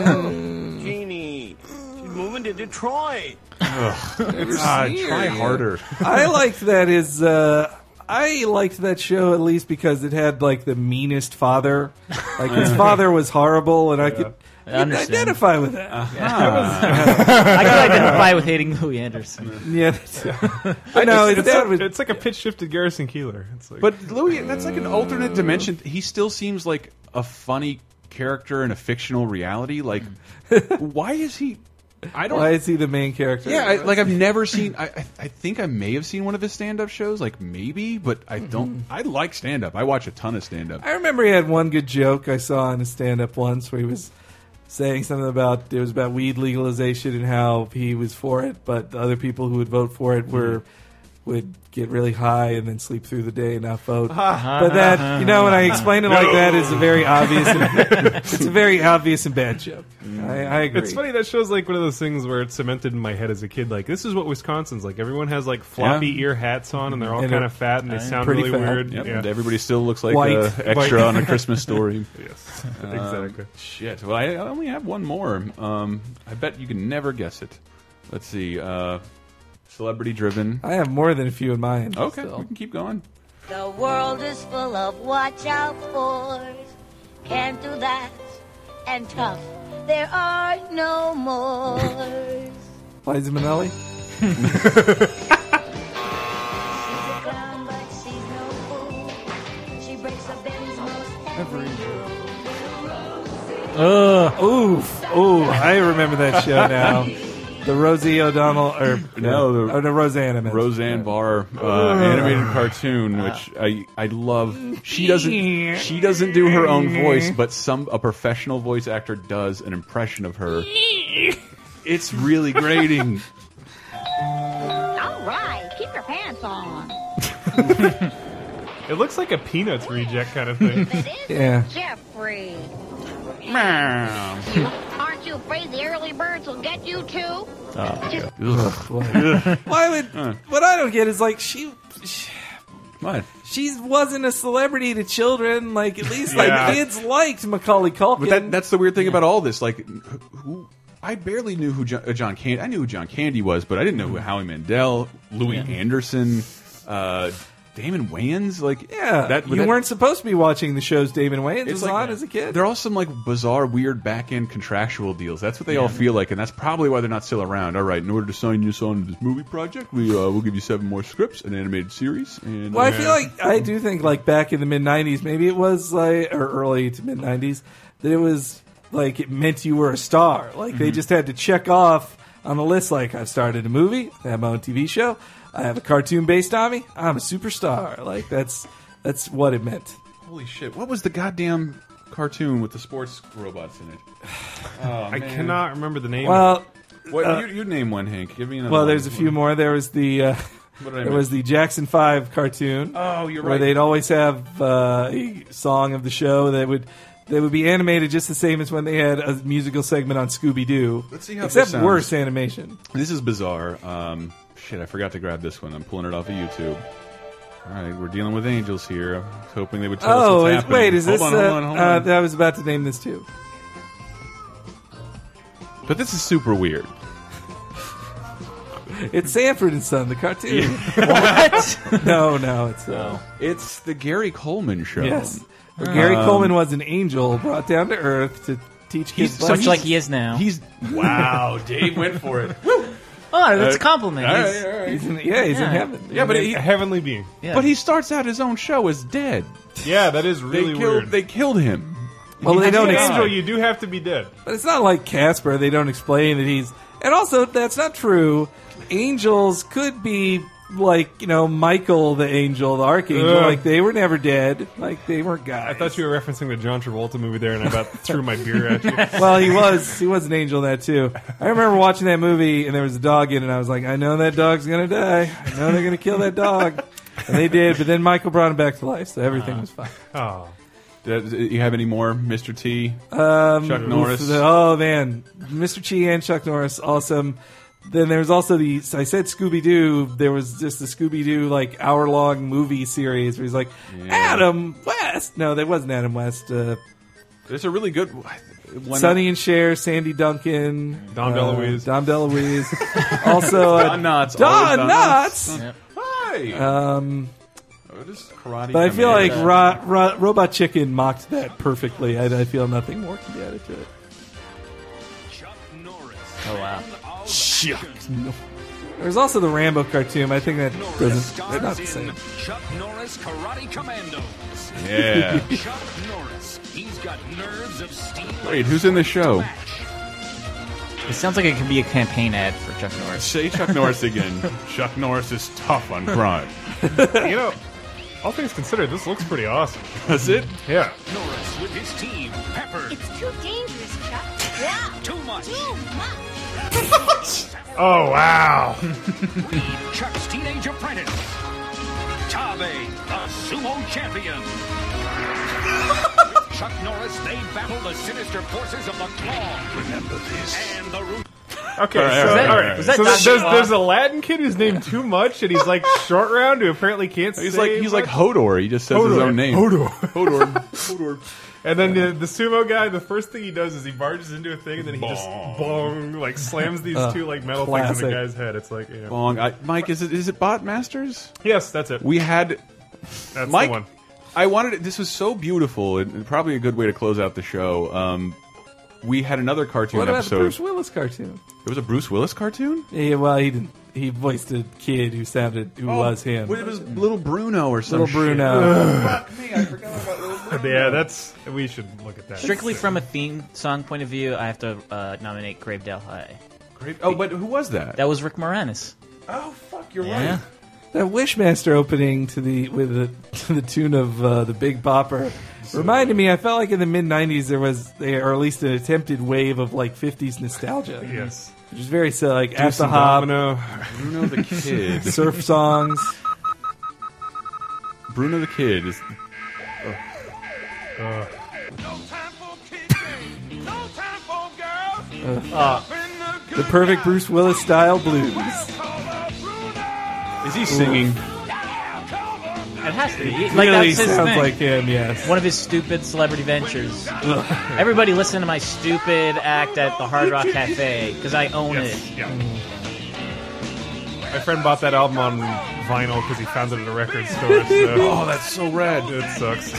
[SPEAKER 4] Mm.
[SPEAKER 19] Jeannie, she's moving to Detroit.
[SPEAKER 4] Ah, try harder.
[SPEAKER 6] I liked that is uh I liked that show at least because it had like the meanest father. Like his
[SPEAKER 7] Yeah.
[SPEAKER 6] father was horrible and I could
[SPEAKER 7] I
[SPEAKER 6] I could
[SPEAKER 7] understand.
[SPEAKER 6] identify with that.
[SPEAKER 7] Uh-huh. I can identify with hating Louis Anderson.
[SPEAKER 6] Yeah, that's- I know
[SPEAKER 5] It's,
[SPEAKER 6] his
[SPEAKER 5] it's
[SPEAKER 6] dad
[SPEAKER 5] like,
[SPEAKER 6] was
[SPEAKER 5] it's like a pitch shifted Garrison Keeler. It's like,
[SPEAKER 4] But Louis, that's like an alternate dimension. He still seems like a funny character in a fictional reality. Like, why is he? I don't.
[SPEAKER 6] why is he the main character?
[SPEAKER 4] yeah, I, like I've never seen. I, I I think I may have seen one of his stand-up shows, like maybe, but I
[SPEAKER 6] Mm-hmm.
[SPEAKER 4] don't. I like stand-up. I watch a ton of stand-up.
[SPEAKER 6] I remember he had one good joke I saw in a stand up once where he was saying something about it was about weed legalization and how he was for it, but the other people who would vote for it were
[SPEAKER 5] Hmm.
[SPEAKER 6] would get really high and then sleep through the day and not vote.
[SPEAKER 5] Uh-huh.
[SPEAKER 6] but that you know when I explain it like that is a very obvious it's a very obvious and bad joke. I, I agree.
[SPEAKER 5] Hmm. It's funny that show's like one of those things where it's cemented in my head as a kid. Like this is what Wisconsin's like. Everyone has like floppy
[SPEAKER 4] Yeah.
[SPEAKER 5] ear hats on, and they're all
[SPEAKER 4] And
[SPEAKER 5] kind
[SPEAKER 4] it-
[SPEAKER 5] of fat, and they
[SPEAKER 4] Yeah.
[SPEAKER 5] sound
[SPEAKER 4] Pretty
[SPEAKER 5] really
[SPEAKER 4] fat.
[SPEAKER 5] weird.
[SPEAKER 4] Yep,
[SPEAKER 5] Yeah.
[SPEAKER 4] and everybody still looks like
[SPEAKER 5] White.
[SPEAKER 4] a extra
[SPEAKER 5] White.
[SPEAKER 4] on a Christmas story.
[SPEAKER 5] yes,
[SPEAKER 4] Um,
[SPEAKER 5] exactly.
[SPEAKER 4] Shit. Well, I I only have one more. Um, I bet you can never guess it. Let's see. Uh, celebrity driven.
[SPEAKER 6] I have more than a few in mind.
[SPEAKER 4] Okay,
[SPEAKER 6] Oh, still.
[SPEAKER 4] we can keep going.
[SPEAKER 13] The world is full of watch out fors. Can't do that. And tough. There are no more.
[SPEAKER 6] Liza Minnelli.
[SPEAKER 13] she breaks a Ben's most every
[SPEAKER 6] Ugh. Oof. Ooh, I remember that show now. The Rosie O'Donnell, or
[SPEAKER 4] No, the-
[SPEAKER 6] or the Roseanne. I meant.
[SPEAKER 4] Roseanne Barr uh,
[SPEAKER 6] Ugh. Uh.
[SPEAKER 4] animated cartoon, which I I love. She doesn't she doesn't do her own voice, but some a professional voice actor does an impression of her. It's really grating.
[SPEAKER 13] All right, keep your pants on.
[SPEAKER 5] It looks like a Peanuts reject kind of thing.
[SPEAKER 6] yeah.
[SPEAKER 13] Jeffrey,
[SPEAKER 4] Ugh.
[SPEAKER 13] aren't you afraid the early birds will get you too?
[SPEAKER 6] Why would? What I don't get is like she. she
[SPEAKER 4] What?
[SPEAKER 6] She wasn't a celebrity to children. Like at least
[SPEAKER 4] Yeah.
[SPEAKER 6] like kids liked Macaulay Culkin.
[SPEAKER 4] But that, that's the weird thing about all this. Like, who, I barely knew who John, uh, John Candy. I knew who John Candy was, but I didn't know who Howie Mandel, Louis
[SPEAKER 6] Mm-hmm. Yeah.
[SPEAKER 4] Anderson, uh, Damon Wayans. Like,
[SPEAKER 6] yeah,
[SPEAKER 4] that
[SPEAKER 6] you
[SPEAKER 4] that-
[SPEAKER 6] weren't supposed to be watching the shows Damon Wayans
[SPEAKER 4] It's
[SPEAKER 6] was
[SPEAKER 4] like-
[SPEAKER 6] on as a kid.
[SPEAKER 4] They're all some like bizarre, weird back end contractual deals. That's what they all feel like, and that's probably why they're not still around. All right, in order to sign you on to this movie project, we uh, we'll give you seven more scripts, an animated series, and
[SPEAKER 6] Well,
[SPEAKER 4] uh,
[SPEAKER 6] I feel like I do think like back in the mid '90s, maybe it was like or early to mid '90s that it was like it meant you were a star. Like they
[SPEAKER 4] Mhm.
[SPEAKER 6] just had to check off on the list. Like I've started a movie, I have my own TV show, I have a cartoon based on me. I'm a superstar. Like that's that's what it meant.
[SPEAKER 4] holy shit, what was the goddamn cartoon with the sports robots in it? Oh,
[SPEAKER 5] I
[SPEAKER 4] man.
[SPEAKER 5] cannot remember the name.
[SPEAKER 6] Well,
[SPEAKER 4] What,
[SPEAKER 6] uh,
[SPEAKER 4] you, you name one, Hank. Give me another.
[SPEAKER 6] Well,
[SPEAKER 4] one.
[SPEAKER 6] there's a few more. There was the uh,
[SPEAKER 4] What did I
[SPEAKER 6] there
[SPEAKER 4] miss?
[SPEAKER 6] was the Jackson Five cartoon.
[SPEAKER 4] Oh, you're
[SPEAKER 6] Where
[SPEAKER 4] right.
[SPEAKER 6] they'd always have uh, a song of the show that would that would be animated just the same as when they had a musical segment on Scooby Doo.
[SPEAKER 4] Let's see how this
[SPEAKER 6] except
[SPEAKER 4] sounds.
[SPEAKER 6] worse animation.
[SPEAKER 4] This is bizarre. Um, shit, I forgot to grab this one. I'm pulling it off of YouTube. All right, we're dealing with angels here. I was hoping they would tell us
[SPEAKER 6] oh,
[SPEAKER 4] what's
[SPEAKER 6] is- uh,
[SPEAKER 4] happening.
[SPEAKER 6] wait, is
[SPEAKER 4] hold
[SPEAKER 6] this?
[SPEAKER 4] On, hold
[SPEAKER 6] uh,
[SPEAKER 4] on, hold on.
[SPEAKER 6] uh, I was about to name this too.
[SPEAKER 4] But this is super weird.
[SPEAKER 6] It's Sanford and Son, the cartoon.
[SPEAKER 4] What?
[SPEAKER 6] no, no, it's uh,
[SPEAKER 4] It's the Gary Coleman show.
[SPEAKER 6] yes. Gary
[SPEAKER 4] Um,
[SPEAKER 6] Coleman was an angel brought down to Earth to teach kids.
[SPEAKER 4] He's- so
[SPEAKER 6] lessons.
[SPEAKER 4] he's- Much like he is now. he's- Wow, Dave went for it. Woo!
[SPEAKER 7] Oh, that's a
[SPEAKER 4] Uh,
[SPEAKER 7] compliment.
[SPEAKER 4] all right,
[SPEAKER 7] He's-
[SPEAKER 4] all right.
[SPEAKER 6] He's in- yeah, he's in heaven.
[SPEAKER 4] Yeah, but he,
[SPEAKER 5] a heavenly being.
[SPEAKER 4] But he starts out his own show as dead.
[SPEAKER 5] Yeah, that is
[SPEAKER 4] they
[SPEAKER 5] really
[SPEAKER 4] killed,
[SPEAKER 5] weird.
[SPEAKER 4] They killed him.
[SPEAKER 6] Well, they
[SPEAKER 5] To be
[SPEAKER 6] don't
[SPEAKER 5] an
[SPEAKER 6] explain.
[SPEAKER 5] angel, you do have to be dead.
[SPEAKER 6] But it's not like Casper. They don't explain that he's. And also, that's not true. Angels could be like you know Michael the angel, the archangel.
[SPEAKER 5] Ugh.
[SPEAKER 6] Like they were never dead. Like they weren't
[SPEAKER 5] I
[SPEAKER 6] guys.
[SPEAKER 5] thought you were referencing the John Travolta movie there, and I about threw my beer at you.
[SPEAKER 6] well, he was. He was an angel in that too. I remember watching that movie, and there was a dog in, it, and I was like, I know that dog's gonna die. I know they're gonna kill that dog. And they did, but then Michael brought him back to life, so everything was fine.
[SPEAKER 5] Oh.
[SPEAKER 4] Does- Uh, you have any more, Mr. T?
[SPEAKER 6] Um,
[SPEAKER 4] Chuck
[SPEAKER 6] oof,
[SPEAKER 4] Norris.
[SPEAKER 6] the- oh man, Mr. Chi and Chuck Norris, awesome. Then there was also the so I said Scooby Doo. There was just the Scooby Doo like hour long movie series where he's like Adam West. No, that wasn't Adam West. Uh,
[SPEAKER 4] There's a really good one.
[SPEAKER 6] Sonny and Cher, Sandy Duncan,
[SPEAKER 4] Dom DeLuise.
[SPEAKER 6] Dom DeLuise. also uh,
[SPEAKER 4] Don Knotts.
[SPEAKER 6] Don
[SPEAKER 4] Always Don
[SPEAKER 6] Knotts.
[SPEAKER 4] Knotts. Yep. Hi.
[SPEAKER 6] Um,
[SPEAKER 4] What is karate
[SPEAKER 6] but I
[SPEAKER 4] coming
[SPEAKER 6] feel
[SPEAKER 4] out
[SPEAKER 6] like
[SPEAKER 4] of?
[SPEAKER 6] Ro- Ro- Robot Chicken mocked that perfectly. I, I feel nothing more can be added to it.
[SPEAKER 7] Oh wow.
[SPEAKER 6] Shucks. There's also the Rambo cartoon. I think that doesn't. That's not the same.
[SPEAKER 10] Chuck Norris Karate Commandos.
[SPEAKER 4] Yeah.
[SPEAKER 10] Chuck Norris. He's got nerves of steel.
[SPEAKER 4] Wait, who's in the show?
[SPEAKER 7] It sounds like it could be a campaign ad for Chuck Norris.
[SPEAKER 4] Say Chuck Norris again. Chuck Norris is tough on crime.
[SPEAKER 5] you know, all things considered, this looks pretty awesome.
[SPEAKER 4] That's it?
[SPEAKER 5] Yeah.
[SPEAKER 10] Norris with his team, Pepper.
[SPEAKER 9] It's too dangerous, Chuck. Yeah.
[SPEAKER 10] Too much.
[SPEAKER 9] Too much.
[SPEAKER 5] Oh wow.
[SPEAKER 10] Chuck's teenage apprentice. Tabe, the sumo champion. With Chuck Norris, they battle the sinister forces of the Claw. Remember this. And the root.
[SPEAKER 5] Okay,
[SPEAKER 10] All right,
[SPEAKER 5] so,
[SPEAKER 10] all right,
[SPEAKER 5] all
[SPEAKER 10] all
[SPEAKER 5] right.
[SPEAKER 10] right. Was that
[SPEAKER 5] so
[SPEAKER 10] Don
[SPEAKER 5] there's,
[SPEAKER 10] Cheadle?
[SPEAKER 5] there's Aladdin kid who's named too much, and he's like short round who apparently can't.
[SPEAKER 4] He's
[SPEAKER 5] say
[SPEAKER 4] like he's like
[SPEAKER 5] much.
[SPEAKER 4] Hodor. He just says his
[SPEAKER 5] Hodor.
[SPEAKER 4] own name.
[SPEAKER 5] Hodor.
[SPEAKER 4] Hodor.
[SPEAKER 5] And then the, the sumo guy, the first thing he does is he barges into a thing, and then he just bong like slams these
[SPEAKER 4] Uh,
[SPEAKER 5] two like metal things in
[SPEAKER 4] classic.
[SPEAKER 5] the guy's head. It's like yeah.
[SPEAKER 4] Bong. I, Mike, is it is it Bot Masters?
[SPEAKER 5] Yes, that's it.
[SPEAKER 4] We had
[SPEAKER 5] That's
[SPEAKER 4] Mike.
[SPEAKER 5] the one.
[SPEAKER 4] I wanted it- this was so beautiful and and probably a good way to close out the show. Um, we had another cartoon
[SPEAKER 6] What about the
[SPEAKER 4] episode.
[SPEAKER 6] Bruce Willis cartoon?
[SPEAKER 4] It was a Bruce Willis cartoon.
[SPEAKER 6] Yeah, well, he didn't. He voiced a kid who sounded who
[SPEAKER 4] Oh,
[SPEAKER 6] was him.
[SPEAKER 4] well, it was Little Bruno or some
[SPEAKER 6] Little
[SPEAKER 4] shit.
[SPEAKER 6] Bruno.
[SPEAKER 5] Yeah, that's we should look at that.
[SPEAKER 7] Strictly from a theme song point of view, I have to uh, nominate Gravedale High.
[SPEAKER 4] oh, but who was that?
[SPEAKER 7] That was Rick Moranis.
[SPEAKER 4] Oh fuck, you're
[SPEAKER 7] Yeah.
[SPEAKER 4] right.
[SPEAKER 6] that Wishmaster opening to the with the to the tune of uh, the Big Bopper reminded me. I felt like in the mid '90s there was, or at least an attempted wave of like '50s nostalgia.
[SPEAKER 5] Yes.
[SPEAKER 6] which is very so like
[SPEAKER 5] Do
[SPEAKER 6] at the
[SPEAKER 5] some
[SPEAKER 6] hop,
[SPEAKER 5] domino.
[SPEAKER 4] Bruno the Kid.
[SPEAKER 6] surf songs.
[SPEAKER 4] Bruno the Kid is.
[SPEAKER 5] Uh,
[SPEAKER 6] Uh, the perfect Bruce Willis style blues.
[SPEAKER 4] Is he singing?
[SPEAKER 7] It has to be.
[SPEAKER 6] It
[SPEAKER 7] like
[SPEAKER 6] really
[SPEAKER 7] that's his
[SPEAKER 6] sounds
[SPEAKER 7] thing.
[SPEAKER 6] like him, yes.
[SPEAKER 7] One of his stupid celebrity ventures. Everybody listen to my stupid act at the Hard Rock Cafe because I own it.
[SPEAKER 5] my friend bought that album on vinyl because he found it at a record store. So.
[SPEAKER 4] Oh, that's so rad.
[SPEAKER 5] It sucks.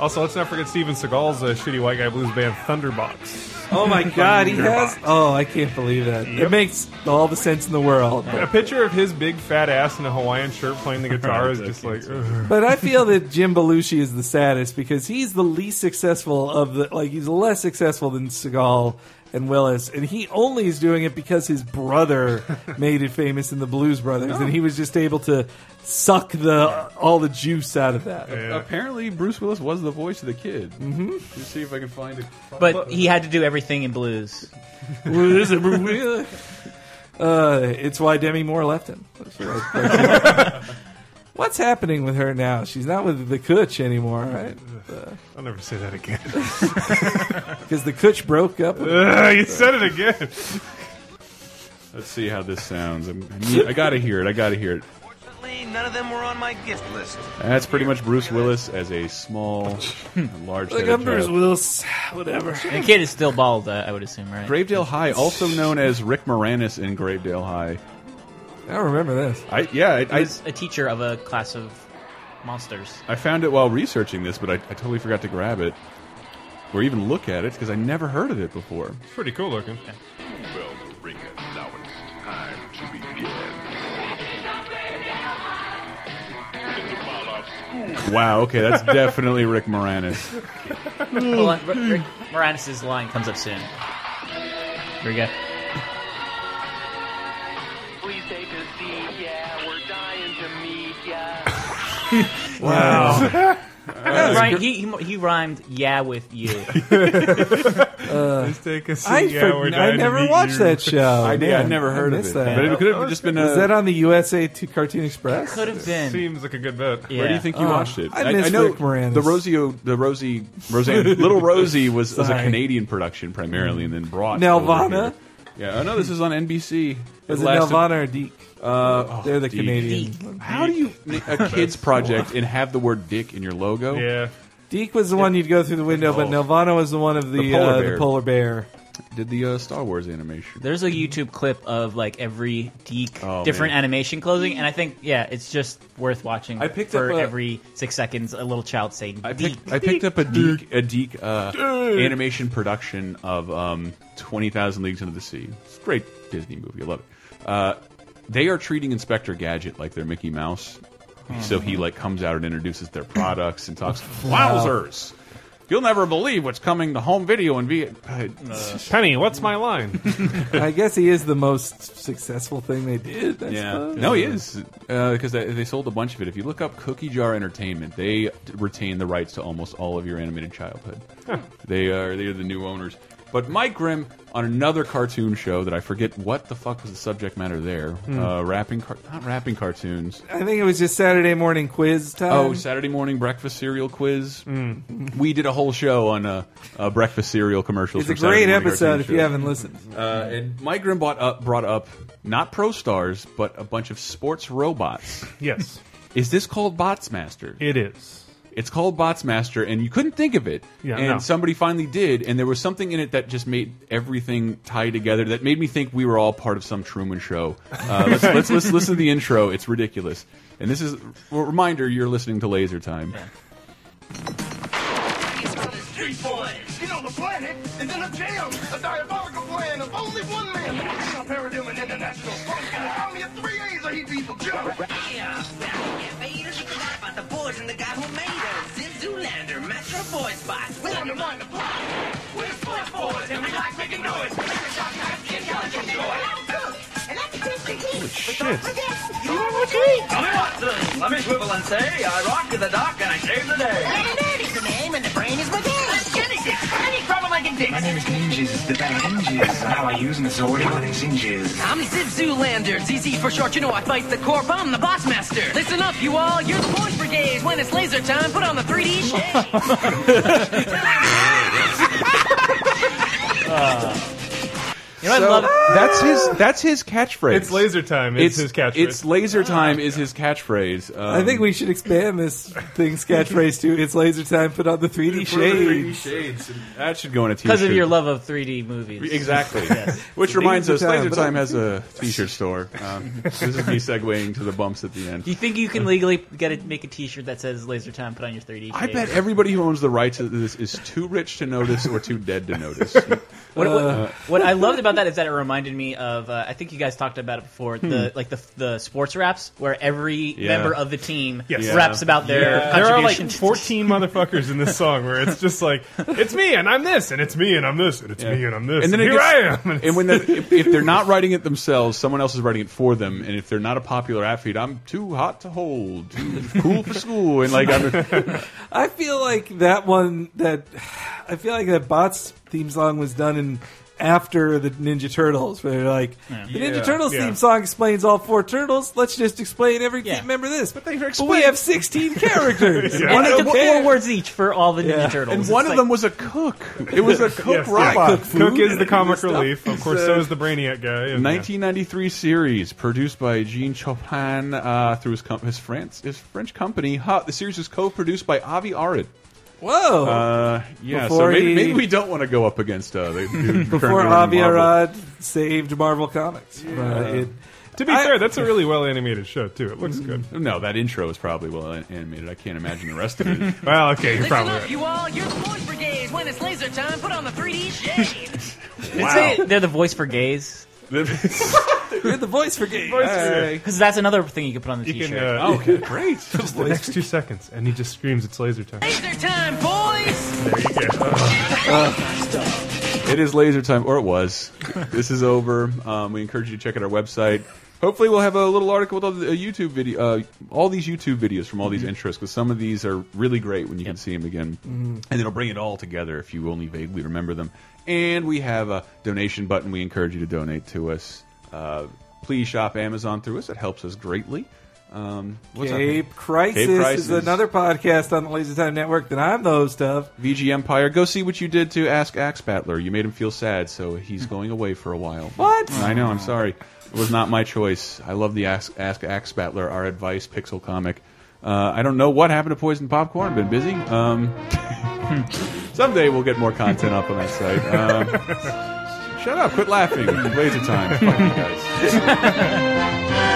[SPEAKER 5] also, let's not forget Steven Seagal's uh, shitty white guy blues band Thunderbox.
[SPEAKER 6] Oh my god, he
[SPEAKER 5] Thunderbox.
[SPEAKER 6] has. Oh, I can't believe that. It makes all the sense in the world.
[SPEAKER 5] A
[SPEAKER 6] But,
[SPEAKER 5] picture of his big fat ass in a Hawaiian shirt playing the guitar is just like. ugh.
[SPEAKER 6] but I feel that Jim Belushi is the saddest because he's the least successful of the. Like, he's less successful than Seagal and Willis, and he only is doing it because his brother made it famous in the Blues Brothers, and he was just able to suck the all the juice out of that.
[SPEAKER 4] Apparently, Bruce Willis was the voice of the kid. Mm-hmm. Let's see if I can find it.
[SPEAKER 7] But he had to do everything in blues.
[SPEAKER 6] uh, it's why Demi Moore left him. What's happening with her now? She's not with the Kutch anymore, right?
[SPEAKER 5] I'll never say that again.
[SPEAKER 6] Because the Kutch broke up. with her.
[SPEAKER 5] Ugh, you said it again.
[SPEAKER 4] Let's see how this sounds. I'm, I, need- I gotta hear it. I gotta hear it.
[SPEAKER 22] none of them were on my gift list.
[SPEAKER 4] That's pretty much Bruce Willis as a small, large.
[SPEAKER 6] Look up Bruce Willis, whatever.
[SPEAKER 7] The kid is still bald, uh, I would assume, right?
[SPEAKER 4] Gravedale High, also known as Rick Moranis in Gravedale High.
[SPEAKER 6] I don't remember this.
[SPEAKER 4] I yeah, I,
[SPEAKER 7] He
[SPEAKER 4] I,
[SPEAKER 7] was a teacher of a class of monsters.
[SPEAKER 4] I found it while researching this, but I, I totally forgot to grab it or even look at it because I never heard of it before.
[SPEAKER 5] It's pretty cool looking.
[SPEAKER 10] Well, Marinka, now it's time to begin.
[SPEAKER 4] Wow. Okay, that's definitely Rick Moranis.
[SPEAKER 10] Hmm.
[SPEAKER 7] Hold on, Rick- Rick Moranis' line comes up soon. Here we go.
[SPEAKER 10] Please take a seat, yeah, we're dying to meet ya.
[SPEAKER 7] Wow.
[SPEAKER 10] That was
[SPEAKER 7] Right,
[SPEAKER 10] gr-
[SPEAKER 7] he, he, he rhymed yeah with you.
[SPEAKER 6] Let's take a seat, I yeah, for- we're I dying to never meet watched you. that show.
[SPEAKER 4] I did. I
[SPEAKER 6] Man,
[SPEAKER 4] never
[SPEAKER 6] I
[SPEAKER 4] heard of
[SPEAKER 6] missed
[SPEAKER 4] it.
[SPEAKER 6] that.
[SPEAKER 4] But it uh, could
[SPEAKER 6] Oh,
[SPEAKER 4] have just been.
[SPEAKER 6] Is
[SPEAKER 4] a-
[SPEAKER 6] that on the USA to Cartoon Express?
[SPEAKER 7] Could have been.
[SPEAKER 5] Seems like a good bet.
[SPEAKER 4] Where do you think you
[SPEAKER 6] Oh,
[SPEAKER 4] watched it?
[SPEAKER 6] I miss
[SPEAKER 4] know
[SPEAKER 6] Rick Moranis.
[SPEAKER 4] The Rosio, the Rosie, Roseanne, Little Rosie was, was a
[SPEAKER 6] Sorry.
[SPEAKER 4] Canadian production primarily, and then brought
[SPEAKER 6] Nelvana?
[SPEAKER 4] over here. Yeah, I know this is on NBC.
[SPEAKER 6] Was it
[SPEAKER 4] lasted-
[SPEAKER 6] Nelvana or Deke?
[SPEAKER 4] Uh, oh,
[SPEAKER 6] They're the
[SPEAKER 4] Deke.
[SPEAKER 6] Canadian.
[SPEAKER 4] How do you a kids project and have the word "dick" in your logo?
[SPEAKER 5] Yeah.
[SPEAKER 6] Deke was the one you'd go through the window, but
[SPEAKER 4] Oh.
[SPEAKER 6] Nelvana was the one of the
[SPEAKER 4] The
[SPEAKER 6] the
[SPEAKER 4] polar
[SPEAKER 6] polar, uh,
[SPEAKER 4] bear.
[SPEAKER 6] The polar bear.
[SPEAKER 4] Did the uh, Star Wars animation?
[SPEAKER 7] There's a YouTube clip of like every Deke
[SPEAKER 4] Oh,
[SPEAKER 7] different
[SPEAKER 4] man.
[SPEAKER 7] animation closing, and I think yeah, it's just worth watching.
[SPEAKER 4] I picked
[SPEAKER 7] for
[SPEAKER 4] up a-
[SPEAKER 7] every six seconds a little child saying
[SPEAKER 4] I
[SPEAKER 7] Deke.
[SPEAKER 4] picked, I picked up a Deke, a Deke uh, animation production of um, Twenty Thousand Leagues Under the Sea. It's a great Disney movie. I love it. Uh, they are treating Inspector Gadget like they're Mickey Mouse, so he like comes out and introduces their products and talks.
[SPEAKER 5] Wow.
[SPEAKER 4] Wowzers! You'll never believe what's coming to home video and V. Uh,
[SPEAKER 5] Penny, what's my line?
[SPEAKER 6] I guess he is the most successful thing they did. I
[SPEAKER 4] yeah,
[SPEAKER 6] suppose.
[SPEAKER 4] no, he is because they, they sold a bunch of it. If you look up Cookie Jar Entertainment, they retain the rights to almost all of your animated childhood. They are they are the new owners. But Mike Grimm on another cartoon show that I forget what the fuck was the subject matter there.
[SPEAKER 6] Hmm. Um,
[SPEAKER 4] Uh, rapping, car not rapping cartoons.
[SPEAKER 6] I think it was just Saturday morning quiz time.
[SPEAKER 4] Oh, Saturday morning breakfast cereal quiz. We did a whole show on uh, uh, breakfast cereal commercials.
[SPEAKER 6] It's a
[SPEAKER 4] from Saturday
[SPEAKER 6] great
[SPEAKER 4] morning
[SPEAKER 6] episode
[SPEAKER 4] cartoon
[SPEAKER 6] if you
[SPEAKER 4] shows.
[SPEAKER 6] haven't listened.
[SPEAKER 4] Uh, and Mike Grimm brought up, brought up not pro stars, but a bunch of sports robots.
[SPEAKER 5] Yes.
[SPEAKER 4] Is this called Bots Master?
[SPEAKER 5] It is.
[SPEAKER 4] It's called Bots Master, and you couldn't think of it.
[SPEAKER 5] Yeah,
[SPEAKER 4] and
[SPEAKER 5] no.
[SPEAKER 4] somebody finally did, and there was something in it that just made everything tie together. That made me think we were all part of some Truman Show. Uh, let's, let's, let's listen to the intro. It's ridiculous. And this is a reminder: you're listening to Laser Time.
[SPEAKER 22] Street boy! Get on the planet, and then a jam! A diabolical plan of only one man! Stop Paradigm and International Funk, and call me a three A's or he'd be for jump!
[SPEAKER 14] Yeah, invaders, you forgot about the boys and the guy who made us. In Zoolander, Metro Boy Spot. We're on the run, the block. We're sports boys, and we like making noise. Holy
[SPEAKER 5] shit.
[SPEAKER 14] Let me swivel and say, I rock to the dock and I save the day. Lemonade is the name and the brain is my game. I'm Jenny Any problem I can fix.
[SPEAKER 3] My name is Ninjas, the bad ninjas. How I use and sword and it's ninjas.
[SPEAKER 14] I'm Ziv Zoolander, ZZ for short. You know I fight the corp. I'm the boss master. Listen up, you all. You're the boys brigade. When it's laser time, put on the 3D shade.
[SPEAKER 7] You know,
[SPEAKER 4] So,
[SPEAKER 7] I love
[SPEAKER 4] that's his. That's his catchphrase.
[SPEAKER 5] It's laser time. It's, his catchphrase. Ah,
[SPEAKER 4] It's laser time is his catchphrase.
[SPEAKER 6] I think we should expand this thing's catchphrase to "It's laser time." Put on the 3D shades.
[SPEAKER 4] shades. Um, That should go on a t-shirt.
[SPEAKER 7] because of your love of 3D movies.
[SPEAKER 4] Exactly.
[SPEAKER 7] Yes.
[SPEAKER 4] Which reminds us,
[SPEAKER 6] Laser Time.
[SPEAKER 4] Laser Time has a T-shirt store. Um, this is me segueing to the bumps at the
[SPEAKER 7] Do
[SPEAKER 4] end.
[SPEAKER 7] you think you can legally get a, make a T-shirt that says "Laser Time"? Put on your 3D.
[SPEAKER 4] I
[SPEAKER 7] shades?
[SPEAKER 4] bet everybody who owns the rights to this is too rich to notice or too dead to notice.
[SPEAKER 7] What, what-
[SPEAKER 4] Uh,
[SPEAKER 7] what I loved about that is that it reminded me of uh, I think you guys talked about it before the like the the sports raps where every
[SPEAKER 4] Yeah.
[SPEAKER 7] member of the team
[SPEAKER 5] Yes.
[SPEAKER 7] raps about their
[SPEAKER 5] Yeah. There are like
[SPEAKER 7] contribution.
[SPEAKER 5] 14 motherfuckers in this song where it's just like, it's me and I'm this, and it's me and I'm this, and it's me and I'm this, and,
[SPEAKER 4] it
[SPEAKER 5] here
[SPEAKER 4] gets-
[SPEAKER 5] I am.
[SPEAKER 4] And when the, if, if they're not writing it themselves, someone else is writing it for them. And if they're not a popular athlete, I'm too hot to hold, too cool for school, and like I'm.
[SPEAKER 6] I feel like that one that I feel like that bots theme song was done in after the Ninja Turtles, where they're like,
[SPEAKER 5] Yeah.
[SPEAKER 6] the Ninja
[SPEAKER 5] Yeah,
[SPEAKER 6] Turtles
[SPEAKER 5] yeah.
[SPEAKER 6] theme song explains all four turtles. Let's just explain every
[SPEAKER 7] Yeah.
[SPEAKER 6] team member this. But
[SPEAKER 5] they
[SPEAKER 6] we have sixteen characters.
[SPEAKER 7] And they took four words each for all the
[SPEAKER 6] Yeah.
[SPEAKER 7] Ninja Turtles.
[SPEAKER 4] And
[SPEAKER 7] It's
[SPEAKER 4] one of
[SPEAKER 7] like-
[SPEAKER 4] them was a cook. It was a cook
[SPEAKER 5] Yes, yeah.
[SPEAKER 4] robot.
[SPEAKER 5] Cook food Cook is the comic
[SPEAKER 4] Stuff.
[SPEAKER 5] relief. Of course,
[SPEAKER 4] It's,
[SPEAKER 5] so is the Brainiac guy, and, yeah.
[SPEAKER 4] 1993 series produced by Jean Chopin uh, through his com his France his French company. Ha, the series was co-produced by Avi Arad.
[SPEAKER 6] Whoa!
[SPEAKER 4] Uh, yeah, so
[SPEAKER 6] Before
[SPEAKER 4] maybe,
[SPEAKER 6] he-
[SPEAKER 4] maybe we don't want to go up against uh, the, the
[SPEAKER 6] Before Avi Arad saved Marvel Comics. But it-
[SPEAKER 5] to be fair, that's a really well animated show too. It looks good.
[SPEAKER 4] No, that intro is probably well an- animated. I can't imagine the rest of it.
[SPEAKER 5] well, okay,
[SPEAKER 14] Listen up, you all. You're the boys brigade. When it's laser time, put on the 3D shade.
[SPEAKER 7] They- They're the voice for gays.
[SPEAKER 6] You're the voice for gays.
[SPEAKER 5] Voice for gays.
[SPEAKER 7] Because that's another thing you could put on the
[SPEAKER 5] You
[SPEAKER 7] T-shirt.
[SPEAKER 5] can, uh, Just the next two seconds, and he just screams, "It's laser time."
[SPEAKER 14] laser time, boys.
[SPEAKER 5] There you go.
[SPEAKER 4] It is laser time, or it was. this is over. Um, we encourage you to check out our website. Hopefully, we'll have a little article with all the uh, YouTube video, uh, all these YouTube videos from all these interests, because some of these are really great when you can see them again,
[SPEAKER 5] Mhm.
[SPEAKER 4] and it'll bring it all together if you only vaguely remember them. And we have a donation button. We encourage you to donate to us. Uh, please shop Amazon through us. It helps us greatly. Um, what's our name?
[SPEAKER 6] Cape Crisis, is another podcast on the Laser Time Network that I'm the host of.
[SPEAKER 4] VG Empire. Go see what you did to Ask Axe Battler. You made him feel sad, so he's going away for a while.
[SPEAKER 6] What?
[SPEAKER 4] I know. I'm sorry. It was not my choice. I love the Ask, Ask Axe Battler, our advice pixel comic. Uh, I don't know what happened to Poison Popcorn. Been busy. Um, someday we'll get more content up on that site. Um, shut up! Quit laughing. Laser time. Fuck you guys.